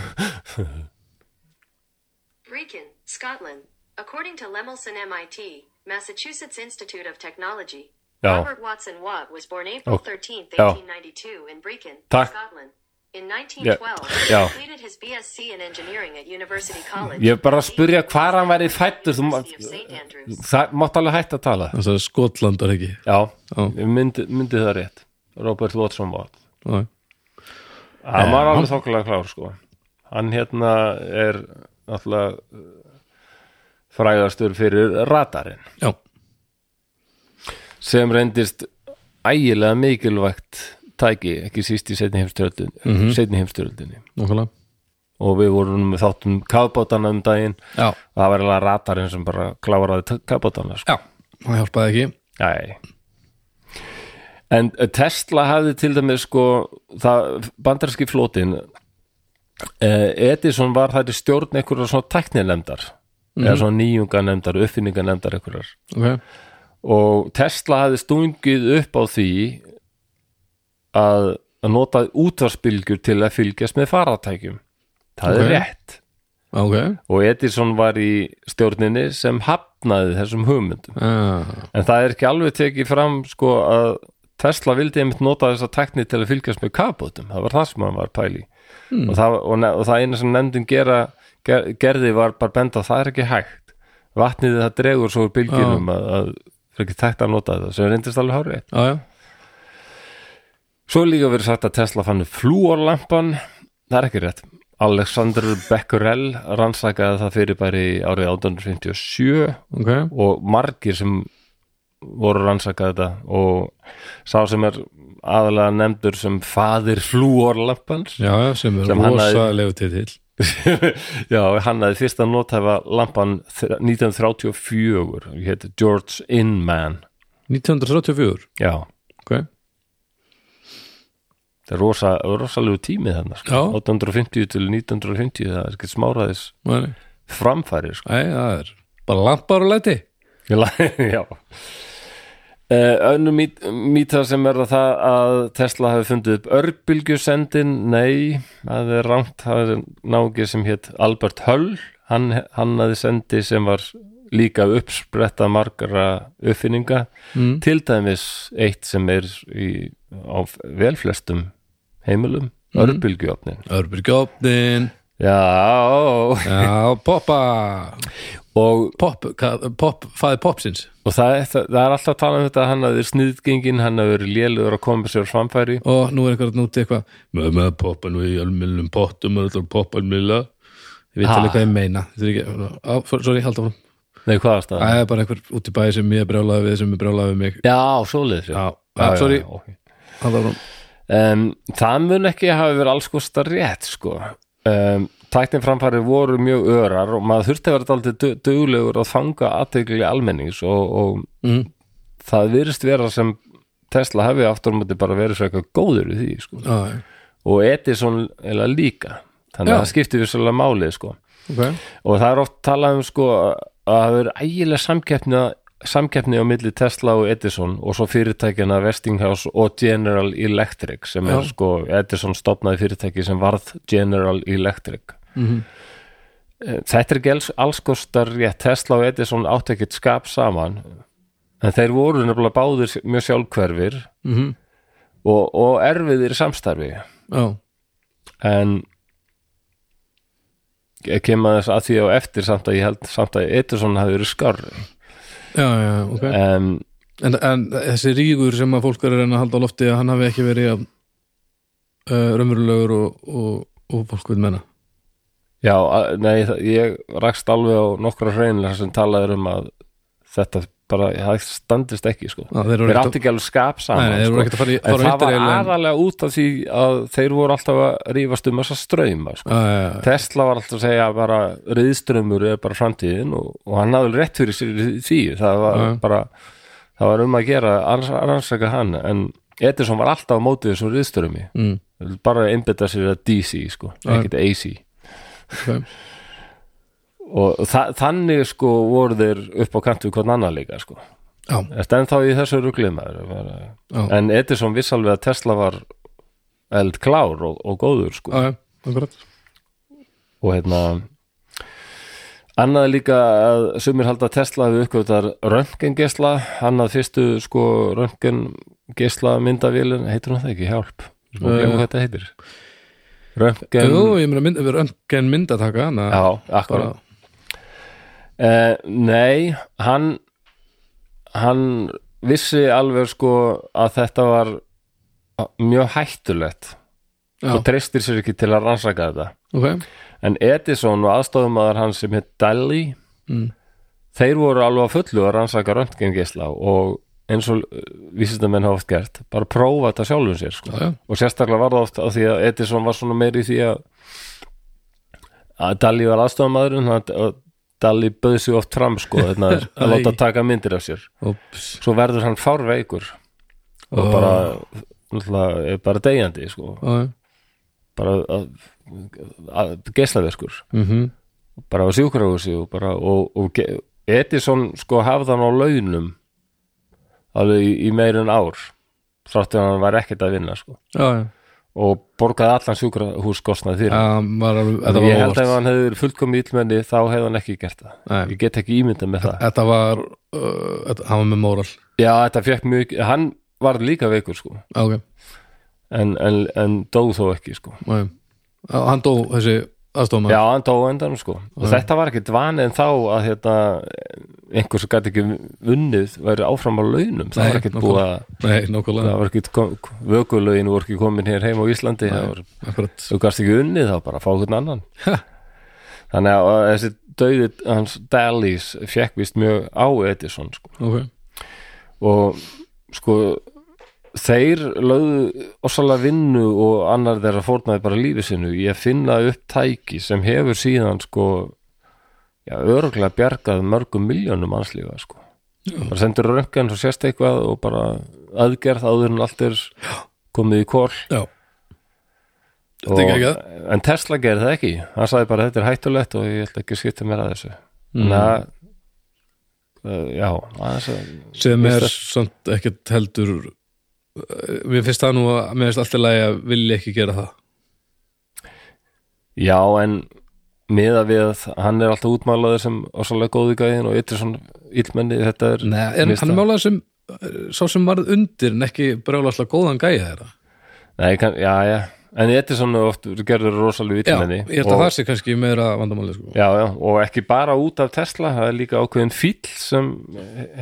Speaker 3: Brecon, Scotland. According to Lemelson MIT, Massachusetts Institute of Technology,
Speaker 1: Já.
Speaker 3: Robert Watson Watt was born April
Speaker 1: Ok.
Speaker 3: 13,
Speaker 1: Já.
Speaker 3: 1892 in Brecon,
Speaker 1: Takk.
Speaker 3: Scotland. In 1912,
Speaker 1: Já.
Speaker 3: he completed his BSc in engineering at University College.
Speaker 1: Ég er bara að spyrja hvar hann væri fættur þú,
Speaker 3: University of
Speaker 1: ma-
Speaker 3: St. Andrews.
Speaker 1: Það mátt alveg hægt að tala
Speaker 2: þess að Skotlandar ekki
Speaker 1: Já,
Speaker 2: Já.
Speaker 1: ég myndi, myndi það rétt Robert Watson Watt
Speaker 2: Já,
Speaker 1: hann var alveg þokkulega klár sko hann hérna er náttúrulega uh, frægastur fyrir radarinn
Speaker 2: já,
Speaker 1: sem reyndist ægilega mikilvægt tæki, ekki síst í setni heimstyröldin setni heimstyröldinni
Speaker 2: nokkulega
Speaker 1: og við vorum með þáttum kafbátana um daginn
Speaker 2: Já,
Speaker 1: það var eiginlega radarinn sem bara kláraði kafbátana sko.
Speaker 2: já, hann hjálpaði ekki
Speaker 1: Nei. En eh, Tesla hafði til dæmis sko, það bandarski flótin eh, Edison var þær í stjórn einhverjar svona tæknilemdar eða svona nýjunganemdar, uppfinninganemdar einhverjar
Speaker 2: Ok,
Speaker 1: og Tesla hafði stungið upp á því að, að nota útvarspilgjur til að fylgjast með faratækjum það
Speaker 2: Ok.
Speaker 1: er rétt
Speaker 2: já, ok
Speaker 1: og Edison var í stjórninni sem hafnaði þessum hugmyndum
Speaker 2: Já,
Speaker 1: En það er ekki alveg tekið fram sko að Tesla vildi einmitt nota þessa tekni til að fylgjast með kapótum, það var það sem hann var pæli mm. og, það, og, ne, og það eina sem nefndin gera, ger, gerði var bara benda að það er ekki hægt vatnið það dregur svo úr bylgjunum að, að það er ekki tækt að nota þetta sem reyndist alveg hárið
Speaker 2: já, já,
Speaker 1: Svo er líka verið sagt að Tesla fann upp flúorlampan það er ekki rétt Alexander Becquerel rannsakaði það fyrir bara í árið 1857
Speaker 2: ok
Speaker 1: og margir sem voru rannsakað þetta og sá sem er aðalega nefndur sem faðir flúorlampans
Speaker 2: Já, já, sem er
Speaker 1: Sem hann hafði-
Speaker 2: rosalegu titill
Speaker 1: Já, hann aði fyrsta nothæfa lampan þr- 1934 hétt George Inman
Speaker 2: 1934
Speaker 1: Já,
Speaker 2: ok,
Speaker 1: það er rosa, rosalegu tími þannig sko.
Speaker 2: Já.
Speaker 1: 1850 til 1950 það er ekkert smáraðis
Speaker 2: Nei,
Speaker 1: framfæri sko.
Speaker 2: nei, það er bara lampar og læti
Speaker 1: Ég la- Já Uh, önnu mít, mýta sem er að það að Tesla hafi fundið upp örbylgjusendin nei, það er rangt það er náungi sem hétt Albert Höll hann hannaði sendi sem var líka uppspretta margara uppfinninga
Speaker 2: mm.
Speaker 1: til dæmis eitt sem er í, á velflestum heimilum, mm.
Speaker 2: Örbyrgjófnin,
Speaker 1: Já,
Speaker 2: já, poppa
Speaker 1: og,
Speaker 2: pop, hvað, pop, fæði popsins
Speaker 1: og það, er, það er alltaf að tala um þetta að hann hafði sniðgengin, hann hafði verið lélugur að koma sér á framfæri
Speaker 2: og nú er einhverjum núti eitthvað með með poppa nú í almennum pottum og allar poppa almennilega ég veit
Speaker 1: Ha.
Speaker 2: alveg hvað ég meina Þetta er ekki, á, for, sorry, halda fram
Speaker 1: Nei, hvað er það?
Speaker 2: það er bara einhver út í bæ sem ég er brjálaði við sem er brjálaði við mig
Speaker 1: Já, svoleiðis já.
Speaker 2: já, já, sorry,
Speaker 1: já, ok.
Speaker 2: halda fram
Speaker 1: um, Það mun ekki hafa verið alls kosta rétt sko um, Tæknin framfæri voru mjög örar og maður þurfti að vera daldið duglegur að fanga aðtegli almennings og, og
Speaker 2: mm.
Speaker 1: það virðist vera sem Tesla hefði aftur á móti bara verið svo eitthvað góður í því sko.
Speaker 2: já, já,
Speaker 1: og Edison eða líka þannig
Speaker 2: Já.
Speaker 1: að það skipti við svolítið máli sko.
Speaker 2: ok
Speaker 1: og það er oft talað um sko, að það er ægilega samkeppni samkeppni á milli Tesla og Edison og svo fyrirtækjana Westinghouse og General Electric sem er
Speaker 2: Já.
Speaker 1: sko Edison stopnaði fyrirtæki sem varð General Electric Eh, Þetta er ekki alls, alls kostar rétt Tesla og Edison átt ekkert skap saman en þeir voru nefnilega báðir mjög sjálfhverfir
Speaker 2: Mhm.
Speaker 1: og, og erfiðir í samstarfi
Speaker 2: já,
Speaker 1: en ég kem að þess að því á eftir samt að ég held samt að Edison hafi verið skarri
Speaker 2: já, já, ok
Speaker 1: en
Speaker 2: en, en þessi rígur sem að fólk er að reyna að halda á lofti að hann hafi ekki verið að uh, raunverulegur og, og, og fólk vil menna
Speaker 1: já, að- nei, það- ég rakst alveg á nokkra hreinlega sem talaður um að þetta bara, það standist ekki sko.
Speaker 2: Já, þeir voru
Speaker 1: þeir
Speaker 2: ekkert
Speaker 1: átti ekki alveg skap
Speaker 2: Nei,
Speaker 1: saman
Speaker 2: nei, þeir voru ekkert að
Speaker 1: sko.
Speaker 2: fara í-
Speaker 1: en
Speaker 2: fara á
Speaker 1: það var
Speaker 2: interrail, en-
Speaker 1: aðalega út af því að þeir voru alltaf að rífast um þessa ströyma sko.
Speaker 2: að,
Speaker 1: Tesla var alltaf að segja bara riðströmmur er bara framtíðin og, og hann hafði rétt fyrir sér í því það var
Speaker 2: Já.
Speaker 1: bara það var um að gera að rannsaka hann en Edison var alltaf á mótið þessum riðströmmi
Speaker 2: Mm.
Speaker 1: bara að einbytta sér að DC sko,
Speaker 2: Já.
Speaker 1: ekkert AC
Speaker 2: Ok.
Speaker 1: og þa þannig sko voru þeir upp á kantu hvern annan líka sko
Speaker 2: já,
Speaker 1: Ertu ennþá í þessu ruglimaður
Speaker 2: Já.
Speaker 1: en Edison viss alveg að Tesla var eldklár og, og góður sko
Speaker 2: já, já, akkurat
Speaker 1: og hérna annað er líka að sumir halda að Tesla hefur uppgötar röntgengesla annað fyrstu sko röntgengesla myndavélin heitir hún það ekki, hjálp sko,
Speaker 2: Eh.
Speaker 1: uh, hvað þetta heitir
Speaker 2: Jú,
Speaker 1: röntgen,
Speaker 2: ég meina mynd, við röntgen myndataka hana,
Speaker 1: já,
Speaker 2: bara,
Speaker 1: akkurat Eh, nei, hann hann vissi alveg sko að þetta var mjög hættulegt
Speaker 2: já,
Speaker 1: og treystir sér ekki til að rannsaka þetta
Speaker 2: ok
Speaker 1: en Edison og aðstofumæður hans sem heit Dali
Speaker 2: Mm.
Speaker 1: þeir voru alveg að fullu að rannsaka röntgengisla og eins og eh, vísindamenn hafa oft gert bara prófa þetta sjálfum sér sko.
Speaker 2: Já, já.
Speaker 1: og sérstaklega var það oft af því að Edison var svona meiri í því að að Dali var aðstofumæður og Dali bauð sig oft fram sko, þarna, að
Speaker 2: Æ.
Speaker 1: láta taka myndir af sér
Speaker 2: Ups.
Speaker 1: svo verður hann fárveikur og
Speaker 2: Ó.
Speaker 1: bara, náttúrulega, bara deyjandi sko.
Speaker 2: Já, já.
Speaker 1: bara að, að, geislaverkur
Speaker 2: Mhm.
Speaker 1: bara á sjúkrahúsi og bara og, og ge- Edison sko hafði hann á launum alveg í, í meir en ár þáttu hann var ekkert að vinna sko
Speaker 2: já, já,
Speaker 1: og borgaði allan sjúkrahúskostnað
Speaker 2: já,
Speaker 1: fyrir
Speaker 2: var alveg-
Speaker 1: ja,
Speaker 2: þetta
Speaker 1: ég
Speaker 2: var
Speaker 1: held að ef
Speaker 2: óvart
Speaker 1: hann hefði verið fullkomi íllmenni þá hefði hann ekki gert það
Speaker 2: Nei.
Speaker 1: ég get ekki ímyndað með það
Speaker 2: Þetta var, uh, þetta- hann var með móral
Speaker 1: já þetta fekk mjög, hann var líka veikur sko
Speaker 2: Ok,
Speaker 1: en, en, en dó þó ekki sko
Speaker 2: já, já Já, Hann dó þessi aðstofma
Speaker 1: Já, hann dó á endanum sko og þetta var ekkert vanið en þá að hérna, einhver sem gæti ekki vunnið væri áfram á launum það
Speaker 2: Nei,
Speaker 1: var ekkert
Speaker 2: nákvæmlega.
Speaker 1: búið að
Speaker 2: Nei, nokkulega,
Speaker 1: það var ekki, kom- vökulögin voru ekki komin hér heim á Íslandi það var,
Speaker 2: akkurat
Speaker 1: þú gast ekki unnið þá bara að fá hvern annan
Speaker 2: Ha.
Speaker 1: þannig að að þessi döði hans Dalís fekk vist mjög á Edison sko.
Speaker 2: Ok,
Speaker 1: og sko þeir lögðu ossalega vinnu og annar þeirra fórnaði bara lífi sinu í að finna upp tæki sem hefur síðan sko já, örglega bjargað mörgum miljónum mannslífa sko bara sendur röngan og sérst eitthvað og bara aðgerð áður en allt er komið í kól
Speaker 2: já,
Speaker 1: og,
Speaker 2: Þetta er geggjað.
Speaker 1: en Tesla gerði það ekki hann sagði bara þetta er hættulegt og ég ætla ekki að skipta mér að þessu mm. na, uh, já aðeins að,
Speaker 2: sem er samt ekkert heldur eh, mér finnst það nú að mér finnst alltaf lagi að vilja ekki gera það
Speaker 1: já en miða við að hann er alltaf útmálaður sem ósvalega góði gæðin og yttir svona illmenni þetta er
Speaker 2: Nei, er
Speaker 1: mér finnst
Speaker 2: hann
Speaker 1: það-
Speaker 2: málaður sem eh, sá sem varð undir en ekki brjóðlega góðan gæja þeirra
Speaker 1: Nei, kann, já, já, en þetta er svona oft gerður rosalega
Speaker 2: Já,
Speaker 1: vitmenni
Speaker 2: ég held að það sé kannski meira vandamáli sko.
Speaker 1: Já, já, og ekki bara út af Tesla það er líka ákveðin fíll sem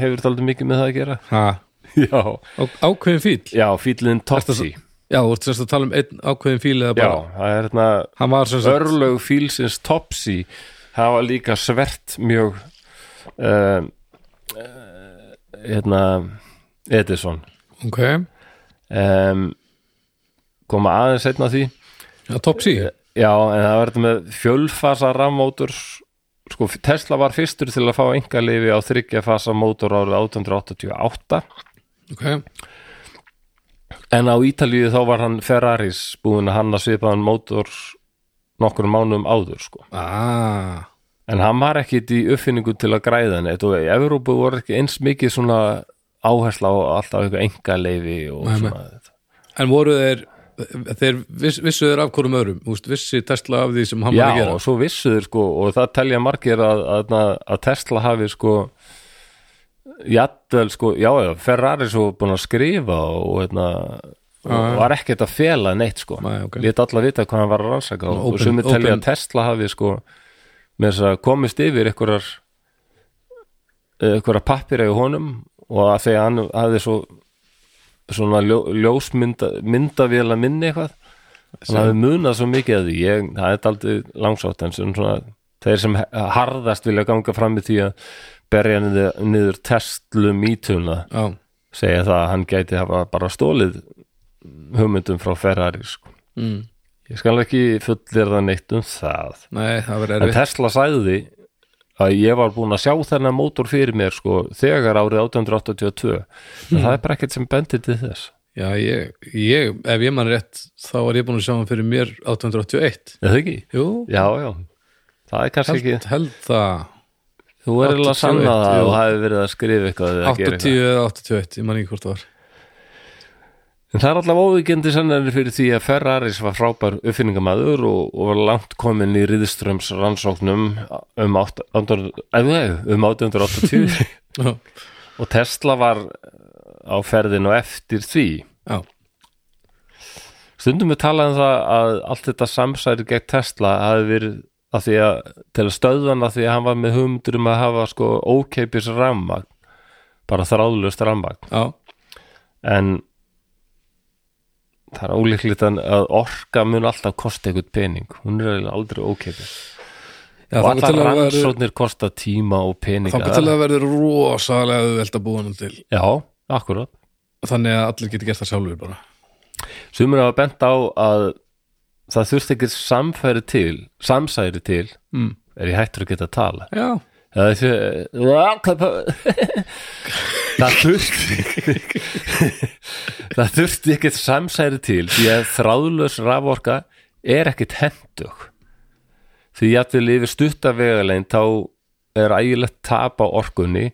Speaker 1: hefur taldi mikið með það að gera
Speaker 2: Ha,
Speaker 1: Já,
Speaker 2: á- Ákveðin fíl
Speaker 1: já fíllinn Topsy
Speaker 2: Já, þú ert semst að tala um einn ákveðin fíl eða
Speaker 1: Já,
Speaker 2: bara,
Speaker 1: það er hérna
Speaker 2: hann var semst að
Speaker 1: örlög fílsins Topsy hafa líka svert mjög uh, uh, hérna Edison
Speaker 2: Ok,
Speaker 1: um, koma aðeins seinna að því
Speaker 2: já,
Speaker 1: Eh.
Speaker 2: top sí
Speaker 1: Já, en það verður með fjölfasa rammótur sko, Tesla var fyrstur til að fá engalifi á þryggja fasa mótor árið 1888
Speaker 2: Ok,
Speaker 1: en á Ítalíu þá var hann Ferraris búin að hanna svipaðan mótor nokkur mánum áður sko.
Speaker 2: ah
Speaker 1: en hann var ekkit í uppfinningu til að græða henni Þetta og í Evrópu voru ekki eins mikið svona áhersla á alltaf eitthvað engalifi og
Speaker 2: Nei, nei.
Speaker 1: svona þetta
Speaker 2: En voru þeir, þeir viss, vissu þeir af hvorum öðrum, Úst, vissi Tesla af því sem hann var að
Speaker 1: Já,
Speaker 2: gera
Speaker 1: og svo vissuður sko og það telja margir að, að, að Tesla hafi sko jætvel sko, já, já, Ferrari svo búin að skrifa og hérna og var ekkert að fela neitt sko
Speaker 2: Nei, ok.
Speaker 1: lét alla vita hvað hann var að rannsaka og,
Speaker 2: Open-
Speaker 1: og sumir telja
Speaker 2: open-
Speaker 1: að Tesla hafi sko með þess að komist yfir einhverjar einhverjar pappir eða honum og að þegar hann hafði svo svona ljó, ljósmynda myndavél að minni eitthvað hann hafði munað svo mikið að því ég, það er aldrei langsátt en sem svona, þeir sem he- harðast vilja ganga fram í því að berja niður, niður testlum ítuna
Speaker 2: Já,
Speaker 1: segja það að hann gæti hafa bara stólið hugmyndum frá Ferrari sko.
Speaker 2: mm.
Speaker 1: ég skal ekki fullir það neitt um það
Speaker 2: nei, það verið
Speaker 1: en
Speaker 2: erfitt
Speaker 1: Tesla sagði að ég var búin að sjá þennan mótor fyrir mér sko, þegar árið 1882 en það er bara ekkert sem bendir til þess
Speaker 2: Já, ég, ég, ef ég mann rétt þá var ég búin að sjá hann fyrir mér 881
Speaker 1: eða ekki?
Speaker 2: Jú,
Speaker 1: Já, já, það er kannski
Speaker 2: held,
Speaker 1: ekki
Speaker 2: held það
Speaker 1: þú er alveg að sanna
Speaker 2: 81,
Speaker 1: það
Speaker 2: jú.
Speaker 1: og hafi verið að skrifa eitthvað eða gera
Speaker 2: 80
Speaker 1: eitthvað.
Speaker 2: eða 81, ég man ekki hvort það var
Speaker 1: En það er alltaf óvíkjandi sannanir fyrir því að Ferraris var frábær uppfinningamæður og, og var langt komin í Ríðiströms rannsóknum um, 8, 8, um 1880
Speaker 2: Já,
Speaker 1: og Tesla var á ferðinu eftir því.
Speaker 2: já,
Speaker 1: Stundum við talaði um það að allt þetta samsæri gegn Tesla hafi verið að því að til að stöðvana því að hann var með humdur um að hafa sko ókeipis rammagn, bara þráðlust rammagn.
Speaker 2: já,
Speaker 1: en það er ólíklegt að að orka mun alltaf kosta eitthvað pening hún er eiginlega aldrei ókeipis
Speaker 2: já
Speaker 1: og
Speaker 2: þangað
Speaker 1: allar
Speaker 2: til að verður-
Speaker 1: rannsóknir kosta tíma og peninga
Speaker 2: þangað til að verður rosalega auðvelt að búa hann til
Speaker 1: já, akkurat
Speaker 2: þannig að allir geti gert það sjálfur bara
Speaker 1: sumur hafa bent á að það þurfti ekki samfæri til samsæri til
Speaker 2: mm.
Speaker 1: er ég hættur að geta að tala
Speaker 2: Já,
Speaker 1: það, er því, það þurfti það þurfti ekkert samsæri til því að þráðlaus raforka er ekkert hendug því að við lifið stutta vegalegin þá er ægilegt tap á orkunni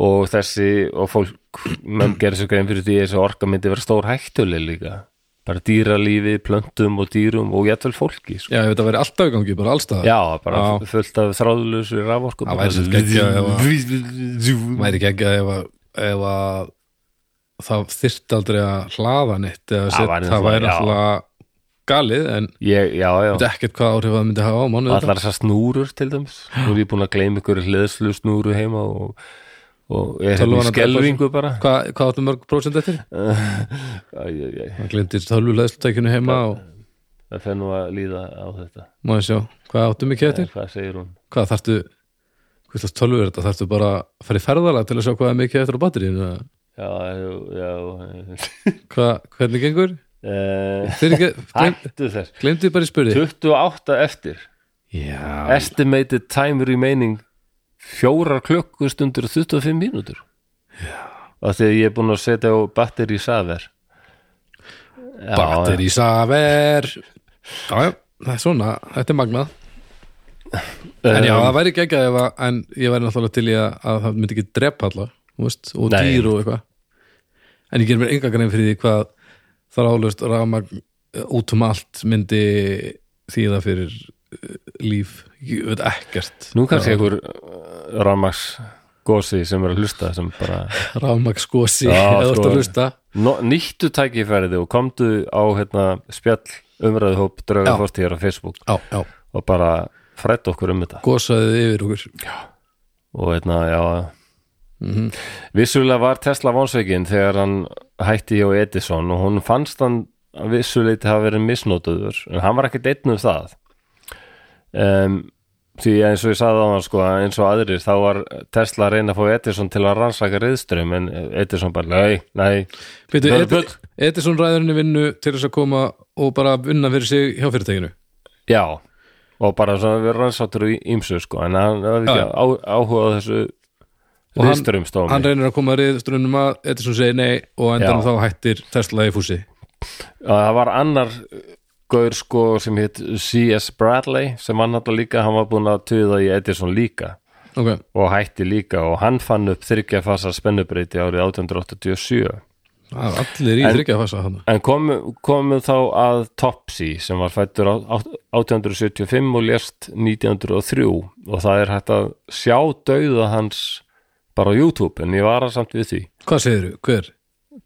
Speaker 1: og þessi og fólk, menn gerir sér grein fyrir því að þessi orka myndi vera stór hættuleg líka bara dýralífi, plöntum og dýrum og jættvel fólki sko.
Speaker 2: já, ég veit að verður alltaf í gangi, bara allstað
Speaker 1: Já, bara
Speaker 2: Já.
Speaker 1: fullt af þráðlösu raforku
Speaker 2: Það væri svolítið geggjað ef væri ekki ekki ef að, ef að það þyrfti aldrei að hlaða neitt eða set,
Speaker 1: væri
Speaker 2: það væri
Speaker 1: náttúrulega-
Speaker 2: alltaf galið en
Speaker 1: Ég, já, já,
Speaker 2: þetta er ekkert hvað áhrif það myndi hafa á mánuð
Speaker 1: allar þessar snúrur til dæmis Nú er ég búin að gleyma ykkur hliðslu snúru heima og, og er hérna í
Speaker 2: Tölvan að
Speaker 1: skelvingu bara
Speaker 2: hvað, hvað áttu mörg prósent eftir?
Speaker 1: Æ, æ, æ,
Speaker 2: hann glindir tölvuleðslutækjunu heima og
Speaker 1: Það fer nú að líða á þetta
Speaker 2: má ég sjá, hvað áttu mikið
Speaker 1: Nei,
Speaker 2: eftir?
Speaker 1: Hvað segir hún?
Speaker 2: hvað þarftu, hvað slags tölvur er þetta? þarftu bara að fara í ferðalega til að sjá hvað er mikið eftir á batteríinu eða?
Speaker 1: Já, já, já,
Speaker 2: Hva, hvernig gengur?
Speaker 1: já.
Speaker 2: Þeir ekki, gleym,
Speaker 1: Hættu þess
Speaker 2: gleymdu bara í spurði
Speaker 1: 28 eftir
Speaker 2: Já,
Speaker 1: Estimated time remaining fjórar klukkustundur og 25 mínútur og þegar ég er búin að setja á batteri saver Já,
Speaker 2: batteri saver Já, já, það er svona, þetta er magnað En
Speaker 1: Um,
Speaker 2: já, það væri geggjað ef að, en ég væri náttúrulega til í að, að það myndi ekki drepa alla, þú veist, og
Speaker 1: Nei.
Speaker 2: dýr og eitthvað. En ég ger mér enga grein fyrir því hvað þar álust rafmagn eh, út um allt myndi þýða fyrir eh, líf, ég veit ekkert.
Speaker 1: Nú kannski einhver rafmaks gósi sem er að hlusta sem bara,
Speaker 2: Rafmagn skosi,
Speaker 1: Já,
Speaker 2: eða þú ert
Speaker 1: sko.
Speaker 2: að hlusta.
Speaker 1: no, nýttu tækifærið og komdu á hérna, spjall umræðuhóp
Speaker 2: Já.
Speaker 1: draugaforst hér á Facebook
Speaker 2: Já, já,
Speaker 1: og bara frætt okkur um þetta
Speaker 2: gosaðið yfir okkur. Já.
Speaker 1: og hérna, já
Speaker 2: Mhm.
Speaker 1: vissulega var Tesla vonsveikin þegar hann hætti hjá Edison og hún fannst hann að vissuleiti hafa verið misnótuður en hann var ekkert einn um það um, því eins og ég sagði á hann sko, að eins og aðrir þá var Tesla að reyna að fá Edison til að rannsaka reyðström en Edison bara, nei, nei
Speaker 2: Býtu,
Speaker 1: Það er bull.
Speaker 2: Edison ræðurinn í vinnu til þess að koma og bara vinna fyrir sig hjá fyrirtækinu.
Speaker 1: já, og bara svona við rannsáttur í ímsu sko, en hann hafði ekki
Speaker 2: Já, já.
Speaker 1: á, áhuga á þessu
Speaker 2: Og hann-
Speaker 1: reyðströmstómi
Speaker 2: hann reynir að koma að riðstrunum að Edison segir nei og endanum
Speaker 1: Já.
Speaker 2: þá hættir Tesla í fúsi
Speaker 1: Já, það var annar gaur sko sem hitt C.S. Bradley sem hann alltaf líka, hann var búin að tuða í Edison líka
Speaker 2: ok,
Speaker 1: og hætti líka og hann fann upp þryggjafasa spennubreyti árið 1887
Speaker 2: það er allir í
Speaker 1: En-
Speaker 2: þryggja fasa hann
Speaker 1: en komum komu þá að Topsy sem var fættur á- á- 1875 og lést 1903 og það er hægt að sjá dauða hans bara á YouTube en ég var að samt við því
Speaker 2: hvað segirðu, hver?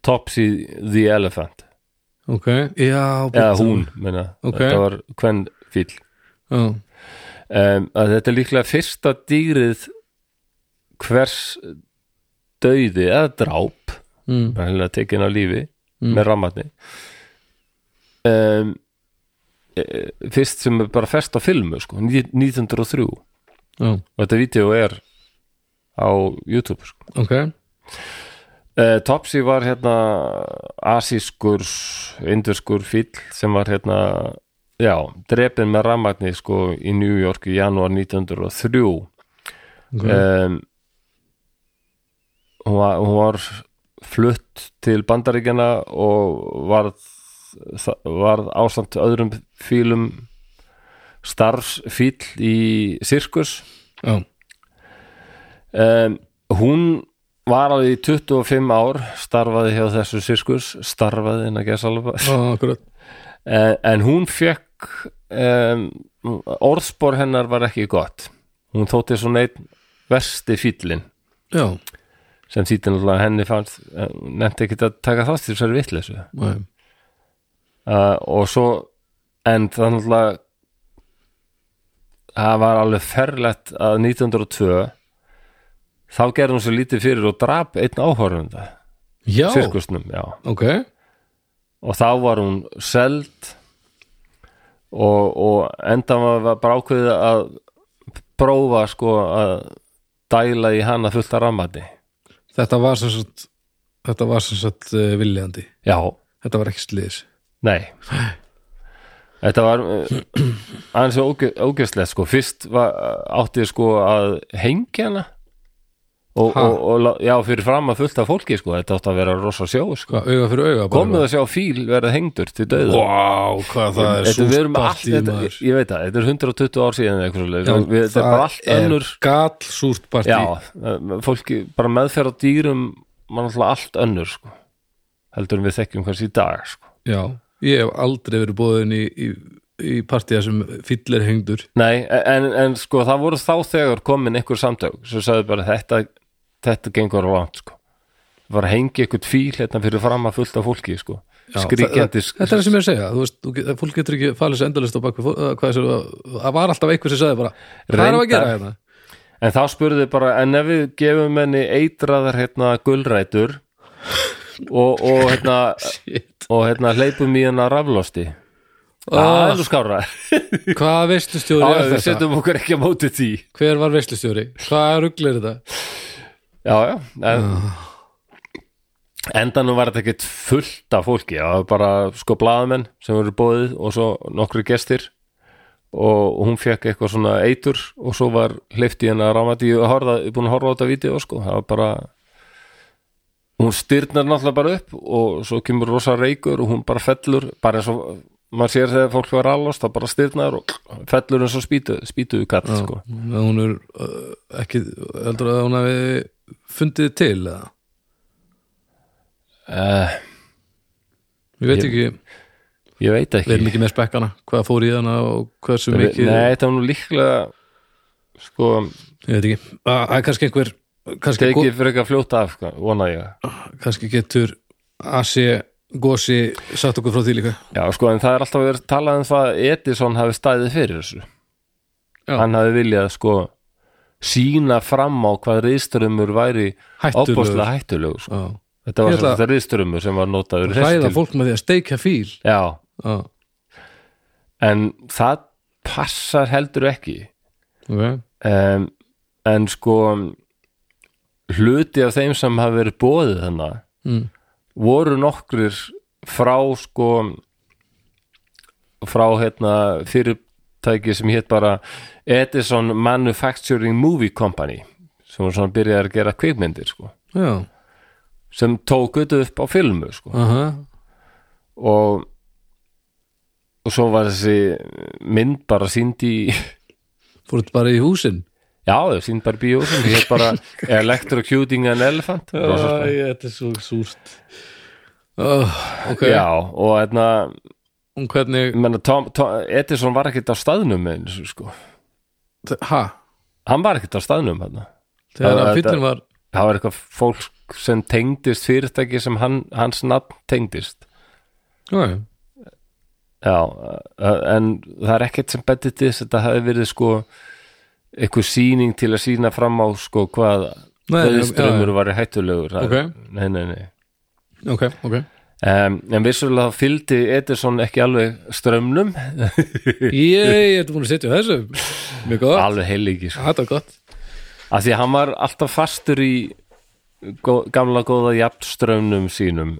Speaker 1: Topsy the Elephant
Speaker 2: ok, já,
Speaker 1: eða
Speaker 2: bíddu.
Speaker 1: hún, minna,
Speaker 2: Ok.
Speaker 1: þetta var hvern fíl
Speaker 2: já,
Speaker 1: um, að þetta er líklega fyrsta dýrið hvers dauði eða dráp
Speaker 2: mm,
Speaker 1: hennilega tekin á lífi með rammatni um, e, fyrst sem er bara fest á filmu sko, ní- 1903 og
Speaker 2: já,
Speaker 1: þetta vídeo er á YouTube sko.
Speaker 2: ok
Speaker 1: uh, Topsy var hérna asískur indverskur fíll sem var hérna já, drepin með rammatni sko í New York í janúar 1903
Speaker 2: okay.
Speaker 1: um, hún, var, hún var flutt til bandaríkjana og varð, þa- varð ásamt öðrum fílum starfsfíl í sirkus
Speaker 2: já,
Speaker 1: um, hún var alveg í 25 ár starfaði hjá þessu sirkus starfaði inn að gesa alveg
Speaker 2: já, akkurat
Speaker 1: en, en hún fekk um, orðspor hennar var ekki gott hún þótti svona einn versti fíllinn
Speaker 2: já,
Speaker 1: sem þýtti náttúrulega að henni fannst nefndi ekki að taka þátt í þessari vitleysu uh,
Speaker 2: nei,
Speaker 1: og svo en það náttúrulega það var alveg ferlegt að 1902 þá gerði hún svo lítið fyrir og drap einn áhorfunda
Speaker 2: já,
Speaker 1: sirkusnum, já
Speaker 2: ok
Speaker 1: og þá var hún seld og, og enda var bara ákveðið að prófa sko að dæla í hana fullt að rammati
Speaker 2: þetta var sem sagt þetta var sem sagt uh, viljandi
Speaker 1: já,
Speaker 2: þetta var ekki sliðis
Speaker 1: Nei Þetta var uh, aðeins ógjöfslegt sko Fyrst var, átti sko að hengja hana og,
Speaker 2: Ha?
Speaker 1: og, og lá- já, fyrir fram að fullt af fólki sko Þetta átti að vera rosa sjó sko
Speaker 2: hvað, auga fyrir auga bara
Speaker 1: Komið að sjá fíl verða hengdur til döða
Speaker 2: wow, hvað það er
Speaker 1: Þetta við erum allt,
Speaker 2: partí,
Speaker 1: þetta,
Speaker 2: maður.
Speaker 1: ég, ég veit það, þetta er 120 ár síðan eða einhverju leið,
Speaker 2: Já,
Speaker 1: við, þetta er bara allt önnur
Speaker 2: gat súrt partí
Speaker 1: Já, eh, fólki, bara meðferð á dýrum mann alltaf allt önnur sko heldur en við þekkjum hvers í dag sko
Speaker 2: Já, ég hef aldrei verið bóðin í, í, í partíða sem fyllir hengdur
Speaker 1: Nei, en, en sko það voru þá þegar komin einhver samtök sem sagði bara þetta, þetta gengur langt sko Það var að hengi eitthvað fíl hérna fyrir fram að fullt af fólki sko
Speaker 2: Já,
Speaker 1: skríkjandi
Speaker 2: það- Þetta er það sem ég er að segja, þú veist, þú get- fólk getur ekki falið sér endalist á bak við fó- eða hvað þessu, það var alltaf einhver sem sagði bara, hvað er að
Speaker 1: Reyndar.
Speaker 2: gera hérna?
Speaker 1: en þá spurði bara en ef við gefum henni eitraðar hérna gulrætur og, og hérna
Speaker 2: Shit.
Speaker 1: og hérna hleypum í hennar raflosti Það er
Speaker 2: Ah,
Speaker 1: nú skára
Speaker 2: hvað veistlustjóri
Speaker 1: Já,
Speaker 2: er
Speaker 1: við
Speaker 2: þetta?
Speaker 1: setjum okkur ekki á móti því
Speaker 2: Hver var veistlustjóri? Hvað ruglir þetta?
Speaker 1: Já, já en, endanum var þetta ekkert fullt af fólki það var bara sko blaðamenn sem voru bóðið og svo nokkru gestir og hún fekk eitthvað svona eitur og svo var hleyft í hennar rámati ég er búin að horfa á þetta vídeo sko það var bara hún styrnar náttúrulega bara upp og svo kemur rosa reykur og hún bara fellur bara eins og maður sér þegar fólk var allast það bara styrnar og fellur eins og spýtu, spýtuðu kall sko
Speaker 2: hún er uh, ekki heldur að hún hafi fundið til eða?
Speaker 1: uh,
Speaker 2: ég veit
Speaker 1: Ég-
Speaker 2: ekki,
Speaker 1: ég veit
Speaker 2: við
Speaker 1: ekki
Speaker 2: erum ekki með spekkana hvað fór í hana og hversu mikið
Speaker 1: nei, þetta var nú líklega sko,
Speaker 2: ég veit ekki, Að- að kannski einhver kannski,
Speaker 1: tekið fyrir ekki að fljóta af sko, vona ég,
Speaker 2: go- kannski getur Asi Gosi sagt okkur frá því líka
Speaker 1: já sko en það er alltaf verið talað um það að Edison hafi stæðið fyrir þessu
Speaker 2: Já.
Speaker 1: hann hafi viljað sko sína fram á hvað reyðströmmur væri
Speaker 2: Hættulegur.
Speaker 1: ábúrslega hættulegu sko.
Speaker 2: Já.
Speaker 1: þetta
Speaker 2: Ég
Speaker 1: var
Speaker 2: ætla-
Speaker 1: þetta reyðströmmur sem var notaður í hreist
Speaker 2: hræða
Speaker 1: til-
Speaker 2: fólk með því að steikja fíl
Speaker 1: já,
Speaker 2: Já,
Speaker 1: en það passar heldur ekki
Speaker 2: ok
Speaker 1: um, en sko hluti af þeim sem hafa verið bóðið þannig
Speaker 2: Mm.
Speaker 1: voru nokkrir frá sko frá hérna fyrirtæki sem hétt bara Edison Manufacturing Movie Company sem var svona byrjaði að gera kvikmyndir sko
Speaker 2: Já,
Speaker 1: sem tók auðvitað upp á filmu sko
Speaker 2: aha,
Speaker 1: og og svo var þessi mynd bara sínd í
Speaker 2: fóruð bara í húsin
Speaker 1: Já, það er sínd bara í bíó sem ég hef bara electrocuting an elephant rosa, sko.
Speaker 2: þetta er svo súrt oh, Ok,
Speaker 1: Já, og hérna
Speaker 2: og hvernig
Speaker 1: menna, Tom, Tom, Edison var ekkert á staðnum eins, sko.
Speaker 2: Ha,
Speaker 1: hann var ekkert á staðnum hérna.
Speaker 2: þegar
Speaker 1: Það-
Speaker 2: að
Speaker 1: þetta-
Speaker 2: fíllinn var
Speaker 1: það var eitthvað fólk sem tengdist fyrirtæki sem hann, hans nafn tengdist
Speaker 2: Já,
Speaker 1: Já, eh, en það er ekkert sem betið til þess að þetta hafi verið sko eitthvað sýning til að sína fram á sko hvað
Speaker 2: Nei, nei, já,
Speaker 1: strömmur var hættulegur það-
Speaker 2: Ok.
Speaker 1: Nei, nei, nei
Speaker 2: ok, ok
Speaker 1: Um, en vissulega fylgdi Edison ekki alveg strömmnum
Speaker 2: Ég ertu búin að setja á þessu Mjög gott,
Speaker 1: alveg heilíki sko.
Speaker 2: þetta er gott
Speaker 1: af því að hann var alltaf fastur í gó, gamla góða jafnströmmnum sínum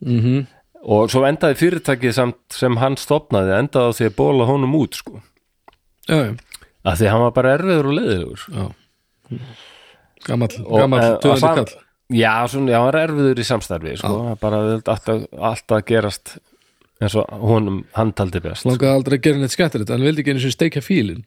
Speaker 2: mm
Speaker 1: og svo endaði fyrirtækið samt sem hann stopnaði endaði á því að bóla honum út sko.
Speaker 2: Já, já,
Speaker 1: af því að hann var bara erfiður og leiðilegur
Speaker 2: já Gamall,
Speaker 1: og,
Speaker 2: gamall,
Speaker 1: eh, á
Speaker 2: töðandi
Speaker 1: sam-
Speaker 2: kall
Speaker 1: já, svona, já, hann var erfiður í samstarfi sko. ah. bara vildi alltaf, alltaf gerast eins og honum hann taldi best
Speaker 2: Langaði aldrei að gera neitt skemmtilegt Hann vildi ekki einu sem steikja fílinn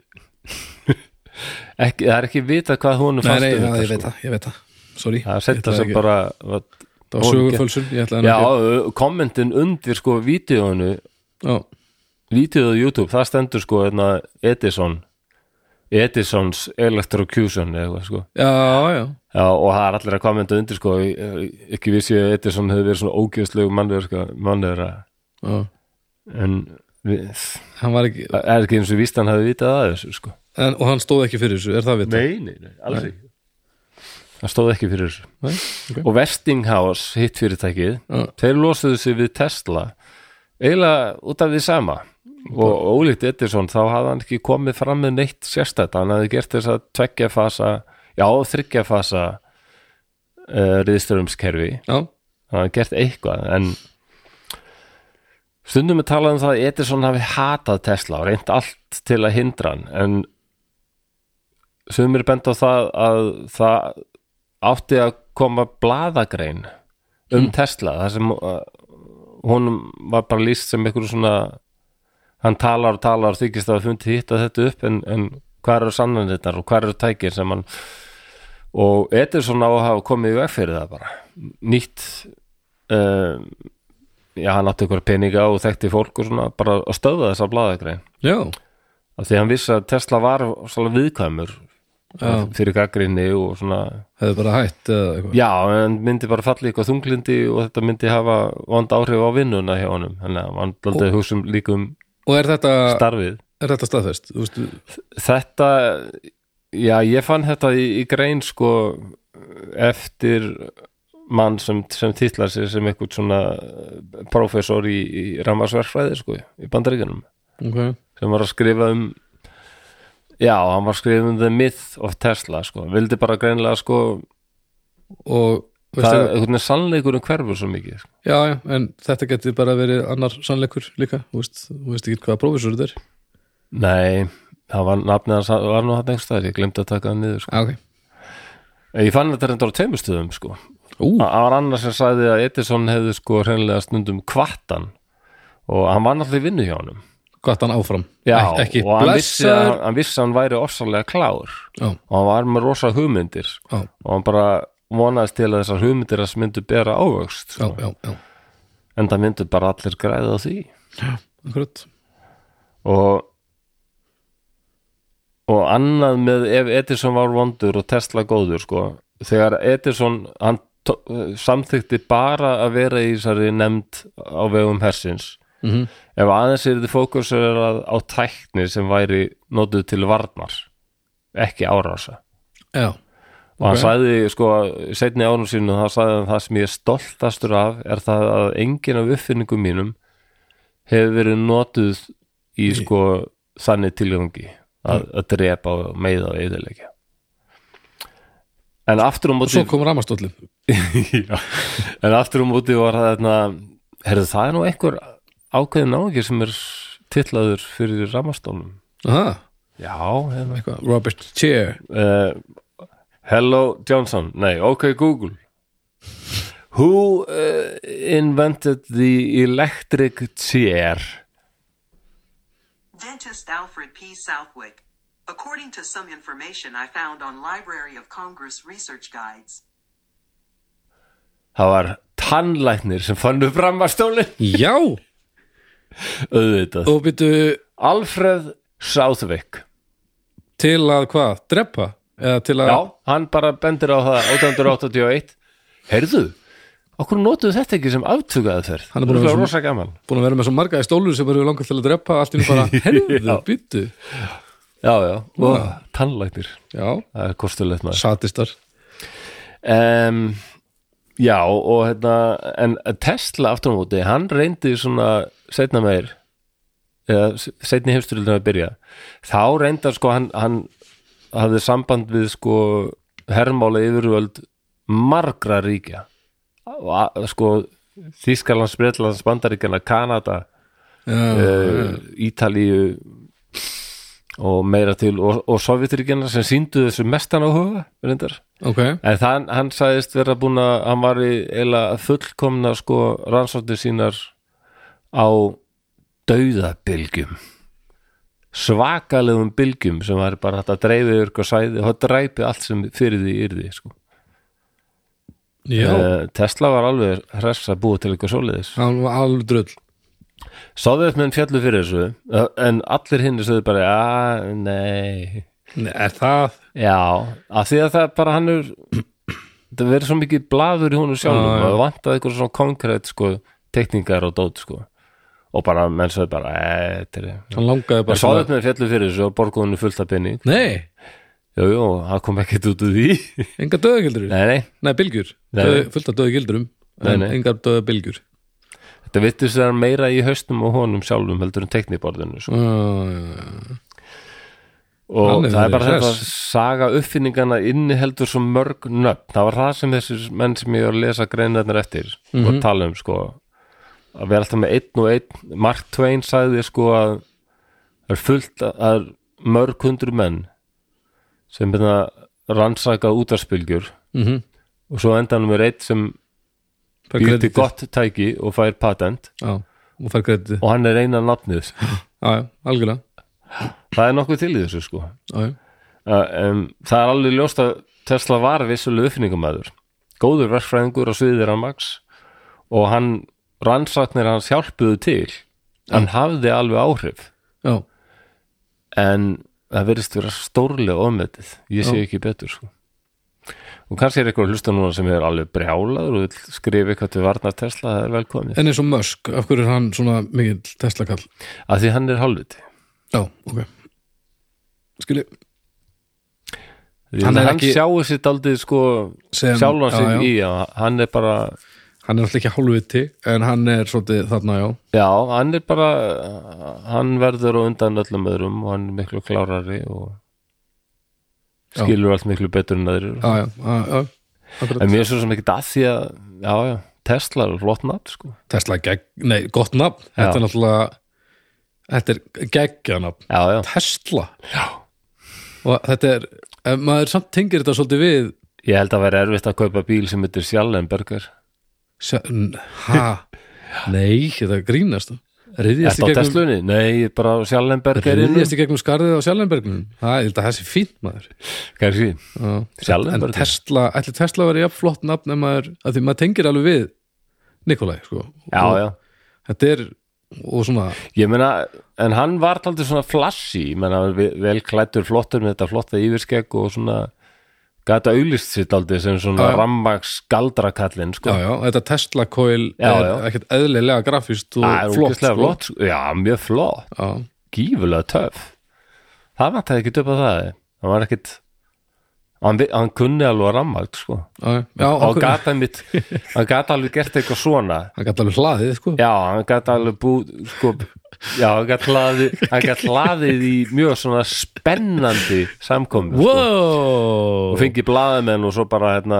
Speaker 1: ekki, það er ekki vitað hvað honum
Speaker 2: Nei,
Speaker 1: fannst
Speaker 2: nei,
Speaker 1: um
Speaker 2: já,
Speaker 1: þetta,
Speaker 2: ég
Speaker 1: sko.
Speaker 2: veit það, ég veit það Sorry,
Speaker 1: það er
Speaker 2: Ég
Speaker 1: setta
Speaker 2: ætlaði
Speaker 1: sem
Speaker 2: ekki-
Speaker 1: bara vat,
Speaker 2: Það var sögufölsun, ég ætlaði
Speaker 1: Já,
Speaker 2: hann ekki
Speaker 1: kommentin undir sko vídeoinu,
Speaker 2: Já,
Speaker 1: vídeoðu YouTube, það stendur sko hérna Edison Edison's Electrocution eða eitthvað sko
Speaker 2: já, já
Speaker 1: Já, og það er allir að kommenta undir sko ég- ekki vissi að Edison hefði verið svona ógjöfslegu mannur sko, mannur
Speaker 2: Já,
Speaker 1: en við,
Speaker 2: hann var ekki
Speaker 1: það er ekki eins og víst hann hefði vitað að þessu sko
Speaker 2: en, og hann stóð ekki fyrir þessu, er það vita?
Speaker 1: Nei, nei, nei, alls ekki Það stóð ekki fyrir þessu
Speaker 2: Nei, ok.
Speaker 1: og Westinghouse, hitt fyrirtækið
Speaker 2: Já.
Speaker 1: þeir losuðu sig við Tesla eiginlega út af því sama og ólíkt Edison þá hafði hann ekki komið fram með neitt sérstætt hann hafði gert þess að tveggja fasa já, þryggja fasa uh, riðströmskerfi
Speaker 2: Já,
Speaker 1: hann hafði gert eitthvað en stundum er talað um það að Edison hafi hatað Tesla og reynt allt til að hindra hann en sumir benda á það að það átti að koma blaðagrein um Tesla þar sem uh, honum var bara lýst sem einhverju svona hann talar og talar og þykist að hafa fundið hitta þetta upp en, en hvað eru sannanirnar og hvað eru tækir sem hann og Edison á að hafa komið í veg fyrir það bara nýtt uh, já hann átti ykkur peninga og þekkti fólk og svona bara að stöða þessa blaðagrein
Speaker 2: já,
Speaker 1: af því hann vissi að Tesla var svolítið viðkvæmur eh,
Speaker 2: Já.
Speaker 1: fyrir gaggrinni og svona
Speaker 2: hefði bara hætt eða eitthvað
Speaker 1: já en myndi bara falla í eitthvað þunglindi og þetta myndi hafa vond áhrif á vinnuna hjá honum þannig að hann aldrei að hugsa um líka um
Speaker 2: Og er þetta,
Speaker 1: starfið
Speaker 2: er þetta staðfest? Þú veistu,
Speaker 1: þetta já ég fann þetta í, í grein sko eftir mann sem, sem titlar sig sem eitthvað svona professor í, í rammarsverkfræði sko í bandaríkjunum
Speaker 2: ok
Speaker 1: sem var að skrifa um já, hann var að skrifa um The Myth of Tesla sko, vildi bara greinlega sko
Speaker 2: Og
Speaker 1: það er
Speaker 2: Veistu-
Speaker 1: einhvern veginn sannleikurinn hverfur svo mikið sko.
Speaker 2: já, já, en þetta geti bara verið annar sannleikur líka, þú veist, þú veist ekki hvaða prófessor þetta er
Speaker 1: nei, það var nafnið hans var nú hann einhverstaðar, ég glemdi að taka hann niður sko.
Speaker 2: Já, ok.
Speaker 1: En ég fann þetta reyndar á teimustuðum sko
Speaker 2: Ú,
Speaker 1: Það var annars sem sagði að Edison hefði sko hreinlega stundum kvartan og hann var náttúrulega í vinnu hjá honum
Speaker 2: hvað hann áfram
Speaker 1: Já,
Speaker 2: Ek- ekki
Speaker 1: og hann vissi, að,
Speaker 2: blessaður
Speaker 1: hann vissi að hann væri ofsalega klár
Speaker 2: Já,
Speaker 1: og hann var með rosa hugmyndir
Speaker 2: já,
Speaker 1: og hann bara vonaðist til að þessar hugmyndir hans myndu bera ávöxt
Speaker 2: já,
Speaker 1: sko.
Speaker 2: já, já.
Speaker 1: en það myndu bara allir græða á því
Speaker 2: Akkurat.
Speaker 1: og og annað með ef Edison var vondur og Tesla góður sko, þegar Edison hann tó- samþykti bara að vera í þessari nefnd á vegum hersins
Speaker 2: Mhm.
Speaker 1: ef aðeins er þið fókusur á tækni sem væri notuð til varnar ekki árása
Speaker 2: Já,
Speaker 1: og hann
Speaker 2: Ok.
Speaker 1: sagði sko setni árum sínu þá sagði hann það sem ég er stoltastur af er það að engin af uppfinningum mínum hefur verið notuð í sko þannig tilgangi að, að drepa og meiða og eðilegja en aftur á
Speaker 2: og svo
Speaker 1: móti
Speaker 2: kom ramastólin
Speaker 1: Já. en aftur á móti var það þarna, herðu það er nú einhver ákveðin áhengi sem er titlaður fyrir ramastólum
Speaker 2: Aha,
Speaker 1: já, hérna
Speaker 2: eitthvað, Robert Cheer
Speaker 1: uh, Hello Johnson Nei, ok Google Who uh, invented the electric chair?
Speaker 4: Dentist Alfred P. Southwick. According to some information I found on Library of Congress research guides,
Speaker 1: Það var tannlæknir sem fann upp rammastólinn
Speaker 2: Já,
Speaker 1: auðvitað
Speaker 2: og byrju
Speaker 1: Alfred Southwick
Speaker 2: til að hvað, drepa eða til að,
Speaker 1: Já, hann bara bendir á það 1881 Heyrðu, okkur notuðu þetta ekki sem aftugaði þér
Speaker 2: Hann er búin að vera svo-
Speaker 1: rosa gaman
Speaker 2: búin að vera með svo marga í stólu sem eru langar til að drepa allt í nú bara, herðu,
Speaker 1: Já.
Speaker 2: byrju
Speaker 1: Já, já, og tannlæknir
Speaker 2: Já,
Speaker 1: Það er kostulegt maður
Speaker 2: satistar
Speaker 1: um, Já og hérna en Tesla aftur á móti, hann reyndi svona setna meir eða setni hefsturildin að byrja þá reyndar sko hann, hann hafði samband við sko hermála yfirvöld margra ríkja og a- sko Þískalands, Bretlands, Bandaríkjana, Kanada
Speaker 2: Já,
Speaker 1: uh, Ítalíu og meira til og, og Sovjetríkjana sem síndu þessu mestan áhuga reyndar
Speaker 2: ok,
Speaker 1: En þann, hann sagðist vera búin að hann var í eila fullkomna sko rannsóttir sínar á dauðabilgjum svakalegum bylgjum sem var bara hægt að dreifi yfir ykkur sæði og það dreifi allt sem fyrir því yrði sko.
Speaker 2: já
Speaker 1: Eh, Tesla var alveg hress að búa til eitthvað svoleiðis
Speaker 2: Hann var alveg drull
Speaker 1: Sáðveðmenn fjallu fyrir þessu eh, en allir hinn sögðu bara að nei
Speaker 2: Nei, Er það?
Speaker 1: Já, af því að það er bara hann er það verður svo mikið blaður í honum sjálfum
Speaker 2: Já,
Speaker 1: og
Speaker 2: já.
Speaker 1: það vantaði eitthvað svona konkrétt sko, tekningar og dót sko. og bara menn svo bara "Eh, þetta er
Speaker 2: Hann langaði bara
Speaker 1: Ég sá þetta með fjallu fyrir þessu og borguðinu fullt af penning
Speaker 2: Nei,
Speaker 1: Jú, jú, það kom ekkert út úr því Nei,
Speaker 2: enga döðagildur
Speaker 1: nei,
Speaker 2: Nei, bylgjur,
Speaker 1: Nei.
Speaker 2: Döð, fullt af döðu gildurum
Speaker 1: Nei,
Speaker 2: en
Speaker 1: nei.
Speaker 2: engar döðu bylgjur
Speaker 1: þetta vittu sér meira í haustum og honum sjálfum heldur en tekniborðinu sko.
Speaker 2: uh,
Speaker 1: og
Speaker 2: Hann hefur
Speaker 1: það er bara
Speaker 2: verið
Speaker 1: þetta að
Speaker 2: hress.
Speaker 1: saga uppfinningana inniheldur svo mörg nöfn það var það sem þessir menn sem ég var að lesa greinarnar eftir og tala um sko að vera alltaf með einn og einn Mark Twain sagði sko að það er fullt að það er mörg hundru menn sem byrna rannsaka útarspilgjur
Speaker 2: mm -hmm.
Speaker 1: og svo á endanum er einn sem býr til gott tæki og fær patent
Speaker 2: Já, og fær krediti
Speaker 1: og hann er eina nafnið
Speaker 2: Já, já, algjörlega
Speaker 1: það er nokkuð til í þessu sko
Speaker 2: Já, já.
Speaker 1: Uh, um, það er alveg ljóst að Tesla var vissulega uppfinningumæður góður verkfræðingur á sviðir að Max og hann rannsaknir hans hjálpuðu til hann hafði alveg áhrif
Speaker 2: já,
Speaker 1: en það verðist vera stórlega ofmetið ég sé
Speaker 2: Já.
Speaker 1: ekki betur sko. og kannski er eitthvað að hlusta núna sem er alveg brjálaður og vill skrifa eitthvað til varnar Tesla það er velkomið,
Speaker 2: en eins og Musk, af hverju er hann svona mikill Tesla-kall?
Speaker 1: af því hann er halvviti
Speaker 2: Já, ok Skilji,
Speaker 1: hann,
Speaker 2: er
Speaker 1: hann
Speaker 2: ekki-
Speaker 1: sjáu sér daldið sko,
Speaker 2: Sem-
Speaker 1: sjálfan
Speaker 2: já,
Speaker 1: sig
Speaker 2: já.
Speaker 1: í að hann er bara
Speaker 2: hann er alltaf ekki hálfviti en hann er svolítið þarna, já
Speaker 1: Já, hann er bara hann verður á undan öllum öðrum og hann er miklu klárari og skilur allt miklu betur en öðru
Speaker 2: Já, já, já, já Akkurat.
Speaker 1: en mér er svo sem ekkert að því að já, já, Tesla er flott nafn sko.
Speaker 2: Tesla gegg, nei, gott nafn þetta
Speaker 1: Já.
Speaker 2: er náttúrulega þetta er geggjanafn,
Speaker 1: já, já,
Speaker 2: Tesla já. og þetta er ef maður samt tengir þetta svolítið við
Speaker 1: ég held að vera erfitt að kaupa bíl sem heitir Sjallenberger
Speaker 2: sjá- n- ha, nei, þetta grínast reyðjast
Speaker 1: Þetta á
Speaker 2: í gegnum
Speaker 1: Teslunni? Nei, ég er bara á Sjallenbergerinu
Speaker 2: reyðjast í gegnum skarðið á Sjallenbergnum það, ég held að það sé fínt maður
Speaker 1: Kanski,
Speaker 2: Já. en
Speaker 1: Sjallenberger
Speaker 2: Tesla, ætli Tesla verið jafn flott nafn ef maður, að því maður tengir alveg við Nikolai, sko
Speaker 1: Já,
Speaker 2: og,
Speaker 1: já,
Speaker 2: þetta er, og svona
Speaker 1: ég meina en hann var taldið svona flashy ég meina, hann var ve- vel klættur flottur með þetta flotta yfirskegg og svona gata auglist sér taldið sem svona
Speaker 2: Já, já.
Speaker 1: rammags galdrakallinn,
Speaker 2: já,
Speaker 1: sko
Speaker 2: já, þetta Tesla coil
Speaker 1: Já,
Speaker 2: er
Speaker 1: já.
Speaker 2: ekkert eðlilega grafist og
Speaker 1: Það er
Speaker 2: flott,
Speaker 1: ógeðslega flott, sko. já, mjög flott
Speaker 2: Já,
Speaker 1: gífulega töf það vantaði ekki upp á það hann var ekkit hann, vi- hann kunni alveg rammagt, sko
Speaker 2: já, já
Speaker 1: og
Speaker 2: hann,
Speaker 1: gata mitt, hann gata alveg gert eitthvað svona
Speaker 2: hann gæti alveg hlaðið, sko
Speaker 1: Já, hann gæti alveg búið sko, já, hann gæti hlaðið hann gæti hlaðið í mjög svona spennandi samkomi sko.
Speaker 2: Wow
Speaker 1: og fengið blaðamenn og svo bara hérna,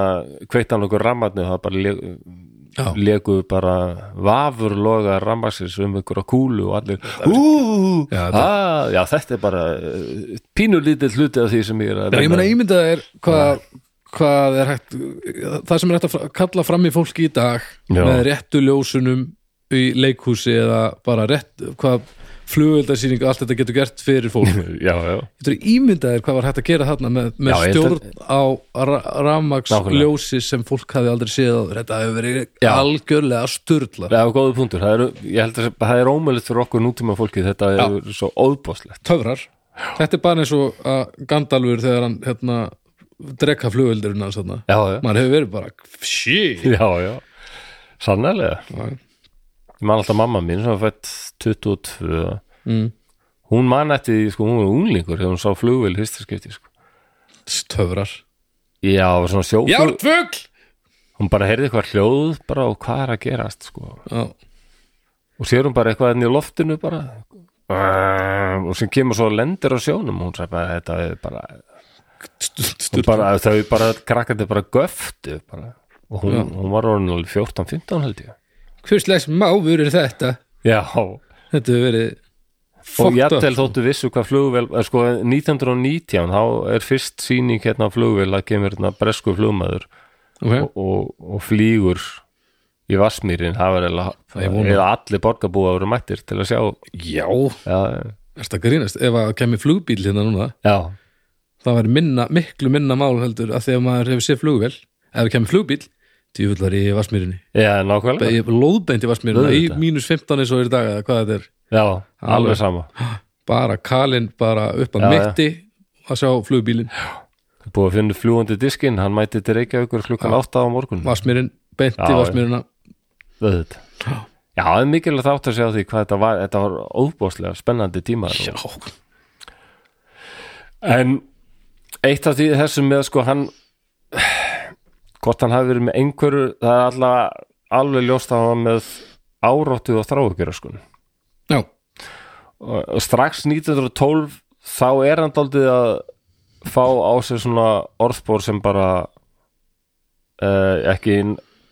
Speaker 1: kveitt hann okkur rammarni og það bara le
Speaker 2: Já.
Speaker 1: lekuðu bara vafurloga rammarsins um einhverja kúlu og allir úúú,
Speaker 2: Já, þetta-
Speaker 1: já, þetta er bara uh, pínulítið hluti af því sem ég er að
Speaker 2: Já, ég
Speaker 1: vinna.
Speaker 2: meina ímyndað er hvað hvað er hægt það sem er hægt að fra- kalla fram í fólki í dag
Speaker 1: Já.
Speaker 2: með réttu ljósunum í leikhúsi eða bara rétt hvað flugöldarsýning allt þetta getur gert fyrir fólk
Speaker 1: já, já,
Speaker 2: getur ímyndað er hvað var hægt að gera þarna með, með
Speaker 1: Já, ég held
Speaker 2: stjórn á ra rafmaks
Speaker 1: Nákvæmlega.
Speaker 2: ljósi sem fólk hafi aldrei séð áður þetta hefur verið
Speaker 1: Já.
Speaker 2: algjörlega sturla
Speaker 1: það er góðu punktur það er, ég held að það er ómöðlegt fyrir okkur nútíma fólki þetta
Speaker 2: Já.
Speaker 1: er svo óðbóðslegt
Speaker 2: töfrar þetta er bara eins og að Gandalfur þegar hann hérna drekka flugöldurinn hans þarna
Speaker 1: já, já
Speaker 2: maður hefur verið bara shit
Speaker 1: Já, já, sannlega
Speaker 2: Já.
Speaker 1: Ég man alltaf mamma mín sem var fætt 22 Hún man eftir, því, sko, hún var unglingur þegar hún sá flugvél í fyrsta skipti sko.
Speaker 2: töfrar
Speaker 1: Já, og svona sjóflug
Speaker 2: Járnfugl
Speaker 1: Hún bara heyrði eitthvað hljóð bara og hvað er að gerast sko.
Speaker 2: Já,
Speaker 1: og sér hún bara eitthvað enn í loftinu bara og sem kemur svo og lendir á sjónum hún sagði bara þetta er bara, hún bara þau bara krakkandi bara göftu bara. og hún, hún var orðin alveg 14-15 held ég
Speaker 2: Hver slags máfur er þetta?
Speaker 1: Já,
Speaker 2: Þetta hefur verið
Speaker 1: og
Speaker 2: fucked up.
Speaker 1: jafnvel þóttu vissu hvað flugvél eh, sko 1919 þá er fyrst sýning hérna á flugvél að kemur hérna bresku flugmaður
Speaker 2: okay.
Speaker 1: og, og, og flýgur í Vassmýrin það var
Speaker 2: Það er
Speaker 1: eiginlega
Speaker 2: vona.
Speaker 1: eða allir borgarbúa voru mættir til að sjá
Speaker 2: Já,
Speaker 1: já,
Speaker 2: er þetta grínast Ef að kemur flugbíl hérna núna
Speaker 1: já,
Speaker 2: Það var minna, miklu minna mál heldur að þegar maður hefur séð flugvél Ef það kemur flugbíl Djúvill var ég í Vassmýrinni
Speaker 1: já
Speaker 2: Ég
Speaker 1: nákvæmlega
Speaker 2: er lóðbeint í Vassmýrinni Í
Speaker 1: Auðvitað.
Speaker 2: mínus 15 eins og er í dag eða hvað þetta er
Speaker 1: já, alveg sama
Speaker 2: Bara kalinn bara upp að
Speaker 1: Já, já.
Speaker 2: mitti að sjá flugbílinn
Speaker 1: búið að finna fljúandi diskinn, hann mætti til Reykjavíkur klukkan 8 á morgun
Speaker 2: Vassmýrin, beint
Speaker 1: Já,
Speaker 2: í
Speaker 1: já.
Speaker 2: Vassmýrina
Speaker 1: auðvitað Já, það er mikilvægt átt að sjá því hvað þetta var þetta var óbúðslega spennandi tíma
Speaker 2: Já,
Speaker 1: En eitt af því þessum með sko hann hvort hann hafi verið með einhverju það er allavega alveg ljóst að hann var með áráttu og þráugjur sko.
Speaker 2: já,
Speaker 1: og og strax 1912 þá er hann daldið að fá á sig svona orðbór sem bara uh, ekki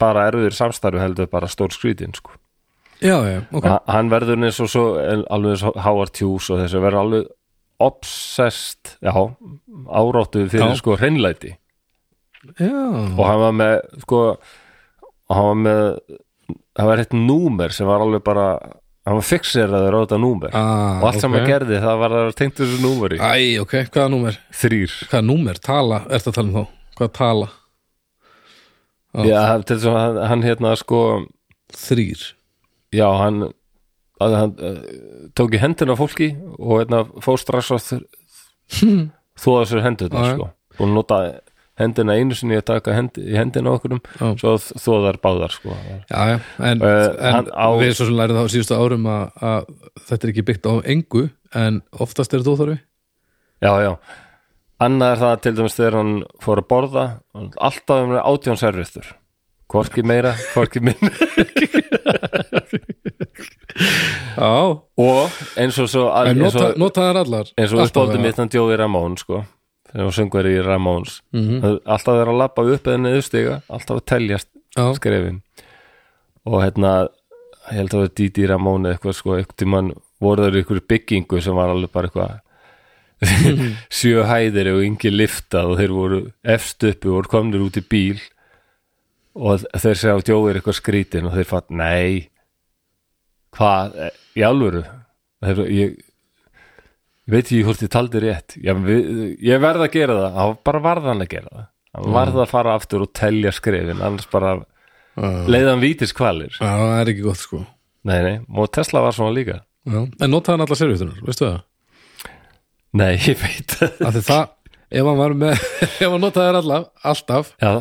Speaker 1: bara erfiður samstarfi heldur bara stór skrýtin sko.
Speaker 2: já, já, ok
Speaker 1: Ha- hann verður eins og svo en alveg eins og Howard Hughes og þessi verður alveg obsessed, já áráttu fyrir
Speaker 2: Já.
Speaker 1: sko hreinlæti
Speaker 2: Já,
Speaker 1: og hann var með sko, og hann var með það var eitt númer sem var alveg bara hann var fixeraður á þetta númer
Speaker 2: Ah,
Speaker 1: og allt sem
Speaker 2: ok. Ah,
Speaker 1: hann gerði það var að tengdu þessu númeri
Speaker 2: Æ, ok, hvaða númer?
Speaker 1: þrýr,
Speaker 2: Hvaða númer? Tala, ertu að tala um þá? Hvaða tala? Já.
Speaker 1: já, til þess að hann, hann hérna sko,
Speaker 2: Þrýr
Speaker 1: já hann að hann uh, tók í hendina á fólki og hérna fór strax á þr- þóða sér hendurna
Speaker 2: Hmm. Ah, Já, já.
Speaker 1: sko og nota hendina einu sinni að taka hendi, í hendina á okkurum
Speaker 2: Já.
Speaker 1: svo þóðar báðar sko
Speaker 2: Já, já, en,
Speaker 1: Eh,
Speaker 2: en
Speaker 1: hann á-
Speaker 2: við svo sem lærið þá síðustu árum að, að þetta er ekki byggt á engu en oftast er þetta óþarfi
Speaker 1: Já, já. Annað er það til dæmis þegar hann fór að borða hann alltaf um átjón servistur hvorki meira, hvorki minna
Speaker 2: Já,
Speaker 1: og eins og svo
Speaker 2: en
Speaker 1: eins
Speaker 2: nota,
Speaker 1: og,
Speaker 2: nota þær allar
Speaker 1: eins og
Speaker 2: Alltaf,
Speaker 1: uppáldum
Speaker 2: já.
Speaker 1: mitt hann djóði Ramón sko þegar hún söngur í Ramones
Speaker 2: Mhm.
Speaker 1: Það er alltaf þegar að labba upp eða neðustiga alltaf að teljast
Speaker 2: Já.
Speaker 1: skrefin og hérna ég held að það var Didi Ramón eða eitthvað sko, eitthvað tímann voru þeir ykkur byggingu sem var alveg bara eitthvað sjö hæðir og yngi lifta og þeir voru efst uppi og voru komnir út í bíl og þeir segja á djóðir eitthvað skrítin og þeir fatt, nei hvað, eh, í alvöru þeir, ég, ég veit ekki hvort ég taldi rétt ég, ég verð að gera það, það bara varð hann að gera það hann
Speaker 2: Mm.
Speaker 1: varð að fara aftur og telja skrefin annars bara
Speaker 2: Já,
Speaker 1: leiðan vítis kvalir
Speaker 2: það er ekki gott sko
Speaker 1: nei, nei, og Tesla var svona líka
Speaker 2: Já. En notaði hann allar servítunar, veistu það?
Speaker 1: nei, ég veit það
Speaker 2: Af því það, ef hann var með ef hann notaði þær allar, alltaf
Speaker 1: já,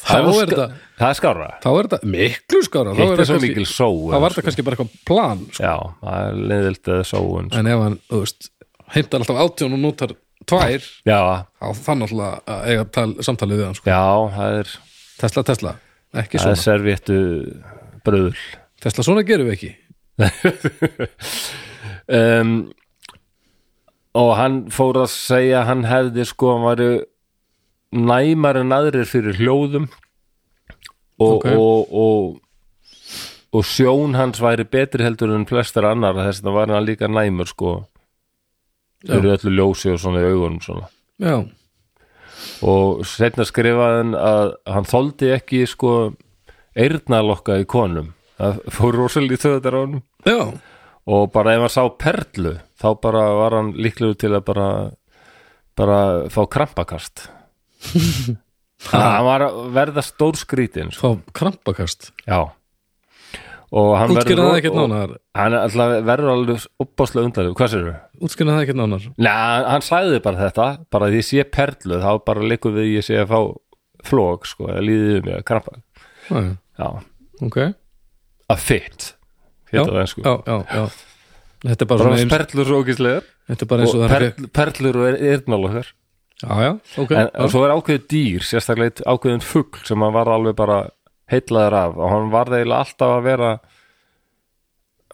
Speaker 2: þá er
Speaker 1: var
Speaker 2: þetta,
Speaker 1: það er skára
Speaker 2: þá er þetta miklu skara þá
Speaker 1: hitt er
Speaker 2: er þetta
Speaker 1: svo
Speaker 2: kannski-
Speaker 1: mikil sko. só
Speaker 2: þá var þetta kannski bara eitthvað plan sko.
Speaker 1: já, það er leiðilt eða sóun sko.
Speaker 2: en ef hann, þú veist, heimtar alltaf átjón og notar tvær
Speaker 1: já,
Speaker 2: þá þannig alltaf að eiga tal, samtalið við hann sko.
Speaker 1: já, það er
Speaker 2: Tesla, Tesla, ekki
Speaker 1: það
Speaker 2: svona
Speaker 1: er servéttu bröðul
Speaker 2: Tesla, svona gerum við ekki
Speaker 1: um, og hann fór að segja að hann hefði sko, hann væri næmar en aðrir fyrir hljóðum og,
Speaker 2: Ok.
Speaker 1: og, og, og sjón hans væri betri heldur en flestar annar þess að það var hann líka næmur sko fyrir öllu ljósi og svona í augunum svona
Speaker 2: Já,
Speaker 1: og setna skrifaði hann að hann þoldi ekki sko eyrnalokka í konum það fór rosalítið þetta ránum
Speaker 2: já,
Speaker 1: og bara ef hann sá perlu þá bara var hann líklegur til að bara bara fá krampakast hann var að verða stórskrítin sko.
Speaker 2: þá krampakast
Speaker 1: já og hann
Speaker 2: Útskýrðu það
Speaker 1: ro-
Speaker 2: ekkert
Speaker 1: og-
Speaker 2: nánar?
Speaker 1: hann alltaf verður alveg opbáslega undarlegu, hvað sér þau?
Speaker 2: Útskynna það ekki nánar
Speaker 1: Nei, hann- hann sagði bara þetta bara því ég sé perlu, þá bara leikur við ég sé að fá flók, sko, eða líðið mig að krampa,
Speaker 2: Já,
Speaker 1: já,
Speaker 2: ok
Speaker 1: að fit
Speaker 2: já,
Speaker 1: hitt á ennsku,
Speaker 2: já, já, já Þetta
Speaker 1: sko.
Speaker 2: er bara,
Speaker 1: bara
Speaker 2: svona eins,
Speaker 1: perlur svo ógislegar
Speaker 2: þetta er bara eins og
Speaker 1: og
Speaker 2: það er
Speaker 1: perl, perlur og eyrnalokkar
Speaker 2: Já, já, ok
Speaker 1: en
Speaker 2: já.
Speaker 1: svo er ákveðið dýr, sérstaklega eitt ákveðin fugl sem hann var alveg bara heitlaður af og hann varð eiginlega alltaf að vera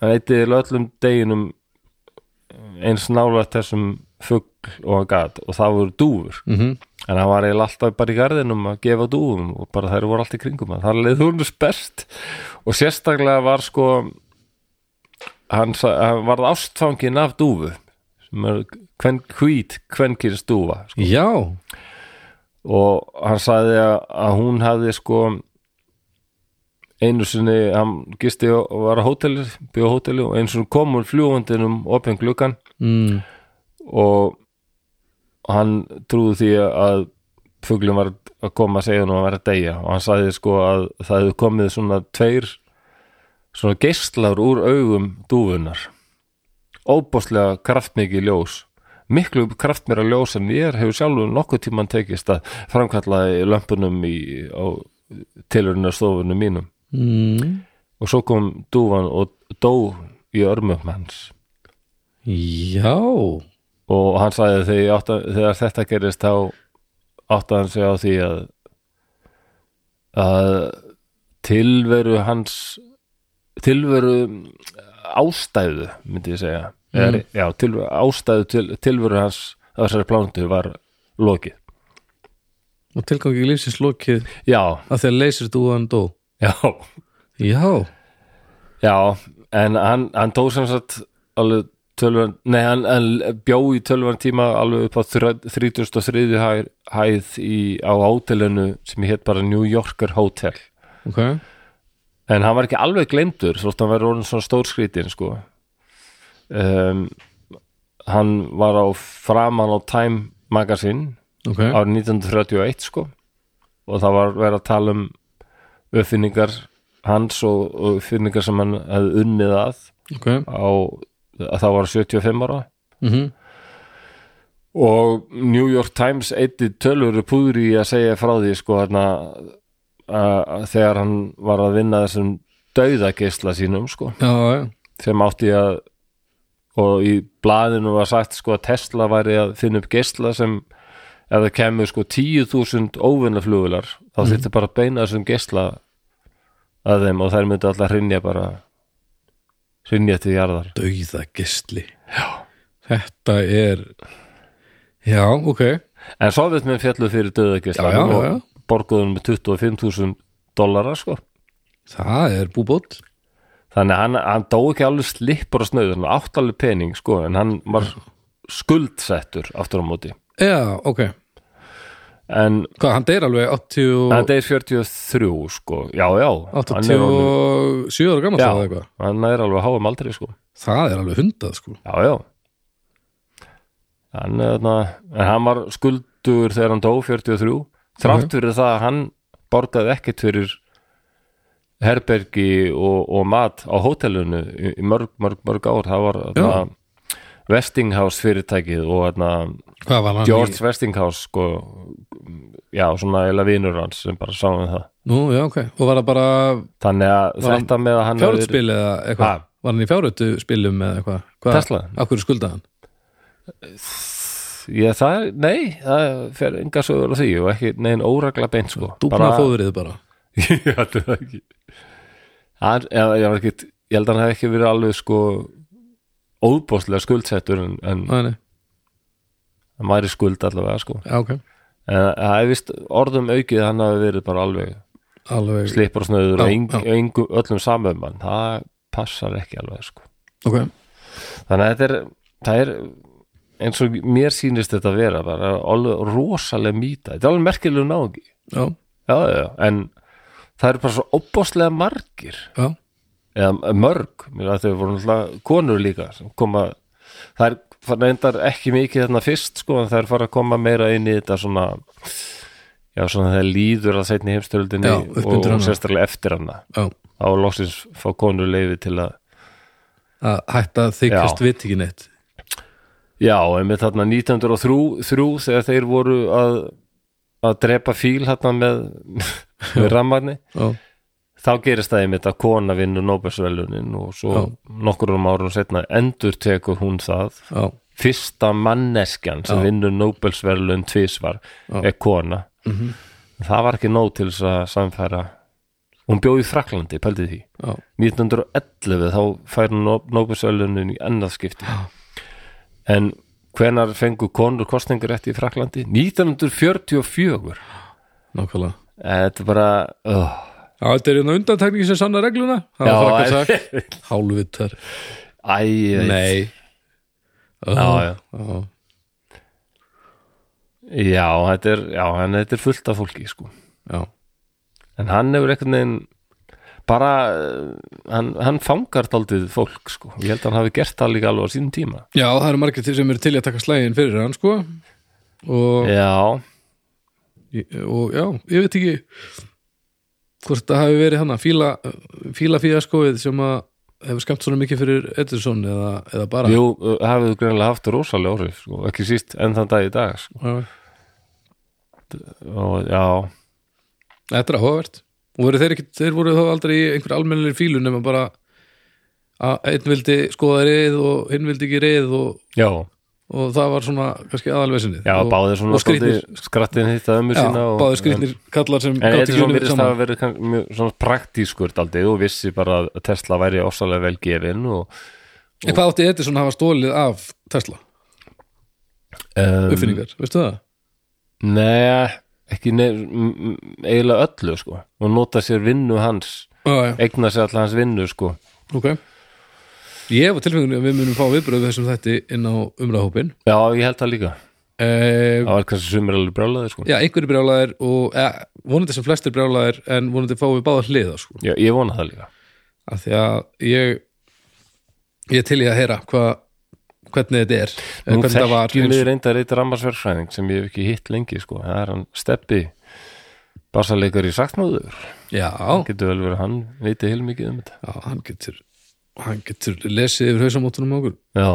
Speaker 1: hann eitthi öllum deginum eins nálega þessum fugl og hann gat og það voru dúfur
Speaker 2: Mhm.
Speaker 1: en hann var eiginlega alltaf bara í garðinum að gefa dúfum og bara þær voru alltaf í kringum hann þar leið hún best og sérstaklega var sko hann, sa- hann varð ástfangin af dúfu sem er kven, hvít kvenkins dúfa sko.
Speaker 2: Já,
Speaker 1: og hann sagði að, að hún hafði sko einu sinni hann gisti og var á hóteli bjóð á hóteli og einu sinni kom hún fljúvandinum opin gluggan
Speaker 2: mm.
Speaker 1: og hann trúði því að fuglum var að koma að segja hann að vera að deyja og hann sagði sko að það hefði komið svona tveir svona geislar úr augum dúfunar óbóðslega kraftmikið ljós miklu kraftmera ljós en ég hefur sjálfur nokkuð tíman tekist að framkalla í lömpunum í, á tilurinn stofunum mínum
Speaker 2: Mm.
Speaker 1: og svo kom dúfan og dó í örmum hans
Speaker 2: Já
Speaker 1: og hann sagði að þegar, ég átta, þegar þetta gerist þá átti hann sig á því að að tilveru hans tilveru ástæðu myndi ég segja mm. já, tilveru, ástæðu til, tilveru hans á þessari plántu var lokið
Speaker 2: Og tilgangi lífsins lokið
Speaker 1: já,
Speaker 2: að þegar leysir dúan dó
Speaker 1: já,
Speaker 2: Já,
Speaker 1: já en hann, hann tók sem sagt alveg tölvan, nei hann, hann bjó í tölvan tíma alveg upp á þrö- 33. hæð, hæð í, á hótelinu sem hétt bara New Yorker Hotel
Speaker 2: ok
Speaker 1: en hann var ekki alveg glemdur þótt hann verið orðin svona stórskrítin sko um, hann var á framan á Time Magazine
Speaker 2: Ok,
Speaker 1: árið 1931 sko og það var verið að tala um uppfinningar hans og, og uppfinningar sem hann hefði unnið að
Speaker 2: ok
Speaker 1: á að það var 75 ára
Speaker 2: mm
Speaker 1: og New York Times eitti tölvöru púðri í að segja frá því sko hérna að- að þegar hann var að vinna þessum dauðageisla sínum sko
Speaker 2: Já, já,
Speaker 1: sem átti að og í blaðinu var sagt sko að Tesla væri að finna upp geisla sem ef það kemur sko 10.000 óvinnaflugular þá mm. þyrfti bara að beina þessum geisla að þeim og þær myndi alltaf hrinja bara hrinja til jarðar
Speaker 2: dauða gistli Já Þetta er Já, ok
Speaker 1: En Sovjetmenn fjallu fyrir döðagisla
Speaker 2: Já, já, já, já.
Speaker 1: og borguðum með 25.000 dollara sko.
Speaker 2: það er búbóll
Speaker 1: Þannig að hann, hann dó ekki alveg slippur á snöður, hann átt alveg pening sko, en hann var skuldsettur aftur á móti.
Speaker 2: já, ok,
Speaker 1: En
Speaker 2: hvað, hann deyr alveg 80
Speaker 1: hann deyr 43 sko, já, já. hann er orðinn-
Speaker 2: 87 ára gammal sagði
Speaker 1: Já,
Speaker 2: eitthvað
Speaker 1: hann er alveg háum aldrei sko.
Speaker 2: það er alveg hundað sko
Speaker 1: Já, já hann, er þarna, en hann var skuldur þegar hann dó 43
Speaker 2: Mhm.
Speaker 1: þrátt fyrir það að hann borgaði ekkert fyrir herbergi og, og mat á hótelinu í, í mörg, mörg, mörg ár það var þarna, Westinghouse fyrirtækið og þarna,
Speaker 2: hvað var hann
Speaker 1: George Westinghouse sko, já, svona eila vinur hans sem bara sá um það
Speaker 2: í nú, já, ok, og var það bara
Speaker 1: þannig að
Speaker 2: Var hann
Speaker 1: þetta með að hann hafi verið-
Speaker 2: fjárhundspil eða eitthvað
Speaker 1: Ha?
Speaker 2: var hann í fjárhundspilum eða eitthvað Hvað-
Speaker 1: Tesla?
Speaker 2: af hverju skuldaði hann
Speaker 1: Ég, það, er- nei, það fer enga sögur á því og ekki neginn óregla beint sko
Speaker 2: dúpna fóðrið bara
Speaker 1: Ég held það ekki Hann, ég, ég, var ekki, ég held að hann hef ekki verið alveg sko óbóðslega skuldsettur en, en
Speaker 2: Nei, nei.
Speaker 1: hann væri skuld allavega sko
Speaker 2: já, ok,
Speaker 1: en það er vist orðum aukið að hann hafi verið bara alveg
Speaker 2: alveg
Speaker 1: slipur og snöður og
Speaker 2: Já,
Speaker 1: eng,
Speaker 2: já.
Speaker 1: engu, öllum samum mann það passar ekki alveg sko
Speaker 2: ok,
Speaker 1: þannig að þetta er, það er eins og mér sýnist þetta að vera bara alveg rosalega mýta þetta er alveg merkilega náðungi
Speaker 2: já,
Speaker 1: já, já, já, en það eru bara svo opbóðslega margir
Speaker 2: já
Speaker 1: eða mörg, mér að þau voru náttúrulega konur líka sem koma það er það reyndar ekki mikið þarna fyrst sko, en það er fara að koma meira inn í þetta svona já, svona þegar líður að seinni heimstöldinni
Speaker 2: Já, upp
Speaker 1: og,
Speaker 2: undir hana.
Speaker 1: og sérstaklega eftir hana
Speaker 2: já,
Speaker 1: á loksins fá konur leifi til að
Speaker 2: að hætta að þykjast
Speaker 1: Já.
Speaker 2: vit ekki neitt
Speaker 1: já, en með þarna 1903 þrjú, þegar þeir voru að að drepa fíl hérna með, með rammarni
Speaker 2: já,
Speaker 1: þá gerist það einmitt að kona vinnur Nóbelsvelunin og svo nokkurum árum setna endur tekur hún það
Speaker 2: já,
Speaker 1: fyrsta manneskjan sem
Speaker 2: Já.
Speaker 1: vinnur Nóbelsverlun tvísvar
Speaker 2: Já. Mhm.
Speaker 1: er kona það var ekki nóg til þess að samfæra hún bjóði í Fraklandi, pældi því
Speaker 2: já,
Speaker 1: 1911 þá fær hún Nóbelsverlunin í ennað skipti en hvenar fengu konur kostningarétti í Fraklandi? 1944
Speaker 2: nákvæmlega
Speaker 1: Eh, þetta er bara oh.
Speaker 2: Já, þetta er einu undantekningi sem sanna regluna Það
Speaker 1: Já,
Speaker 2: var frækast
Speaker 1: en-
Speaker 2: sagt Hálfvitar
Speaker 1: æ, ég veit.
Speaker 2: Nei Oh.
Speaker 1: Já, já.
Speaker 2: já.
Speaker 1: Já, þetta er, já, en þetta er fullt af fólki sko.
Speaker 2: já.
Speaker 1: en hann hefur einhvern veginn bara, eh, hann, hann fangar daldið fólk, sko. ég held að hann hafi gert það líka alveg á sínum tíma
Speaker 2: já, það eru margir til- sem eru til í að taka slægin fyrir hann sko og,
Speaker 1: Já,
Speaker 2: og já, ég veit ekki hvort það hafi verið hann að fíla fíla fíaskóið sem að hefur skemmt svona mikið fyrir Edison eða, eða bara
Speaker 1: jú, eh, hafið greinlega haft rosalega orðið, sko. ekki síst enn þann dag í dag sko.
Speaker 2: Já.
Speaker 1: og já,
Speaker 2: Þetta er áhugavert Og voru þeir, ekki, þeir voru þá aldrei í einhver almennilegir fílu nema bara að einn vildi skoða reið og hinn vildi ekki reið og,
Speaker 1: já,
Speaker 2: og það var svona kannski aðalvesinni
Speaker 1: já
Speaker 2: og,
Speaker 1: báðir svona
Speaker 2: og skrýtnir,
Speaker 1: dálítið skrattin hitt að ömmu
Speaker 2: já,
Speaker 1: sína og,
Speaker 2: báðir skrýtnir kallar sem
Speaker 1: En
Speaker 2: gátu
Speaker 1: þetta er svona
Speaker 2: unnið
Speaker 1: virðist
Speaker 2: saman.
Speaker 1: að vera kann- mjög svona praktískur daldið og vissi bara að Tesla væri ósalega vel gefin og
Speaker 2: En hvað átti Edison að hafa stólið af Tesla?
Speaker 1: um,
Speaker 2: Uppfinningar, veistu það?
Speaker 1: Nei, ekki nef, m- m- eiginlega öllu sko og nota sér vinnu hans
Speaker 2: Já, já,
Speaker 1: eigna sér alltaf hans vinnu sko
Speaker 2: ok Ég hef á tilfengunni að við munum fá viðbröð þessum þætti inn á umræðhópin
Speaker 1: Já, ég held það líka
Speaker 2: eh,
Speaker 1: Það var kannski sumir alveg brjálaði sko
Speaker 2: Já, einhverju brjálaðir og eh, vonandi sem flestir brjálaðir en vonandi fáum við báða hliða sko.
Speaker 1: Já, ég vona það líka
Speaker 2: af því að ég ég er til í að heyra hva, hvernig þetta er eh,
Speaker 1: Nú
Speaker 2: hvernig þetta var
Speaker 1: þekkjum við
Speaker 2: eins,
Speaker 1: reyndar eitt rammarsverfræðing sem ég hef ekki hitt lengi sko Það er hann Steppi Barsaleikar í Saktmóður
Speaker 2: já,
Speaker 1: Getur vel verið að hann veiti heil mikið um þetta
Speaker 2: já, hann getur hann getur lesið yfir hausamótunum á okkur
Speaker 1: Já,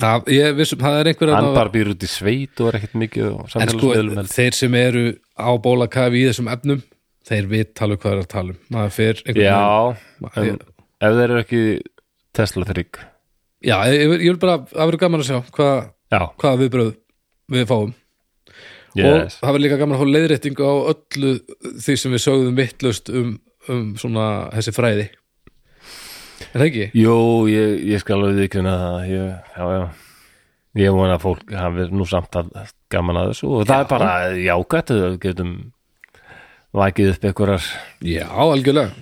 Speaker 2: það, ég, vissum, það er einhver
Speaker 1: hann
Speaker 2: þarna-
Speaker 1: bara býr út í sveit og er ekkert mikið á
Speaker 2: en sko,
Speaker 1: samfélagsmiðlum held.
Speaker 2: þeir sem eru á bólakafi í þessum efnum þeir vit tala um hvað er að tala um maður fer einhvern
Speaker 1: Já,
Speaker 2: veginn-
Speaker 1: en ef þeir eru ekki Tesla þrygg
Speaker 2: já ég, ég vil- ég vil bara, það verður gaman að sjá hvað
Speaker 1: Já,
Speaker 2: hva viðbröð við fáum og
Speaker 1: yes.
Speaker 2: það var líka gaman að fá leiðréttingu á öllu því sem við sögðum vittlust um, um svona þessi fræði er það ekki?
Speaker 1: Jú, ég, ég skal alveg viðkynna það ég, Já, já Ég vona að fólk hafi nú samt að gaman að þessu og það er bara jákvætt að við getum vakið upp einhverjar
Speaker 2: Já, algjörlega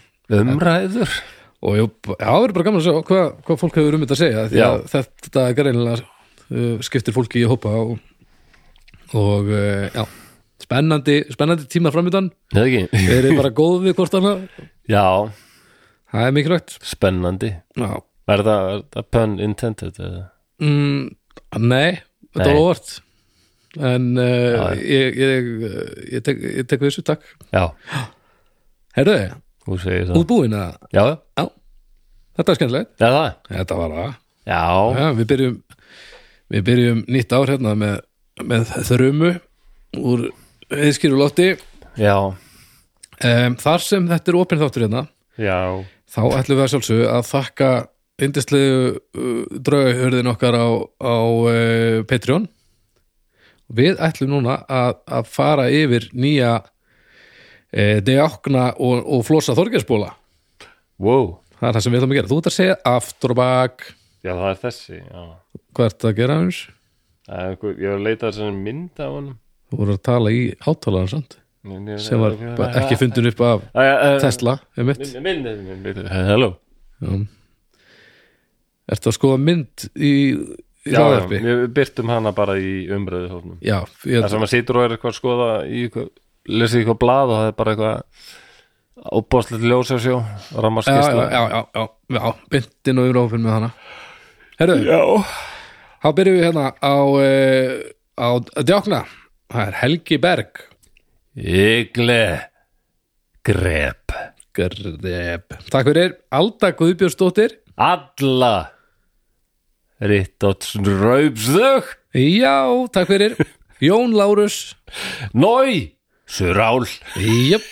Speaker 1: umræður
Speaker 2: og jú, b- já, það verður bara gaman að sjá hvað, hvað fólk hefur um þetta að segja því að
Speaker 1: Já.
Speaker 2: þetta er greinilega uh, skiptir fólki í hópa og, og uh, já spennandi, spennandi tímar framöndan
Speaker 1: Eða ekki?
Speaker 2: þeir eru bara góð við hvort annað
Speaker 1: Já,
Speaker 2: það er mikilvægt
Speaker 1: spennandi
Speaker 2: já.
Speaker 1: Er það, er það pun intended? eða?
Speaker 2: Mm, nei,
Speaker 1: Nei.
Speaker 2: þetta var óvart en uh,
Speaker 1: já.
Speaker 2: ég, ég, ég, ég, tek, ég tek við þessu takk
Speaker 1: Já,
Speaker 2: herðu þið,
Speaker 1: þú segir það
Speaker 2: útbúin að
Speaker 1: Já, já,
Speaker 2: já, þetta er skemmtilegt
Speaker 1: er það?
Speaker 2: þetta var það
Speaker 1: Já,
Speaker 2: Já, við byrjum við byrjum nýtt ár hérna með, með þrömu úr heiðskýru lofti
Speaker 1: já,
Speaker 2: um, þar sem þetta er opinn þáttur hérna
Speaker 1: já
Speaker 2: þá ætlum við að sjálfsögðu að þakka indislegu uh, draugahörðin okkar á, á uh, Patreon við ætlum núna að, að fara yfir nýja uh, dejákna og, og flosa þorgjarsbóla
Speaker 1: Wow,
Speaker 2: það er það sem við ætlum að gera, þú ert að segja aftur og bak
Speaker 1: já það er þessi já.
Speaker 2: hvað ertu að gera hans?
Speaker 1: Það er einhver- Ég var að leita þessari mynd af honum
Speaker 2: Þú voru að tala í hátalaðan samt
Speaker 1: Ég- ég-
Speaker 2: sem var bara ekki fundin upp af
Speaker 1: Æ, eh, æ, æ,
Speaker 2: Tesla, um mitt
Speaker 1: Mynd, mynd, mynd, mynd, hello
Speaker 2: Ertu að skoða mynd í, í
Speaker 1: Já, já,
Speaker 2: hraðarpi?
Speaker 1: við byrtum hana bara í umröðu hófnum
Speaker 2: Já, ég,
Speaker 1: Það sem maður situr og er eitthvað að skoða í eitthvað, lesið eitthvað blað og það er bara eitthvað óbáslegt ljósa sjó
Speaker 2: já, já,
Speaker 1: rammarskisla
Speaker 2: já, já, já, já myndin og yfirófinn með hana Herðu,
Speaker 1: já.
Speaker 2: þá byrjum við hérna á, uh, á djákna Það er Helgi Berg
Speaker 1: Ygle grep
Speaker 2: Grep. Takk fyrir, Alda Guðbjörnsdóttir
Speaker 1: alla rittótt raupsðug
Speaker 2: Já, takk fyrir Jón Lárus
Speaker 1: nói surál
Speaker 2: Jöp,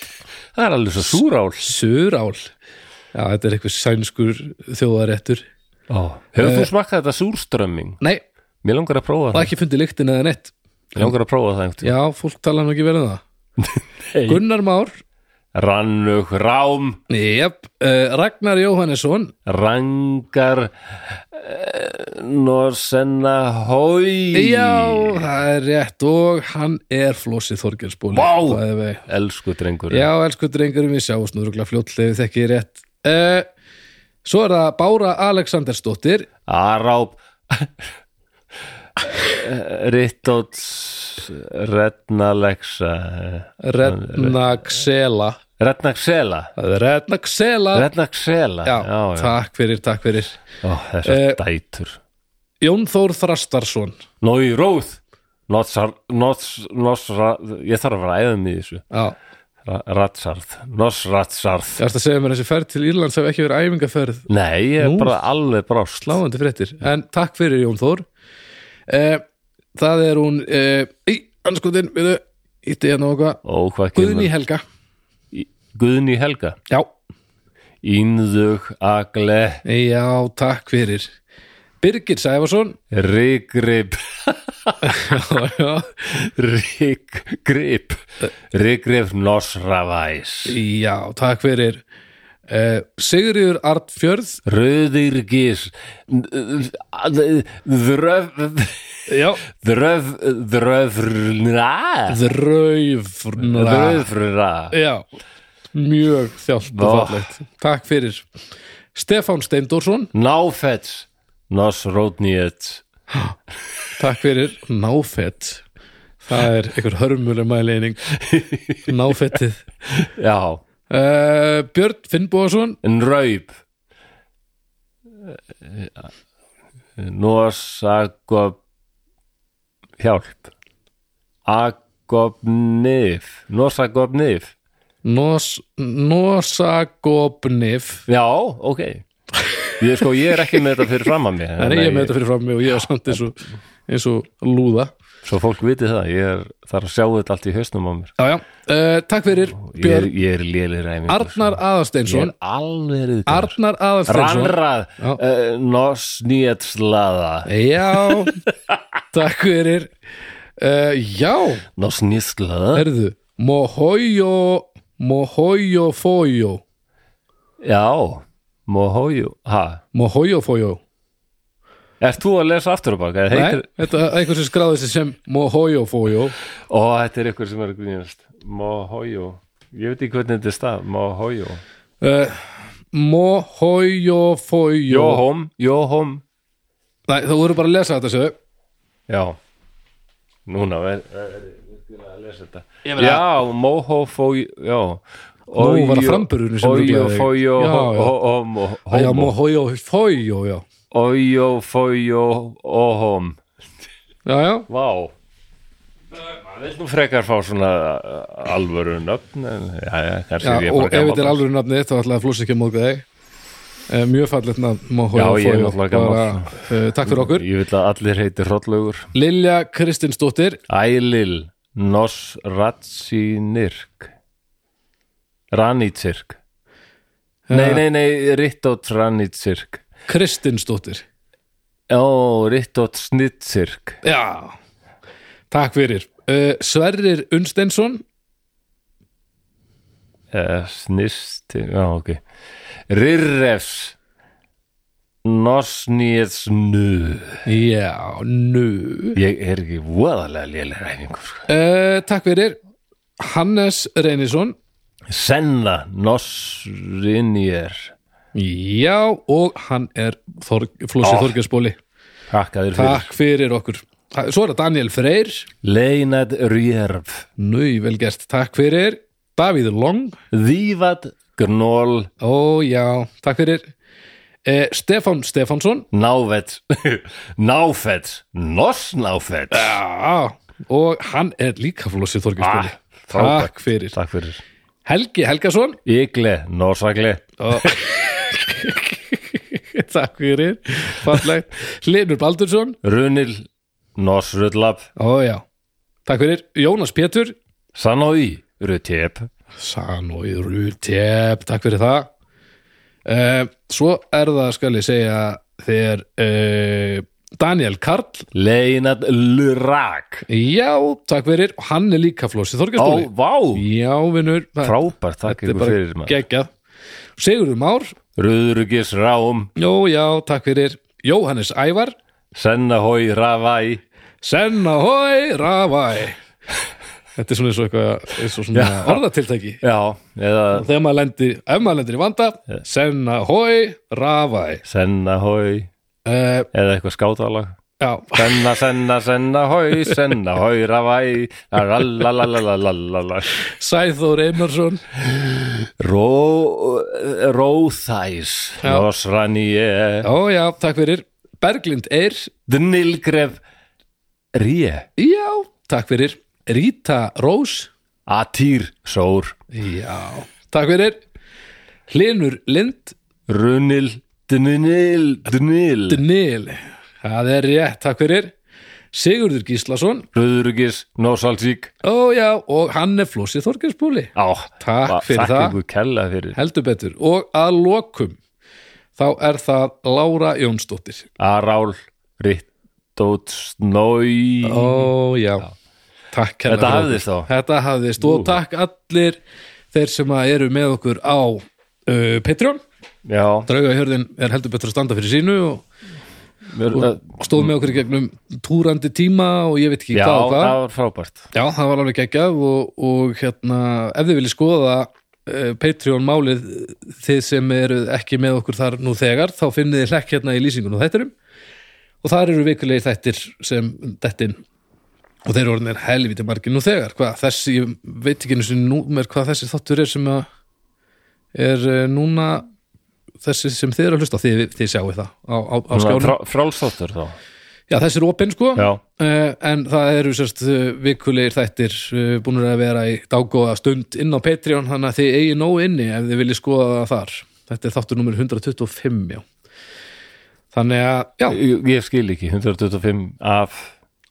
Speaker 1: það er alveg svo súrál
Speaker 2: Surál Já, þetta er eitthvað sænskur þjóðaréttur
Speaker 1: Ó, Hefur
Speaker 2: eh,
Speaker 1: þú smakkað þetta súrströmming?
Speaker 2: Nei,
Speaker 1: Mér langar að prófa
Speaker 2: það er
Speaker 1: það
Speaker 2: ekki fundið lyktin eða neitt
Speaker 1: Mér langar að prófa það einhvern
Speaker 2: Já, fólk tala nú ekki vel um það Gunnar Már
Speaker 1: tímann Rannug rám
Speaker 2: Jep, uh, Ragnar Jóhannesson
Speaker 1: Rangar uh, Norsenna Hói
Speaker 2: Já, það er rétt og hann er flósið Þorgeirsbúli
Speaker 1: Vá!
Speaker 2: wow.
Speaker 1: Elsku drengur
Speaker 2: Já, elsku drengur við sjáumst nú rúglega fljótlega við þekki ég rétt uh, Svo er það Bára Alexandersdóttir
Speaker 1: Aráp Rittóts Rednalexa
Speaker 2: Rednaxela
Speaker 1: Rednaxela
Speaker 2: Rednaxela
Speaker 1: Rednaxela
Speaker 2: já,
Speaker 1: já, já.
Speaker 2: takk fyrir, takk fyrir
Speaker 1: Ó, Þessar
Speaker 2: Eh,
Speaker 1: dætur
Speaker 2: Jón Þór Þrastarsson
Speaker 1: Nói Róð Notsar, Nots, Nosra, ég þarf að ræða mig í þessu
Speaker 2: Já,
Speaker 1: Ra- Ratsarð, Nosratsarð
Speaker 2: ég ætla að segja mér að þessi ferð til Írlands hafi ekki verið æfingaferð
Speaker 1: Nei, ég er
Speaker 2: Nú.
Speaker 1: bara alveg brást
Speaker 2: sláandi fréttir en takk fyrir Jón Þór eh, það er hún eh, í anskutin, við þau ítti hérna og hvað,
Speaker 1: Ó, hvað kemur
Speaker 2: Guðný Helga
Speaker 1: Í- Guðný Helga
Speaker 2: já,
Speaker 1: Ínðug agle
Speaker 2: já, takk fyrir Birgir Sæfarsson
Speaker 1: Rígrip
Speaker 2: já, já,
Speaker 1: Rígrip Rígrip Nosravæs
Speaker 2: já, takk fyrir eh, Sigurður Artfjörð
Speaker 1: Röðirgis Þröf
Speaker 2: já,
Speaker 1: Þröf Þröfrna
Speaker 2: Þraufrna
Speaker 1: Þröfrna
Speaker 2: já, mjög þjált og
Speaker 1: Vá.
Speaker 2: fallegt, takk fyrir Stefán Steindórsson
Speaker 1: Náfets Nosrótnýet
Speaker 2: Takk fyrir náfett Það er einhver hörmuleg mæleining Náfettið
Speaker 1: Já
Speaker 2: uh, Björn Finnbóðarsson
Speaker 1: En raup Norsagop Hjálp Agopnif Norsagopnif
Speaker 2: Nos, Nosagopnif
Speaker 1: Já, ok Ég, sko, ég er ekki með þetta fyrir fram að mér
Speaker 2: Það er ég með þetta fyrir fram mig og ég er samt eins og, eins og lúða
Speaker 1: Svo fólk viti það, ég er, þarf að sjá þetta allt í hausnum á mér
Speaker 2: Já, já, uh, takk fyrir
Speaker 1: Ég er,
Speaker 2: Björn
Speaker 1: ég er lélir ræmi Ég er
Speaker 2: Arnar Aðarsteinsson
Speaker 1: alveg reyður
Speaker 2: Arnar Aðarsteinsson
Speaker 1: Rannrað
Speaker 2: Já.
Speaker 1: uh, Norsnýetslaða
Speaker 2: Já, takk fyrir uh, Já,
Speaker 1: Norsnýetslaða
Speaker 2: herðu Mohoyo Mohoyo Foyo
Speaker 1: Já, Mohoju, ha,
Speaker 2: Mohoyo Foyo
Speaker 1: Erst þú að lesa aftur á baka? eða
Speaker 2: Nei,
Speaker 1: heitir-
Speaker 2: þetta er einhver sem skráði þessi sem Mohoyo-Foyo
Speaker 1: Ó, þetta er ykkur sem er að grínast Mohoyo Ég veit ekki hvernig þetta er stað Mohoyo
Speaker 2: uh, Mohoyo-Foyo
Speaker 1: Jóhom Jóhom
Speaker 2: Nei, þá voru bara að lesa þetta sögðu
Speaker 1: Já Núna er, er, er, er að lesa þetta
Speaker 2: Ég meina-
Speaker 1: Já, Mohofoyo Já
Speaker 2: Nú var það framburðurinn sem
Speaker 1: Oyo,
Speaker 2: ruglaði þig.
Speaker 1: foyo,
Speaker 2: Já, já.
Speaker 1: homo
Speaker 2: Já, Mohoyo-Foyo, já
Speaker 1: Oyo, foyo, ohom
Speaker 2: Já, já,
Speaker 1: Vá Það vil nú frekar fá svona uh, alvöru nöfn en, já, já, kannski
Speaker 2: já
Speaker 1: er ég bara
Speaker 2: og ef
Speaker 1: gamall.
Speaker 2: þetta er alveg nafnið þitt, þá ætlaði að flósa ekki að móka þig Eh, Mjög fallegt
Speaker 1: Já,
Speaker 2: nafn
Speaker 1: ég er
Speaker 2: Mohoyo-Foyo
Speaker 1: náttúrulega
Speaker 2: Bara,
Speaker 1: gamall.
Speaker 2: eh, Takk fyrir okkur
Speaker 1: Ég vil að allir heiti hrollaugur
Speaker 2: Lilja Kristinsdóttir
Speaker 1: Ælil Nosratsinirk Ranitsirk Nei, nei, nei, Rittot Ranitsirk
Speaker 2: Kristinsdóttir
Speaker 1: Ó, Rittot Snitsirk
Speaker 2: Já, takk fyrir uh, Sverrir Unstensson
Speaker 1: eh, Snist, já, ok Rirrefs Nosnýðsnu
Speaker 2: Já, nú
Speaker 1: Ég er ekki voðalega lélega ræfingur sko.
Speaker 2: uh, Takk fyrir Hannes Reynisson
Speaker 1: Senna Nosrinjér
Speaker 2: Já, og hann er Þorg, Flósi
Speaker 1: Ó.
Speaker 2: Þorgjarsbóli
Speaker 1: Takkaður fyrir
Speaker 2: Takk fyrir okkur Ta- Svo er það Daniel Freyr
Speaker 1: Leinad Rjörf
Speaker 2: Nú, vel gert, takk fyrir Davíð Long
Speaker 1: Þývat Gnól
Speaker 2: Ó, já, takk fyrir uh, Stefán Stefánsson
Speaker 1: Náfett Náfett Nossnáfett
Speaker 2: Já, og hann er líka Flósi Þorgjarsbóli
Speaker 1: Ah, frábært.
Speaker 2: Takk fyrir
Speaker 1: Takk fyrir
Speaker 2: Helgi Helgason
Speaker 1: Ygle, Nossagle
Speaker 2: Takk fyrir, fallegt Hlinur Baldursson,
Speaker 1: Runil Nossrullab
Speaker 2: ó já Takk fyrir, Jónas Pétur
Speaker 1: Sanói Rutjep
Speaker 2: Sanoi Rutep, takk fyrir það uh, Svo er það skal ég segja þegar uh, Daniel Karl
Speaker 1: Leinad Lurak
Speaker 2: Já, takk fyrir, og hann er líka Flósi
Speaker 1: Ó,
Speaker 2: Þorgjarsbóli
Speaker 1: vá
Speaker 2: Já, vinnur, það
Speaker 1: Frábært, takk
Speaker 2: þetta er
Speaker 1: ykkur fyrir
Speaker 2: bara
Speaker 1: maður
Speaker 2: geggjað Sigurður Már,
Speaker 1: Rúðrugis Rám
Speaker 2: jó já, takk fyrir Jóhannes Ævar,
Speaker 1: Sennahói Ravæ
Speaker 2: Senna hói ravæ Þetta er svona eins og eitthvað eins og svona
Speaker 1: Já.
Speaker 2: orðatiltæki
Speaker 1: Já, eða
Speaker 2: þegar maður lendir, ef maður lendir í vanda Senna hói ravæ
Speaker 1: Sennahói
Speaker 2: uh,
Speaker 1: Eða eitthvað skátalag
Speaker 2: Já,
Speaker 1: Senna, senna, senna, hói, senna, hói, ravæ, rallalalalalalalala.
Speaker 2: Sæþór Einarsson
Speaker 1: Ró, róþæs,
Speaker 2: Já.
Speaker 1: losranýje,
Speaker 2: Já, já, takk fyrir Berglind Eir,
Speaker 1: dnilgref, ríje,
Speaker 2: já, takk fyrir Rita Rós,
Speaker 1: atýr, sór,
Speaker 2: já Takk fyrir Hlinur Lind
Speaker 1: runil, dnil, dnil,
Speaker 2: Dnil, það er rétt, takk fyrir Sigurður Gíslason,
Speaker 1: röðurugis, nósalsík.
Speaker 2: ó já, og hann er Flósi Þorgjarsbúli
Speaker 1: Á,
Speaker 2: Takk
Speaker 1: ba-
Speaker 2: fyrir það.
Speaker 1: Takk ykkur kella fyrir.
Speaker 2: heldur betur og að lokum þá er það Lára Jónsdóttir
Speaker 1: Arál, rittót, snói.
Speaker 2: ó já, takk
Speaker 1: Mhm. Þetta
Speaker 2: kærlega fyrir okkur.
Speaker 1: hafðist þá.
Speaker 2: þetta hafðist og takk allir þeir sem að eru með okkur á uh, Patreon
Speaker 1: Já,
Speaker 2: Draugahjörðin er heldur betur að standa fyrir sínu og
Speaker 1: mér-
Speaker 2: stóð með okkur í gegnum túrandi tíma og ég veit ekki
Speaker 1: já,
Speaker 2: hvað og hvað
Speaker 1: það var frábært.
Speaker 2: Já, það var alveg geggjað og, og hérna, ef þið viljið skoða uh, Patreon málið þið sem eru ekki með okkur þar nú þegar þá finnið þið hlekk hérna í lýsingun og þætturum og þar eru vikulegi þættir sem dettin og þeir eru orðinir helviti margir nú þegar hvað þessi, ég veit ekki einu sinni númer hvað þessi þáttur er sem að er uh, núna þessi sem þið eru að hlusta á, þið, þið sjáu það á, á, á skjánum
Speaker 1: Frá, frálsáttur þá.
Speaker 2: Já, þessi er opinn sko
Speaker 1: Já.
Speaker 2: Eh, en það eru sérst eh, vikulegir þættir uh, búinur að vera í daggóða stund inn á Patreon þannig að þið eigi nóg inni ef þið viljið skoða það þar Þetta er þáttur nummer 125 já. Þannig að já,
Speaker 1: Ég, ég skil ekki, 125 af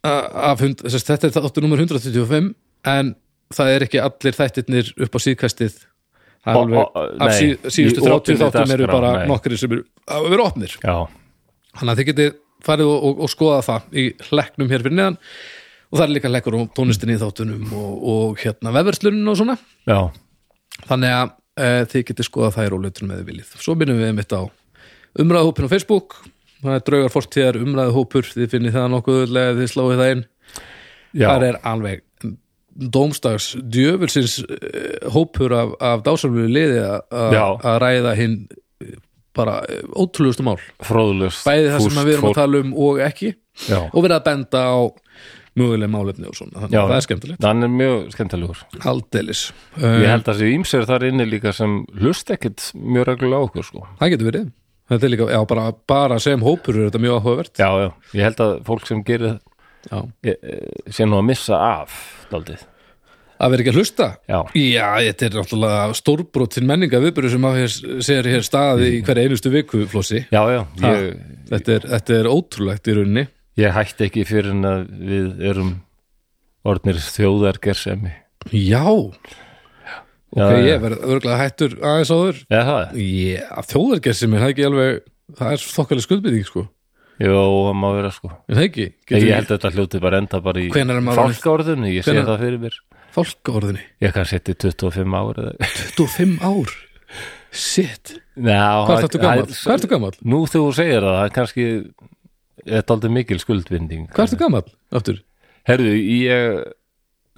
Speaker 2: a- af, hund- sérst, þetta er þáttur nummer 125 en það er ekki allir þættirnir upp á síðkastið Það er
Speaker 1: Ó,
Speaker 2: alveg,
Speaker 1: ó, ó,
Speaker 2: af
Speaker 1: nei,
Speaker 2: síð, síðustu
Speaker 1: í
Speaker 2: 30
Speaker 1: opinni
Speaker 2: þáttum eru
Speaker 1: dagskrá,
Speaker 2: bara
Speaker 1: nei.
Speaker 2: nokkri sem eru, hafa verið opnir
Speaker 1: Já,
Speaker 2: þannig að þið getið farið og, og, og skoða það í hlekknum hér fyrir neðan og það er líka hlekkur á tónlistinni í þáttunum og, og hérna vefverslunum og svona
Speaker 1: já,
Speaker 2: þannig að e, þið getið skoða það í rólutunum eða viljið svo minnum við mitt á umræðahópin á Facebook það er draugar fortíðar umræðu hópur þið finnir það nokkuð auðveldlega ef þið sláið það inn
Speaker 1: Já,
Speaker 2: það er alveg dómstags djöfulsins eh, hópur af, af dásamlegu liði a-
Speaker 1: Já.
Speaker 2: a- að ræða hinn eh, bara eh, ótrúlegustu mál
Speaker 1: fróðlust
Speaker 2: bæði það sem við erum að tala um og ekki
Speaker 1: Já.
Speaker 2: og verið að benda á mögulega málefni og svona, þannig
Speaker 1: Já.
Speaker 2: að það er skemmtilegt
Speaker 1: Hann er mjög skemmtilegur
Speaker 2: aldeilis,
Speaker 1: Ég
Speaker 2: um,
Speaker 1: held að þessi ímsir þar inni líka sem hlust ekkit mjög reglulega á okkur sko
Speaker 2: Eh, það getur verið þetta er líka, já, bara, bara sem hópur er þetta mjög áhugavert
Speaker 1: Já, já, ég held að fólk sem gerir
Speaker 2: Já.
Speaker 1: e, e, sé nú að missa af daldið
Speaker 2: að vera ekki að hlusta
Speaker 1: Já.
Speaker 2: þetta er náttúrulega stórbrotin menninga viðbyrðu sem að hér, sér hér staði í hverja einustu viku flossi
Speaker 1: Já, já, ég,
Speaker 2: þetta, er, þetta er ótrúlegt í rauninni
Speaker 1: ég hætti ekki fyrir en að við erum orðnir þjóðargersemi
Speaker 2: já ok,
Speaker 1: já.
Speaker 2: ég verð örgulega hættur aðeins áður
Speaker 1: Já, það er
Speaker 2: já, þjóðargerðsemi, það er ekki alveg það er þokkalega skuldbytting sko
Speaker 1: Jó, það má vera sko
Speaker 2: er það ekki,
Speaker 1: Ég held að þetta hljóti bara enda bara í
Speaker 2: Hvenær er maður orðinn-
Speaker 1: fálkaorðinu, ég sé
Speaker 2: Hvenær-
Speaker 1: það fyrir mér
Speaker 2: fólkaorðinni
Speaker 1: Ég kannski setti 25 ára eða
Speaker 2: 25 ár, shit
Speaker 1: Já,
Speaker 2: hvað ertu gamall,
Speaker 1: það-
Speaker 2: hvað ertu gamall
Speaker 1: Nú þegar þú segir það, það er kannski þetta aldrei mikil skuldvinding
Speaker 2: hvað ertu gamall, aftur
Speaker 1: Herðu, ég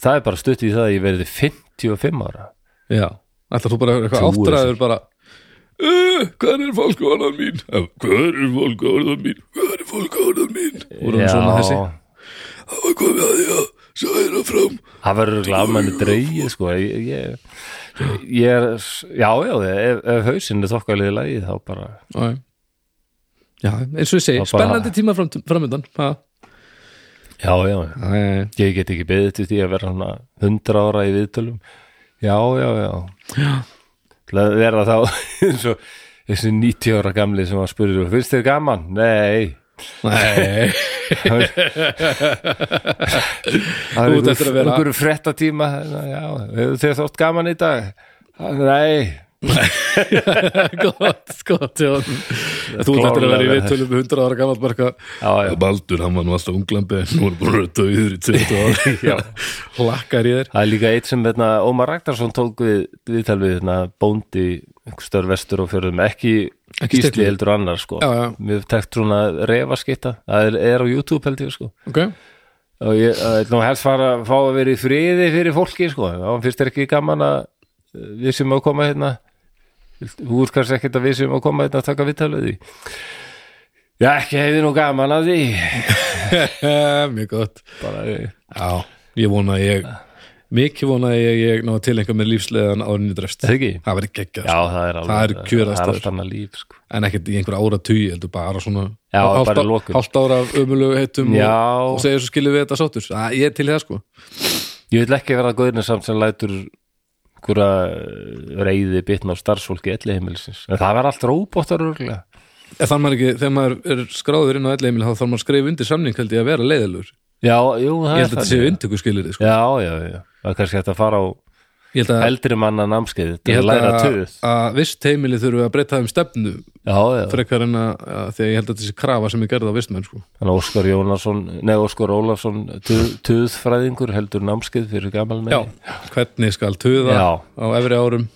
Speaker 1: það er bara stutt í það að ég verði 55 ára
Speaker 2: Já, ætlar þú bara að vera eitthvað
Speaker 1: Trúir
Speaker 2: áttræður bara "Uh, Hvað er fólkvarðan mín? Hvað er fólkvarðan mín? Hvað er fólkvarðan mín? Og hún svona þessi Það var komið að því að særa fram
Speaker 1: Það verður glafmenni dreigið sko ég, ég, ég er já, já, ef, ef hausinn er þokkalið lagi þá bara
Speaker 2: Æ. Já, eins og ég segi,
Speaker 1: Það bara-
Speaker 2: spennandi tíma fram, framöndan ha.
Speaker 1: já, já, ég get ekki beðið til því að vera svona 100 ára í viðtölum já, já, já til að vera þá eins og þessi 90 ára gamli sem að spurði finnst þér gaman? Nei
Speaker 2: Nei,
Speaker 1: Það
Speaker 2: Þú ert eftir að vera-
Speaker 1: einhver frettatíma já, hefur þér þótt gaman í dag? Nei
Speaker 2: gott, gott já. Þú
Speaker 1: klárlega
Speaker 2: ætlar að vera í
Speaker 1: verið
Speaker 2: viðtölum með 100 ára gamall bara
Speaker 1: Já, já.
Speaker 2: eitthvað Baldur, hann var nú alltaf unglambi Nú er bara döður í 20 ára Hlakkar í þér
Speaker 1: Það er líka eitt sem hérna, Ómar Ragnarsson tók við viðtal við hérna, bóndi stör vestur og fjörðum ekki,
Speaker 2: Ekki
Speaker 1: Gísli
Speaker 2: Sturlu.
Speaker 1: heldur annar sko.
Speaker 2: Já, já.
Speaker 1: Mér tekt svona refaskitta það er, er á YouTube held ég sko.
Speaker 2: okay.
Speaker 1: og ég það er nú helst fara að fá að vera í friði fyrir fólki sko. þá finnst þér ekki gaman að eh, við sem að koma hérna þú ert kannski ekkert að við sem að koma hérna að taka viðtal við því Já, ekki hefði nú gaman að því
Speaker 2: Mjög gott
Speaker 1: bara, eh,
Speaker 2: Já, ég vona að ég mikið vona að ég, ég ná að tilengja með lífsleðan árinni drefst
Speaker 1: Það ekki?
Speaker 2: Það verður geggjað,
Speaker 1: Já,
Speaker 2: sko.
Speaker 1: það er alveg
Speaker 2: Það eru kjöraðstæður.
Speaker 1: Það er allt annað líf sko.
Speaker 2: en ekkert í einhver ára tugi heldur bara svona
Speaker 1: Já,
Speaker 2: hálft
Speaker 1: bara
Speaker 2: á-
Speaker 1: lokun.
Speaker 2: hálft ára af ömulegu heitum
Speaker 1: Já.
Speaker 2: og, og segja svo skilum við þetta sáttur að, Ég er til í það sko
Speaker 1: Ég vil ekki vera góðinu samt sem lætur hverja reyði bitna á starfsfólki elli heimilisins. En það var allt róbóttar örgulega.
Speaker 2: En þannig maður ekki, þegar maður er skráður inn á elleimil þá þarf maður að skrifa undir samning held ég að vera leiðilur
Speaker 1: Já, jú, það
Speaker 2: Ég held að þetta
Speaker 1: þannig.
Speaker 2: séu inntöku skilir sko.
Speaker 1: Já, já, já. Það er kannski hægt að fara á
Speaker 2: Ég held að,
Speaker 1: eldri manna námskeið
Speaker 2: ég
Speaker 1: til að
Speaker 2: held
Speaker 1: læra
Speaker 2: að,
Speaker 1: töð.
Speaker 2: að vist heimili þurfum að breyta um stefnu
Speaker 1: Já, já.
Speaker 2: frekar en að, að því að ég held að þetta sé krafa sem ég gerði á vistmenn sko.
Speaker 1: Þannig að Óskar Jónasson, nei, Óskar Ólafsson töð, töðfræðingur heldur námskeið fyrir gamal með.
Speaker 2: Já, hvernig skal tuða
Speaker 1: Já.
Speaker 2: á efri árum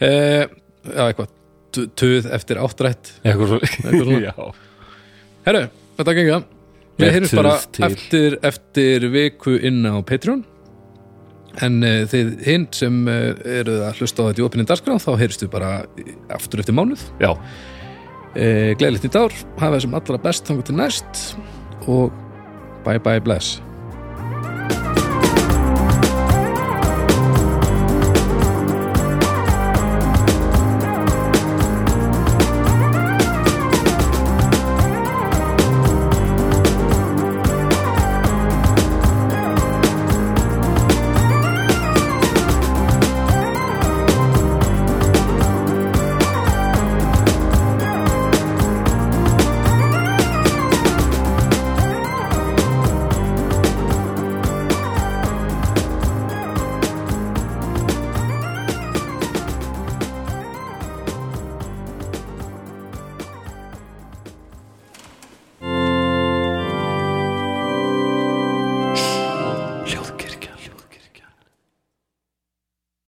Speaker 2: eh, Já, eitthvað tu- tuð eftir áttrætt
Speaker 1: Eitthvað svo.
Speaker 2: svona.
Speaker 1: já.
Speaker 2: Herru, þetta gengur Við
Speaker 1: Er
Speaker 2: heyrjum
Speaker 1: tuð
Speaker 2: bara
Speaker 1: til?
Speaker 2: eftir, eftir viku inn á Patreon en uh, þið hinn sem uh, eruð að hlusta á þetta í opinni dagskrá þá heyrstu bara aftur eftir mánuð
Speaker 1: Já.
Speaker 2: Eh, uh, Gleðilegt í dár, hafa þessum allra best þangur til næst og bye bye bless